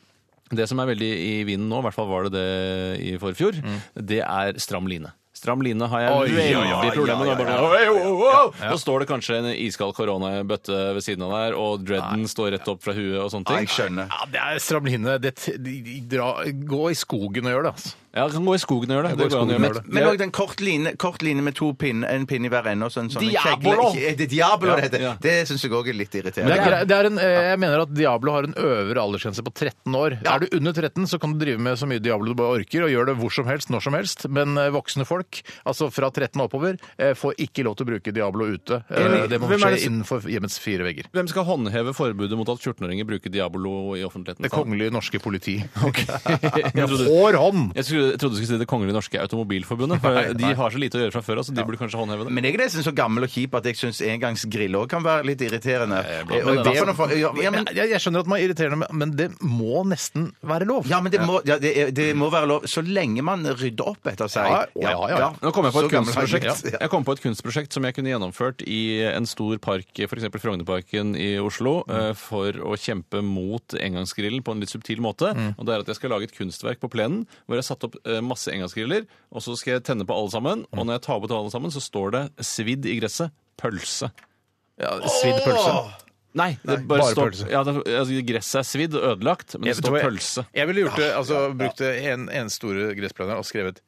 [SPEAKER 3] det som er veldig i vinden nå, i hvert fall var det det i forfjor, det er stram line. Stram line har jeg
[SPEAKER 2] Mm. Oi,
[SPEAKER 3] veldig
[SPEAKER 2] ja, ja,
[SPEAKER 3] problemer med.
[SPEAKER 2] ja,
[SPEAKER 3] Det er bare
[SPEAKER 2] ja,
[SPEAKER 3] sånn, «Oi, wow, wow!» Så står det kanskje en iskald koronabøtte ved siden av der, og dreaden står rett opp fra huet og sånne
[SPEAKER 4] Ja,
[SPEAKER 3] ting.
[SPEAKER 4] jeg skjønner.
[SPEAKER 2] ja, det er stramline. Det, t- de, de, dra, gå i skogen og gjør det, altså.
[SPEAKER 3] Ja, jeg kan gå i skogen og gjøre det.
[SPEAKER 2] Jeg går
[SPEAKER 3] ah, det
[SPEAKER 2] i
[SPEAKER 3] går an å
[SPEAKER 2] skogen og
[SPEAKER 3] gjøre.
[SPEAKER 2] gjør det.
[SPEAKER 4] Men òg den kort line, kort line med to pinner, en pinne i hver ende og sånn. sånn en kjegle-
[SPEAKER 3] Diabolo!
[SPEAKER 4] Ikke- er Det Diabolo det heter.
[SPEAKER 3] Ja, ja.
[SPEAKER 4] Det syns jeg òg er litt irriterende.
[SPEAKER 2] Det er, grei- det er en, eh, jeg mener at Diablo har en øvre aldersgrense på 13 år. Er du under 13, så kan du drive med så mye Diablo du bare orker, og gjør det hvor som helst, når som helst. Men eh, voksne folk, altså fra 13 og oppover, eh, får ikke lov til å bruke Diablo ute. Eh,
[SPEAKER 3] Enig.
[SPEAKER 2] Det må
[SPEAKER 3] Hvem er
[SPEAKER 2] skje
[SPEAKER 3] det som-
[SPEAKER 2] innenfor hjemmets fire vegger.
[SPEAKER 3] Hvem skal håndheve forbudet mot at 14-åringer bruker Diabolo i offentligheten?
[SPEAKER 2] Det kongelige norske *laughs* politi.
[SPEAKER 3] *laughs* jeg, trodde,
[SPEAKER 2] Hår hånd!
[SPEAKER 3] jeg, skulle, jeg trodde du skulle si Det kongelige norske automobilforbundet.
[SPEAKER 4] *laughs*
[SPEAKER 3] For De har så lite å gjøre fra før av, så de burde kanskje håndheve det.
[SPEAKER 4] Men jeg er nesten så gammel og kjip at jeg syns engangsgrill òg kan være litt irriterende. Eh, Og
[SPEAKER 3] blant
[SPEAKER 4] i
[SPEAKER 3] annet.
[SPEAKER 4] hvert fall når folk- ja, ja, men-
[SPEAKER 2] jeg, jeg skjønner at man er irriterende, men- men det må nesten være lov.
[SPEAKER 4] Ja, men det må, ja, det, er- det må være lov så lenge man rydder opp etter seg.
[SPEAKER 2] Ja, ja, ja, ja.
[SPEAKER 3] Nå kom jeg på
[SPEAKER 4] Så
[SPEAKER 3] et
[SPEAKER 4] gammel er jeg
[SPEAKER 3] kunstprosjekt
[SPEAKER 4] blitt, ja.
[SPEAKER 3] Jeg kom på et kunstprosjekt som jeg kunne gjennomført i en stor park, f.eks. Frognerparken i Oslo,
[SPEAKER 4] Mm.
[SPEAKER 3] eh, for å kjempe mot engangsgrillen på en litt subtil måte.
[SPEAKER 4] Mm.
[SPEAKER 3] Og det er at jeg skal lage et kunstverk på plenen hvor jeg har satt opp eh, masse engangsgriller, og så skal jeg tenne på alle sammen,
[SPEAKER 4] Mm.
[SPEAKER 3] og når jeg tar bort alle sammen, så står det svidd i gresset. Pølse.
[SPEAKER 2] Ja, Svidd pølse.
[SPEAKER 3] Nei, det bare,
[SPEAKER 2] bare
[SPEAKER 3] står,
[SPEAKER 2] pølse.
[SPEAKER 3] pølse. Ja, det, altså, gresset er svidd og ødelagt, men det
[SPEAKER 2] Jeg-
[SPEAKER 3] står
[SPEAKER 2] jeg-
[SPEAKER 3] pølse.
[SPEAKER 2] Jeg ville gjort det, altså brukt en, en store gressplener og skrevet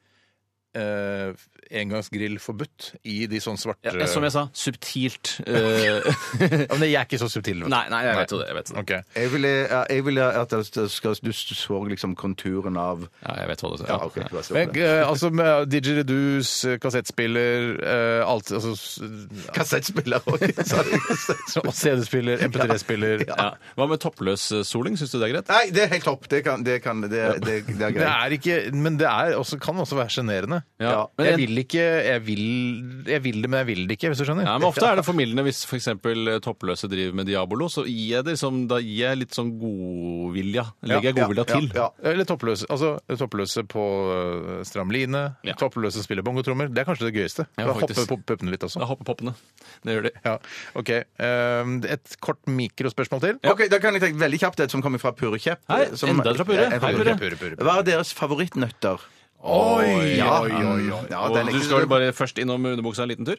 [SPEAKER 2] eh, engangsgrill forbudt i de sånn svarte
[SPEAKER 3] Ja, som jeg sa, subtilt. *laughs* eh,
[SPEAKER 2] Ja, men jeg er ikke så subtil. vet du.
[SPEAKER 3] nei, nei, jeg vet jo det. Jeg vet, det.
[SPEAKER 2] Ok.
[SPEAKER 4] Jeg ville, ja, jeg ville at det skal, du så liksom konturen av
[SPEAKER 3] Ja, jeg vet hva det er.
[SPEAKER 4] Ja, ok. det var så
[SPEAKER 2] Men,
[SPEAKER 4] bra.
[SPEAKER 2] eh, altså med didgeridoos, eh, kassettspiller, eh, alt altså, s-
[SPEAKER 4] Kassettspiller òg.
[SPEAKER 2] *laughs* Og CD-spiller, MP3-spiller
[SPEAKER 3] Ja. Hva med toppløs eh, soling? Syns du det er greit?
[SPEAKER 4] Nei, det er helt topp. Det, kan, det, kan, det, det, det er
[SPEAKER 2] Det
[SPEAKER 4] greit.
[SPEAKER 2] er ikke Men det er også, kan også være sjenerende.
[SPEAKER 3] Ja, men
[SPEAKER 2] Jeg
[SPEAKER 3] en-
[SPEAKER 2] vil ikke jeg vil, jeg vil det, men jeg vil det ikke, hvis du skjønner.
[SPEAKER 3] Nei, men Ofte er det formildende hvis f.eks. toppløse driver med Diabolo. Så gir jeg det liksom, da gir jeg litt sånn godvilja. Legger jeg godvilja til.
[SPEAKER 4] Ja,
[SPEAKER 2] Eller toppløse. Altså toppløse på øh, stram line.
[SPEAKER 3] Ja.
[SPEAKER 2] Toppløse spiller bongotrommer. Det er kanskje det gøyeste.
[SPEAKER 3] Ja,
[SPEAKER 2] Da
[SPEAKER 3] faktisk.
[SPEAKER 2] hopper pop- puppene litt også.
[SPEAKER 3] Da hopper poppene. Det gjør de.
[SPEAKER 2] Ja, ok. Ehm, Et kort mikrospørsmål til.
[SPEAKER 4] Ok, Da kan jeg tenke veldig kjapt et som kommer fra Purre Kjepp.
[SPEAKER 3] Hei,
[SPEAKER 4] som-
[SPEAKER 3] enda et fra Purre.
[SPEAKER 4] Ja, en
[SPEAKER 3] Hei,
[SPEAKER 2] Purre, Purre, Purre, Purre.
[SPEAKER 4] Hva er deres favorittnøtter?
[SPEAKER 2] Oi,
[SPEAKER 4] Ja,
[SPEAKER 2] oi, oi, oi.
[SPEAKER 4] ja,
[SPEAKER 3] Og
[SPEAKER 4] den er
[SPEAKER 3] du
[SPEAKER 4] ikke-
[SPEAKER 3] skal vel bare først innom underbuksa en liten tur?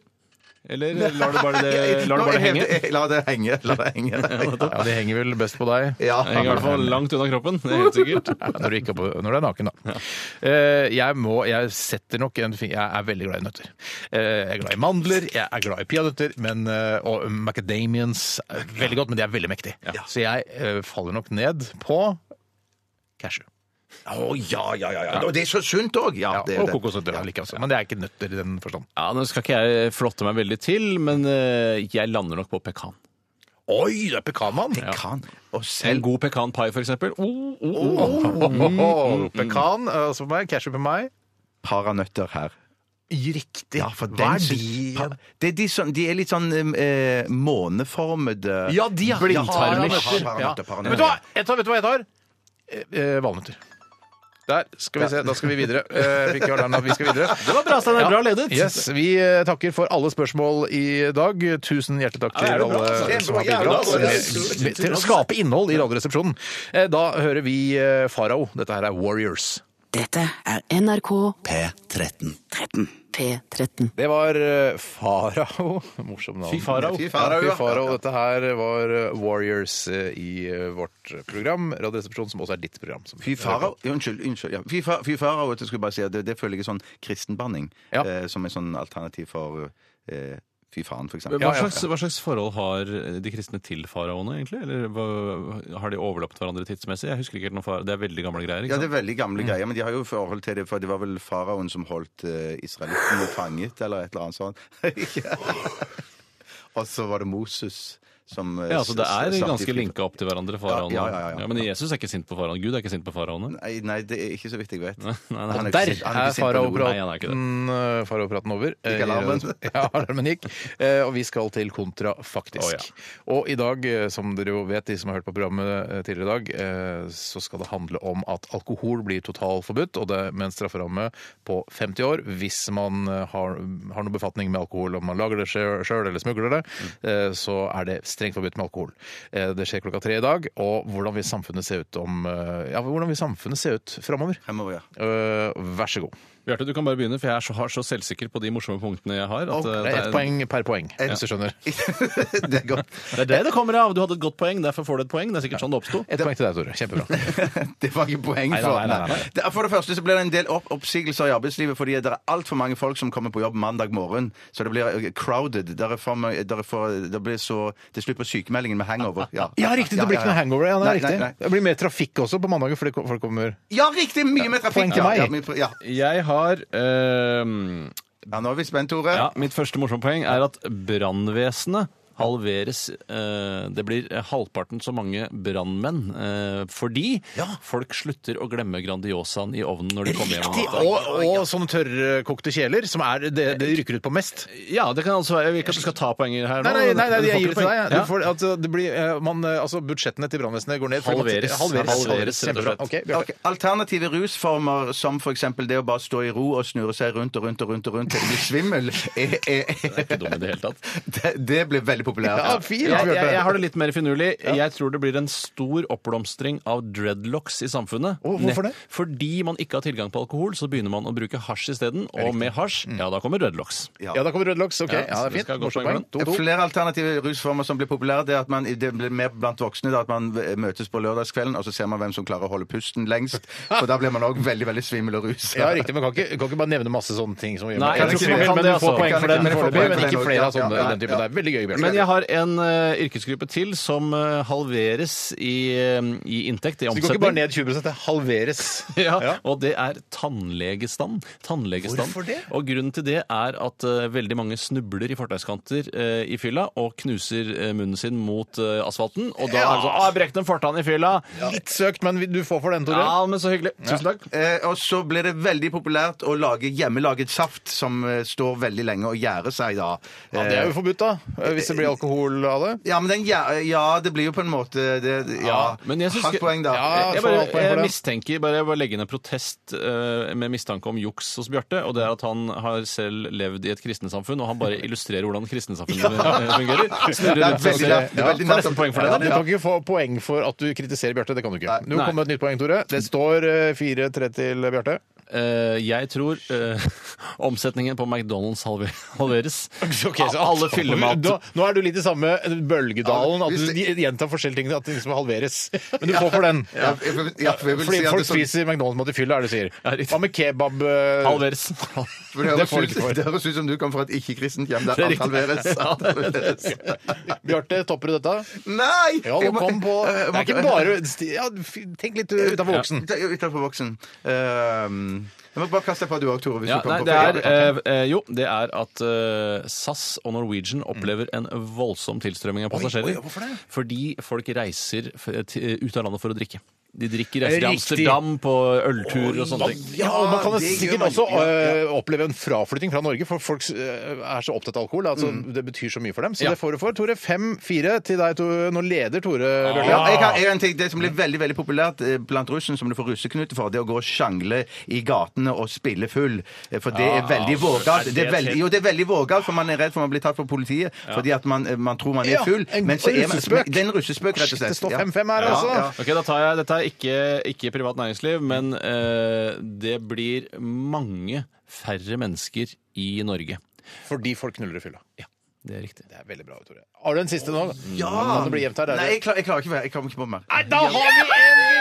[SPEAKER 3] Eller lar du bare det,
[SPEAKER 4] *laughs* Jeg-
[SPEAKER 3] lar du bare
[SPEAKER 4] jeg-
[SPEAKER 3] det henge?
[SPEAKER 4] jeg- La det henge. La det
[SPEAKER 3] *laughs*
[SPEAKER 4] henge.
[SPEAKER 2] Ja, det henger vel best på deg.
[SPEAKER 4] Ja.
[SPEAKER 3] Det henger i hvert fall langt unna kroppen. Det er helt sikkert.
[SPEAKER 2] Ja, Når du, ikke er på, når du er naken, da. Eh, jeg, må, jeg setter nok en fin Jeg er veldig glad i nøtter. Eh, jeg er glad i mandler, jeg er glad i peanøtter, men, eh, og macadamians er eh, veldig godt, men de er veldig mektige. Så jeg eh, faller nok ned på cashew.
[SPEAKER 4] Å ja, ja, ja, ja. Og det er så sunt òg! Ja, det er
[SPEAKER 2] og
[SPEAKER 4] det.
[SPEAKER 2] kokosnøtter
[SPEAKER 4] Ja.
[SPEAKER 2] ja. like, altså. Men det er ikke nøtter i den forstand.
[SPEAKER 3] *laughs* Ja, Nå skal ikke jeg eh, flotte meg veldig til, men eh, jeg lander nok på pekan.
[SPEAKER 2] Oi, det er pekanmann!
[SPEAKER 4] Kan. Og
[SPEAKER 3] En
[SPEAKER 4] selv
[SPEAKER 3] god pekanpai, for eksempel. Oh, oh, oh.
[SPEAKER 2] Oh. *laughs* Pekan, altså for meg, cashew på meg.
[SPEAKER 4] paranøtter her.
[SPEAKER 2] Riktig.
[SPEAKER 4] Ja, for den syns- pa- Det er de, som, de er litt sånn eh, måneformede
[SPEAKER 2] Ja, de har
[SPEAKER 3] Blindtarmisjer.
[SPEAKER 2] paranøtter.
[SPEAKER 4] Ja.
[SPEAKER 2] Vet du hva jeg tar? Vet du hva jeg tar? Eh, eh, Valnøtter. Der skal vi se. Da skal vi videre. Eh, fikk jo alarm at vi skal videre.
[SPEAKER 3] Det var bra, Steinar. Bra ledet.
[SPEAKER 2] Yes, Vi eh, takker for alle spørsmål i dag. Tusen hjertelig takk til
[SPEAKER 3] Ja, det er det bra,
[SPEAKER 2] alle
[SPEAKER 3] altså.
[SPEAKER 2] som har
[SPEAKER 3] Det er bra,
[SPEAKER 2] bidratt
[SPEAKER 3] altså.
[SPEAKER 2] med- med- til å skape innhold i Radioresepsjonen. Eh, Da hører vi eh, Farao. Dette her er Warriors.
[SPEAKER 7] Dette er NRK
[SPEAKER 5] P13.
[SPEAKER 7] P13.
[SPEAKER 2] Det var eh, Farao. Morsom navn.
[SPEAKER 3] Fy farao.
[SPEAKER 2] Ja, Fy Farao, Dette her var eh, Warriors eh, i eh, vårt program, Radioresepsjonen, som også er ditt program. som-
[SPEAKER 4] Fy farao ja, Unnskyld. unnskyld ja. Fy fa- fy farao, jeg skulle bare si at det, det føler jeg er sånn kristenbanning.
[SPEAKER 2] Ja.
[SPEAKER 4] Eh, som er sånn alternativ for eh, fy faen, for eksempel.
[SPEAKER 3] Hva slags, hva slags forhold har eh, de kristne til faraoene, egentlig? Eller hva, har de overlappet hverandre tidsmessig? Jeg husker ikke helt noe far... Det er veldig gamle greier.
[SPEAKER 4] Ja, det
[SPEAKER 3] ikke sant? Mm.
[SPEAKER 4] er veldig gamle greier, men de har jo forhold til det, for det var vel faraoen som holdt eh, israelittene fanget, eller et eller annet sånt. *laughs* Ja. Og så var det Moses som eh,
[SPEAKER 3] Ja, altså Det er
[SPEAKER 4] satt i
[SPEAKER 3] ganske
[SPEAKER 4] fri-
[SPEAKER 3] linka opp til hverandre, faraoene.
[SPEAKER 4] Ja, ja, ja, ja.
[SPEAKER 3] men Jesus er ikke sint på faraoen. Gud er ikke sint på faraoene.
[SPEAKER 4] Nei, nei, det er ikke så vidt jeg vet.
[SPEAKER 3] Nei, nei, nei.
[SPEAKER 4] Han er
[SPEAKER 2] Der
[SPEAKER 4] ikke sint- han er
[SPEAKER 2] er
[SPEAKER 4] ikke sint på noen.
[SPEAKER 3] Nei, han er ikke det.
[SPEAKER 2] faraopraten eh, faraopraten over.
[SPEAKER 4] Gikk alarmen?
[SPEAKER 2] Eh, *laughs* Ja, alarmen gikk. Eh, Og vi skal til kontra faktisk.
[SPEAKER 3] Å,
[SPEAKER 2] Og i dag, eh, som dere jo vet, de som har hørt på programmet eh, tidligere i dag, eh, så skal det handle om at alkohol blir totalforbudt, og det med en strafferamme på 50 år hvis man eh, har, har noen befatning med alkohol, om man lager det sjøl eller smugler det, eh, så er det strengt forbudt med alkohol. Eh, Det skjer klokka tre i dag, og hvordan vil samfunnet se ut om eh, Ja, hvordan vil samfunnet se ut framover?
[SPEAKER 4] Fremover, ja. *laughs*
[SPEAKER 2] Eh, Vær så god.
[SPEAKER 3] Bjarte, du kan bare begynne, for jeg er så, har så selvsikker på de morsomme punktene jeg har. At,
[SPEAKER 2] Det
[SPEAKER 3] eh,
[SPEAKER 2] er ett poeng per poeng, hvis du skjønner.
[SPEAKER 4] det er godt.
[SPEAKER 3] Det er det det kommer av. Du hadde et godt poeng, derfor får du et poeng. Det er sikkert sånn det oppsto.
[SPEAKER 2] Ett poeng til deg, Tore. Kjempebra.
[SPEAKER 4] Det var ikke poeng
[SPEAKER 3] Nei, nei,
[SPEAKER 4] for
[SPEAKER 3] nei, nei, nei.
[SPEAKER 4] Nei. Det- For det første så blir det en del opp oppsigelser i arbeidslivet fordi det er altfor mange folk som kommer på jobb mandag morgen. Så det blir eh, crowded. Der er for, mye- der er for, det blir så Det slutter på sykemeldingen med
[SPEAKER 3] *laughs*
[SPEAKER 4] hangover. Ja,
[SPEAKER 2] Ja, riktig! Det blir
[SPEAKER 4] ja,
[SPEAKER 2] ikke noe
[SPEAKER 4] ja.
[SPEAKER 2] hangover. Ja, det, er
[SPEAKER 4] Nei,
[SPEAKER 2] riktig.
[SPEAKER 4] nei, nei.
[SPEAKER 2] det blir mer trafikk også på mandager, fordi folk kommer
[SPEAKER 4] Ja, riktig! Mye mer trafikk.
[SPEAKER 2] Poeng til
[SPEAKER 4] ja,
[SPEAKER 2] meg.
[SPEAKER 4] Ja, mye- ja.
[SPEAKER 3] Jeg har eh,
[SPEAKER 4] ja, nå er vi spent, Tore.
[SPEAKER 3] Ja, mitt første morsomme poeng er at brannvesenet halveres eh, Det blir halvparten så mange brannmenn eh, fordi folk slutter å glemme Grandiosaen i ovnen når de kommer hjem. om natta.
[SPEAKER 2] Og, og sånne tørrkokte kjeler, som er det det rykker ut på mest.
[SPEAKER 3] Ja, det kan altså Jeg vil ikke at du skal ta poenger her
[SPEAKER 2] Nei, nei, nei,
[SPEAKER 3] Du
[SPEAKER 2] nei
[SPEAKER 3] får
[SPEAKER 2] jeg
[SPEAKER 3] ikke
[SPEAKER 2] gir det til deg.
[SPEAKER 3] poeng.
[SPEAKER 2] jeg.
[SPEAKER 3] Ja.
[SPEAKER 2] Du får, at det blir, eh, man, eh, altså, budsjettene til brannvesenet går ned. fordi man-
[SPEAKER 3] Halveres.
[SPEAKER 2] halveres.
[SPEAKER 3] Halveres, rett og
[SPEAKER 2] Kjempebra.
[SPEAKER 3] slett.
[SPEAKER 2] Ok, Bjarte.
[SPEAKER 4] Ok, Alternative rusformer som f.eks. det å bare stå i ro og snurre seg rundt og rundt og rundt og rundt til du blir svimmel, er, er,
[SPEAKER 3] Det er ikke dum i det hele tatt.
[SPEAKER 4] det, det blir veldig populært.
[SPEAKER 2] Ja, fint,
[SPEAKER 3] Jeg, jeg,
[SPEAKER 2] Bjarte.
[SPEAKER 3] jeg har det litt mer finurlig. Jeg tror det blir en stor oppblomstring av dreadlocks i samfunnet.
[SPEAKER 2] Å, hvorfor det?
[SPEAKER 3] Nett- Fordi man ikke har tilgang på alkohol, så begynner man å bruke hasj isteden. Og med hasj,
[SPEAKER 2] Mm.
[SPEAKER 3] ja, da kommer dreadlocks.
[SPEAKER 2] Ja, da kommer rødlocks. Ok,
[SPEAKER 3] Ja,
[SPEAKER 2] ja, det
[SPEAKER 3] så
[SPEAKER 2] er
[SPEAKER 3] det skal
[SPEAKER 2] fint.
[SPEAKER 3] gå
[SPEAKER 2] Morsomt
[SPEAKER 3] poeng
[SPEAKER 2] poeng.
[SPEAKER 3] med
[SPEAKER 2] To, to.
[SPEAKER 4] Flere alternative rusformer som blir populære, det er at man, det blir mer blant voksne da, at man møtes på lørdagskvelden, og så ser man hvem som klarer å holde pusten lengst. For da blir man òg veldig veldig svimmel og rusa.
[SPEAKER 2] Ja, riktig, men kan ikke, kan ikke bare nevne masse sånne ting som
[SPEAKER 3] Nei, jeg
[SPEAKER 2] jeg
[SPEAKER 3] tror
[SPEAKER 2] tror
[SPEAKER 3] ikke
[SPEAKER 2] ikke-
[SPEAKER 3] man kan
[SPEAKER 2] men du får
[SPEAKER 3] det,
[SPEAKER 2] poeng
[SPEAKER 3] altså.
[SPEAKER 2] for den
[SPEAKER 3] Men jeg får
[SPEAKER 2] foreløpig,
[SPEAKER 4] poeng for den
[SPEAKER 2] men ikke
[SPEAKER 4] også,
[SPEAKER 2] flere av
[SPEAKER 4] ja.
[SPEAKER 2] sånne
[SPEAKER 4] Ja, ja,
[SPEAKER 2] den typen. Det er veldig gøy, Bjarte.
[SPEAKER 3] Men jeg har en eh, yrkesgruppe til som eh, halveres i, eh, i inntekt, i
[SPEAKER 2] Så det går ikke bare
[SPEAKER 3] omsetning.
[SPEAKER 2] ned 20 det halveres.
[SPEAKER 3] *laughs* Ja,
[SPEAKER 2] Ja.
[SPEAKER 3] Og det er tannlegestand. tannlegestand.
[SPEAKER 2] Hvorfor det?
[SPEAKER 3] Og grunnen til det er at eh, veldig mange snubler i fortauskanter eh, i fylla og knuser eh, munnen sin mot eh, asfalten. Og da
[SPEAKER 2] Ja.
[SPEAKER 3] er det sånn Å, jeg brekte en fortann i fylla!
[SPEAKER 2] Litt søkt, men du får for den, Tore.
[SPEAKER 3] Ja, men så hyggelig. Tusen takk.
[SPEAKER 4] Eh, og så blir det veldig populært å lage hjemmelaget saft som eh, står veldig lenge og gjærer seg da.
[SPEAKER 2] Ja, det er jo forbudt, da. eh, Hvis det blir alkohol av det.
[SPEAKER 4] Ja, men den gjæ- ja, det blir jo på en måte det, Ja.
[SPEAKER 3] Ja, men jeg synes-
[SPEAKER 4] Hardt poeng, da.
[SPEAKER 2] Ja,
[SPEAKER 3] Jeg,
[SPEAKER 2] få
[SPEAKER 3] bare,
[SPEAKER 2] poeng for
[SPEAKER 3] jeg
[SPEAKER 2] det.
[SPEAKER 3] mistenker bare, jeg bare legger ned protest eh, med mistanke om juks hos Bjarte. Og det er at han har selv levd i et kristensamfunn, og han bare illustrerer hvordan kristensamfunnet eh, fungerer. Snurrer
[SPEAKER 4] Det er
[SPEAKER 3] rundt seg og
[SPEAKER 4] veldig
[SPEAKER 3] ser-
[SPEAKER 4] nært. Det er
[SPEAKER 3] Ja,
[SPEAKER 4] veldig
[SPEAKER 3] får
[SPEAKER 4] nært.
[SPEAKER 3] nesten poeng for
[SPEAKER 2] Ja,
[SPEAKER 3] det.
[SPEAKER 2] du
[SPEAKER 3] der.
[SPEAKER 2] kan ikke få poeng for at du kritiserer Bjarte. Det kan du ikke. Nå
[SPEAKER 3] Nei.
[SPEAKER 2] kommer et nytt poeng, Tore. Det står eh, 4-3 til Bjarte.
[SPEAKER 3] *laughs* Eh, jeg tror *laughs* eh, omsetningen på McDonald's halver- halveres.
[SPEAKER 2] *laughs* Ok, så
[SPEAKER 3] Alle
[SPEAKER 2] alt-
[SPEAKER 3] fyller mat.
[SPEAKER 2] *laughs* Da- Nå er du litt i samme bølgedalen.
[SPEAKER 1] Ja,
[SPEAKER 2] At
[SPEAKER 1] hvis
[SPEAKER 2] du
[SPEAKER 1] det-
[SPEAKER 2] gjentar forskjellige ting, at ting skal halveres.
[SPEAKER 3] *laughs*
[SPEAKER 2] Men du får for den.
[SPEAKER 1] Ja, jeg, jeg, jeg, jeg vil
[SPEAKER 2] Fordi
[SPEAKER 1] si at
[SPEAKER 2] folk
[SPEAKER 1] det, sånn-
[SPEAKER 2] spiser McDonald's mot de fyller, er det du sier.
[SPEAKER 3] Ja, riktig.
[SPEAKER 2] Hva med kebab? eh, *laughs*
[SPEAKER 3] Halveres.
[SPEAKER 1] for det
[SPEAKER 2] det
[SPEAKER 1] høres
[SPEAKER 2] får
[SPEAKER 1] ut-
[SPEAKER 2] du ikke for.
[SPEAKER 1] det høres ut som du kom fra et ikke-kristent hjem der
[SPEAKER 3] Det er
[SPEAKER 1] alt
[SPEAKER 3] riktig. *laughs*
[SPEAKER 1] halveres. Alt halveres.
[SPEAKER 2] Bjarte, topper du dette?
[SPEAKER 1] Nei!
[SPEAKER 2] Ja,
[SPEAKER 1] Jeg må-
[SPEAKER 2] nå kom
[SPEAKER 4] *laughs*
[SPEAKER 2] på
[SPEAKER 4] Eh,
[SPEAKER 1] jeg
[SPEAKER 2] Det
[SPEAKER 1] må-
[SPEAKER 2] er ikke bare sti- ja, f- Tenk litt utafor boksen.
[SPEAKER 1] Ta- Utenfor boksen. Ehm, jeg må bare kaste deg på du òg, Tore. Hvis
[SPEAKER 3] Ja,
[SPEAKER 1] du kommer
[SPEAKER 3] nei,
[SPEAKER 1] på
[SPEAKER 3] det er,
[SPEAKER 1] flere.
[SPEAKER 3] eh, eh, jo, det er at eh, SAS og Norwegian opplever en voldsom tilstrømming av passasjerer.
[SPEAKER 2] Mm. oi, hvorfor det?
[SPEAKER 3] Fordi folk reiser f til, ut av landet for å drikke. De drikker,
[SPEAKER 2] Er det
[SPEAKER 3] reiser til
[SPEAKER 2] riktig?
[SPEAKER 3] Amsterdam på øltur og sånne ting.
[SPEAKER 2] Ja, og Man kan
[SPEAKER 1] Ja, det
[SPEAKER 2] sikkert
[SPEAKER 1] gjør man.
[SPEAKER 2] også
[SPEAKER 1] Ja, ja.
[SPEAKER 2] øh, oppleve en fraflytting fra Norge, for folk øh, er så opptatt av alkohol. Altså, Det betyr så mye for dem. Så
[SPEAKER 3] Ja.
[SPEAKER 2] det får du for. Tore, fem-fire til deg. Tore. Nå leder Tore. Bjørte.
[SPEAKER 4] Ja, jeg har jeg har en ting, Det som blir veldig veldig populært eh, blant russen, som du får russeknute for, det er å gå og sjangle i gatene og spille full. Eh, For det er veldig vågalt.
[SPEAKER 3] er
[SPEAKER 4] Det er
[SPEAKER 3] det
[SPEAKER 4] veldig, jo, det er veldig vågalt, for man er redd for man blir tatt for politiet fordi at man, eh, man tror man
[SPEAKER 2] Ja,
[SPEAKER 4] er full.
[SPEAKER 2] en-
[SPEAKER 4] Men så
[SPEAKER 2] en
[SPEAKER 4] er man,
[SPEAKER 2] russespøk.
[SPEAKER 4] det er en russespøk, rett og
[SPEAKER 2] Shit,
[SPEAKER 4] slett.
[SPEAKER 2] det står
[SPEAKER 4] Ja.
[SPEAKER 2] 5-5 her,
[SPEAKER 4] Ja,
[SPEAKER 2] altså.
[SPEAKER 4] ja.
[SPEAKER 3] Ok, da tar jeg, Dette er ikke, ikke privat næringsliv, men eh, det blir mange færre mennesker i Norge.
[SPEAKER 2] Fordi folk knuller i fylla.
[SPEAKER 3] Det er riktig.
[SPEAKER 2] Det er veldig bra, Tore. Har du en siste nå?
[SPEAKER 4] Ja!
[SPEAKER 2] Kan det bli jevnt her? er det-
[SPEAKER 4] Nei, jeg, klar, jeg klarer ikke mer. Jeg kommer ikke på mer.
[SPEAKER 2] Nei, da har vi en vinner!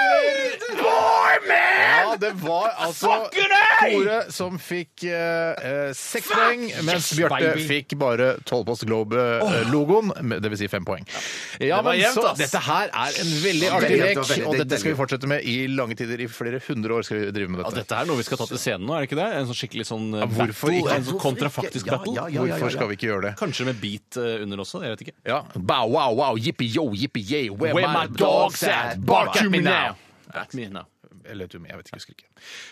[SPEAKER 2] Ja, det var altså Tore som fikk eh, eh, seks poeng, mens Bjarte
[SPEAKER 3] baby.
[SPEAKER 2] fikk bare tolvpost Globe-logoen, dvs. Si fem poeng. Ja,
[SPEAKER 3] Det var
[SPEAKER 2] men
[SPEAKER 3] jevnt,
[SPEAKER 2] så,
[SPEAKER 3] ass.
[SPEAKER 2] dette her er en veldig
[SPEAKER 4] Veldig
[SPEAKER 2] artig
[SPEAKER 4] jevnt,
[SPEAKER 2] lek,
[SPEAKER 4] og veldig-
[SPEAKER 2] og dette skal
[SPEAKER 4] veldig-
[SPEAKER 2] vi fortsette med i lange tider. I flere hundre år skal vi drive med
[SPEAKER 3] Ja,
[SPEAKER 2] dette.
[SPEAKER 3] dette er noe vi skal ta til scenen nå, er det ikke det? En sånn skikkelig sånn eh,
[SPEAKER 2] hvorfor
[SPEAKER 3] battle,
[SPEAKER 2] ikke?
[SPEAKER 3] en sånn kontrafaktisk battle.
[SPEAKER 4] Ja, ja, ja, ja, ja.
[SPEAKER 2] Hvorfor skal vi ikke gjøre det?
[SPEAKER 3] Kanskje med beat eh, under også, jeg vet ikke.
[SPEAKER 2] Ja. Bow, wow, wow, yippee, yo, yippee, yay, where, my, dogs at? Bark at me now!
[SPEAKER 3] At me now.
[SPEAKER 2] Eller to me, jeg vet ikke, jeg husker ikke.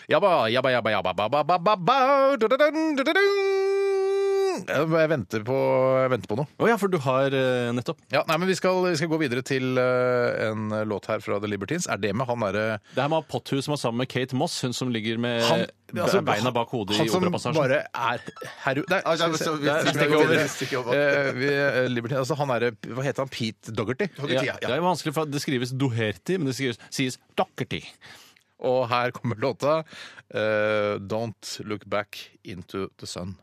[SPEAKER 2] Jabba, jabba, jabba, jabba, ba, ba, ba, ba, da-da-dun, da-da-dun. Jeg venter på, jeg venter på noe.
[SPEAKER 3] Å ja, for du har eh, nettopp.
[SPEAKER 2] Ja, nei, men vi skal, vi skal gå videre til eh, en låt her fra The Libertines. Er det med han derre
[SPEAKER 3] Det her med Potthus som er sammen med Kate Moss, hun som ligger med Eh, be-
[SPEAKER 2] altså,
[SPEAKER 3] beina bak hodet
[SPEAKER 2] han
[SPEAKER 3] i
[SPEAKER 2] som
[SPEAKER 3] Operapassasjen.
[SPEAKER 2] bare er heru... Nei,
[SPEAKER 1] Ja, ja, men så- vi- vi stikker over. Vi stikker over.
[SPEAKER 2] Eh, vi, eh, Libertines, altså han er, Hva heter han? Pete Dougherty.
[SPEAKER 3] ja, Det er jo vanskelig, for det skrives Doherty, men det skrives, sies Dockerty.
[SPEAKER 2] Og her kommer låta eh, Don't Look Back Into The Sun.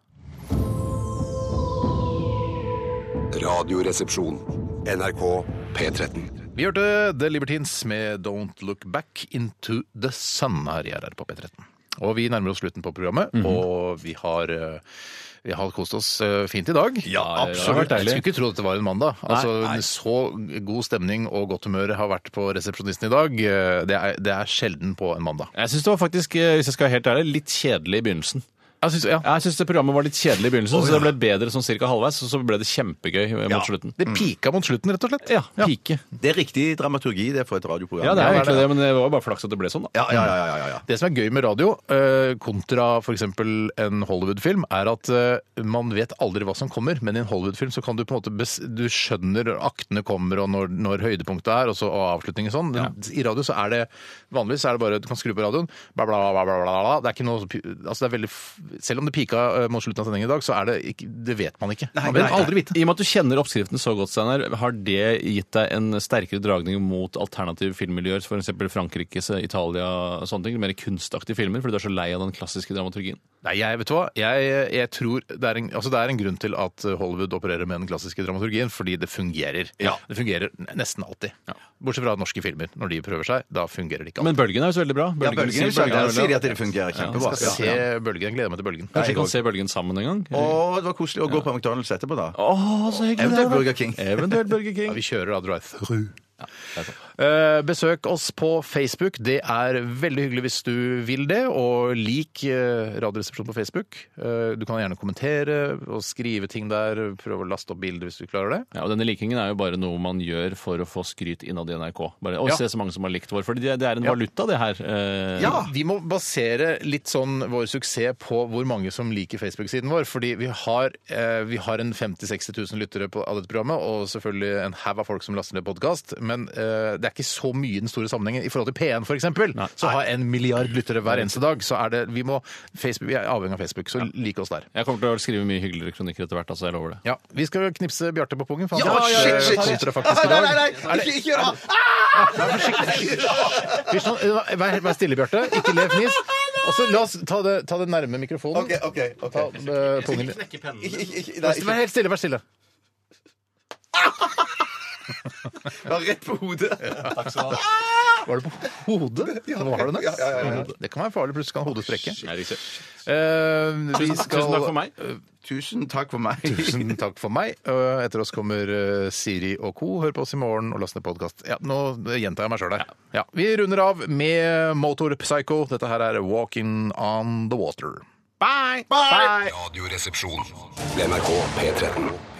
[SPEAKER 8] Radioresepsjon.
[SPEAKER 1] NRK P13.
[SPEAKER 2] Vi hørte The Libertines med Don't Look Back Into The Sun her i RR på P13. Og vi nærmer oss slutten på programmet,
[SPEAKER 3] Mhm.
[SPEAKER 2] og vi har eh, vi har kost oss eh, fint i dag.
[SPEAKER 3] Ja, det har vært
[SPEAKER 2] Jeg
[SPEAKER 3] deilig.
[SPEAKER 2] skulle ikke tro at det var en mandag. Altså,
[SPEAKER 3] nei.
[SPEAKER 2] Så god stemning og godt humør har vært på resepsjonisten i dag. Eh, Det er, det er sjelden på en mandag.
[SPEAKER 3] Jeg syns det var faktisk, eh, hvis jeg skal være helt ærlig, litt kjedelig i begynnelsen.
[SPEAKER 2] Jeg synes, ja.
[SPEAKER 3] Jeg syns programmet var litt kjedelig i begynnelsen, så det ble bedre sånn cirka halvveis, og så ble det kjempegøy eh, mot slutten.
[SPEAKER 2] Det pika mot slutten, rett og slett.
[SPEAKER 3] Ja, pike.
[SPEAKER 4] Det er riktig dramaturgi det er for et radioprogram.
[SPEAKER 3] Ja, det er
[SPEAKER 2] det er
[SPEAKER 3] egentlig det, men det var bare flaks at det ble sånn, da.
[SPEAKER 4] ja, ja, ja, ja, ja, ja.
[SPEAKER 2] Det som er gøy med radio, eh, kontra f.eks. en Hollywood-film, er at eh, man vet aldri hva som kommer. Men i en Hollywood-film så kan du på en måte bes du skjønner aktene kommer, og når, når høydepunktet er, og så og avslutningen sånn. Men I radio så er det vanligvis så er det bare du kan skru på radioen, bla, bla, bla, bla, bla, bla. Det er ikke noe pi- altså det er veldig, f- Selv om det pika eh, mot slutten av sendingen i dag, så er det ikke, det vet man ikke. Man vil
[SPEAKER 4] nei, nei.
[SPEAKER 2] aldri vite.
[SPEAKER 3] I og med at du kjenner oppskriften så godt, Steinar, har det gitt deg en sterkere dragning mot alternative filmmiljøer, f.eks. Frankrike, eh, Italia og sånne ting? Mer kunstaktige filmer, fordi du er så lei av den klassiske dramaturgien?
[SPEAKER 2] Nei, jeg, vet du hva? Jeg, jeg tror det er, en, altså det er en grunn til at Hollywood opererer med den klassiske dramaturgien, fordi det fungerer. Det fungerer n- nesten alltid. Bortsett fra norske filmer. Når de prøver seg, da fungerer det ikke alltid.
[SPEAKER 3] Men Bølgen er jo så veldig bra.
[SPEAKER 4] Ja,
[SPEAKER 3] Bølgen,
[SPEAKER 4] bølgen,
[SPEAKER 3] sier-
[SPEAKER 4] der
[SPEAKER 3] Bølgen er veldig
[SPEAKER 4] sier de
[SPEAKER 3] bra.
[SPEAKER 4] at det fungerer kjempebra.
[SPEAKER 2] Jeg
[SPEAKER 4] Ja,
[SPEAKER 2] skal
[SPEAKER 4] ja.
[SPEAKER 2] se Bølgen. Jeg gleder meg til Bølgen.
[SPEAKER 3] Kanskje vi kan se Bølgen sammen en gang?
[SPEAKER 4] Og det var koselig å gå på McDonald's etterpå, da.
[SPEAKER 3] Å, så hyggelig!
[SPEAKER 4] Eventuelt
[SPEAKER 3] det er, da.
[SPEAKER 4] Burger King.
[SPEAKER 3] *laughs* Eventuelt Burger
[SPEAKER 2] *laughs* Ja,
[SPEAKER 3] King.
[SPEAKER 2] vi kjører da drive-through. Eh, besøk oss på Facebook. Det er veldig hyggelig hvis du vil det. Og lik eh, Radioresepsjonen på Facebook. Eh, du kan gjerne kommentere og skrive ting der. Prøve å laste opp bilder hvis du klarer det.
[SPEAKER 3] Ja, og Denne likingen er jo bare noe man gjør for å få skryt innad i NRK. Bare, å,
[SPEAKER 2] Ja.
[SPEAKER 3] se så mange som har likt vår. For det, det er en
[SPEAKER 2] Ja.
[SPEAKER 3] valuta, det her. eh,
[SPEAKER 2] Ja. Vi må basere litt sånn vår suksess på hvor mange som liker Facebook-siden vår. Fordi vi har, eh, vi har en 50 000-60 000 lyttere på, av dette programmet, og selvfølgelig en haug av folk som laster ned podkast. Men eh, det er ikke så mye i den store sammenhengen. I forhold til P1
[SPEAKER 3] Nei.
[SPEAKER 2] f.eks., så har en milliard lyttere hver eneste dag. Så er det, vi, må, Facebook, vi er avhengig av Facebook, så lik oss der.
[SPEAKER 3] Jeg kommer til å skrive mye hyggeligere kronikker etter hvert, altså. Jeg lover det.
[SPEAKER 2] Ja, Vi skal knipse Bjarte på pungen. for han
[SPEAKER 4] Ja,
[SPEAKER 2] har vært,
[SPEAKER 4] shit,
[SPEAKER 2] eh,
[SPEAKER 4] shit, shit.
[SPEAKER 2] kontrafaktisk i dag. Er det-
[SPEAKER 4] ikke gjør det!
[SPEAKER 2] Hvis noen- eh, Vær, vær stille, Bjarte. Ikke le
[SPEAKER 4] *laughs*
[SPEAKER 2] fnis. Og så La oss ta det, ta det nærme mikrofonen.
[SPEAKER 4] OK, OK. ok.
[SPEAKER 2] Ta eh, pungen din.
[SPEAKER 4] Ikke- ikke- ikke- nei,
[SPEAKER 2] Vær stille, vær helt stille, vær stille.
[SPEAKER 4] Ja, rett på hodet. Takk skal du ha.
[SPEAKER 2] Var det på hodet? Var det det?
[SPEAKER 4] Ja, ja, ja, ja.
[SPEAKER 2] Det kan være farlig, plutselig kan hodet sprekke.
[SPEAKER 3] Nei, riktig.
[SPEAKER 2] Eh, vi
[SPEAKER 3] Tusen
[SPEAKER 2] skal-
[SPEAKER 3] takk for meg.
[SPEAKER 4] Tusen takk for meg.
[SPEAKER 2] *laughs* Tusen takk for meg. Eh, Etter oss kommer eh, Siri og co. Hør på oss i morgen og last ned podkast. Ja, nå gjentar jeg meg sjøl her. Ja. Vi runder av med Motor Psycho. Dette her er 'Walking on the Water'.
[SPEAKER 1] Radioresepsjon. NRK P13.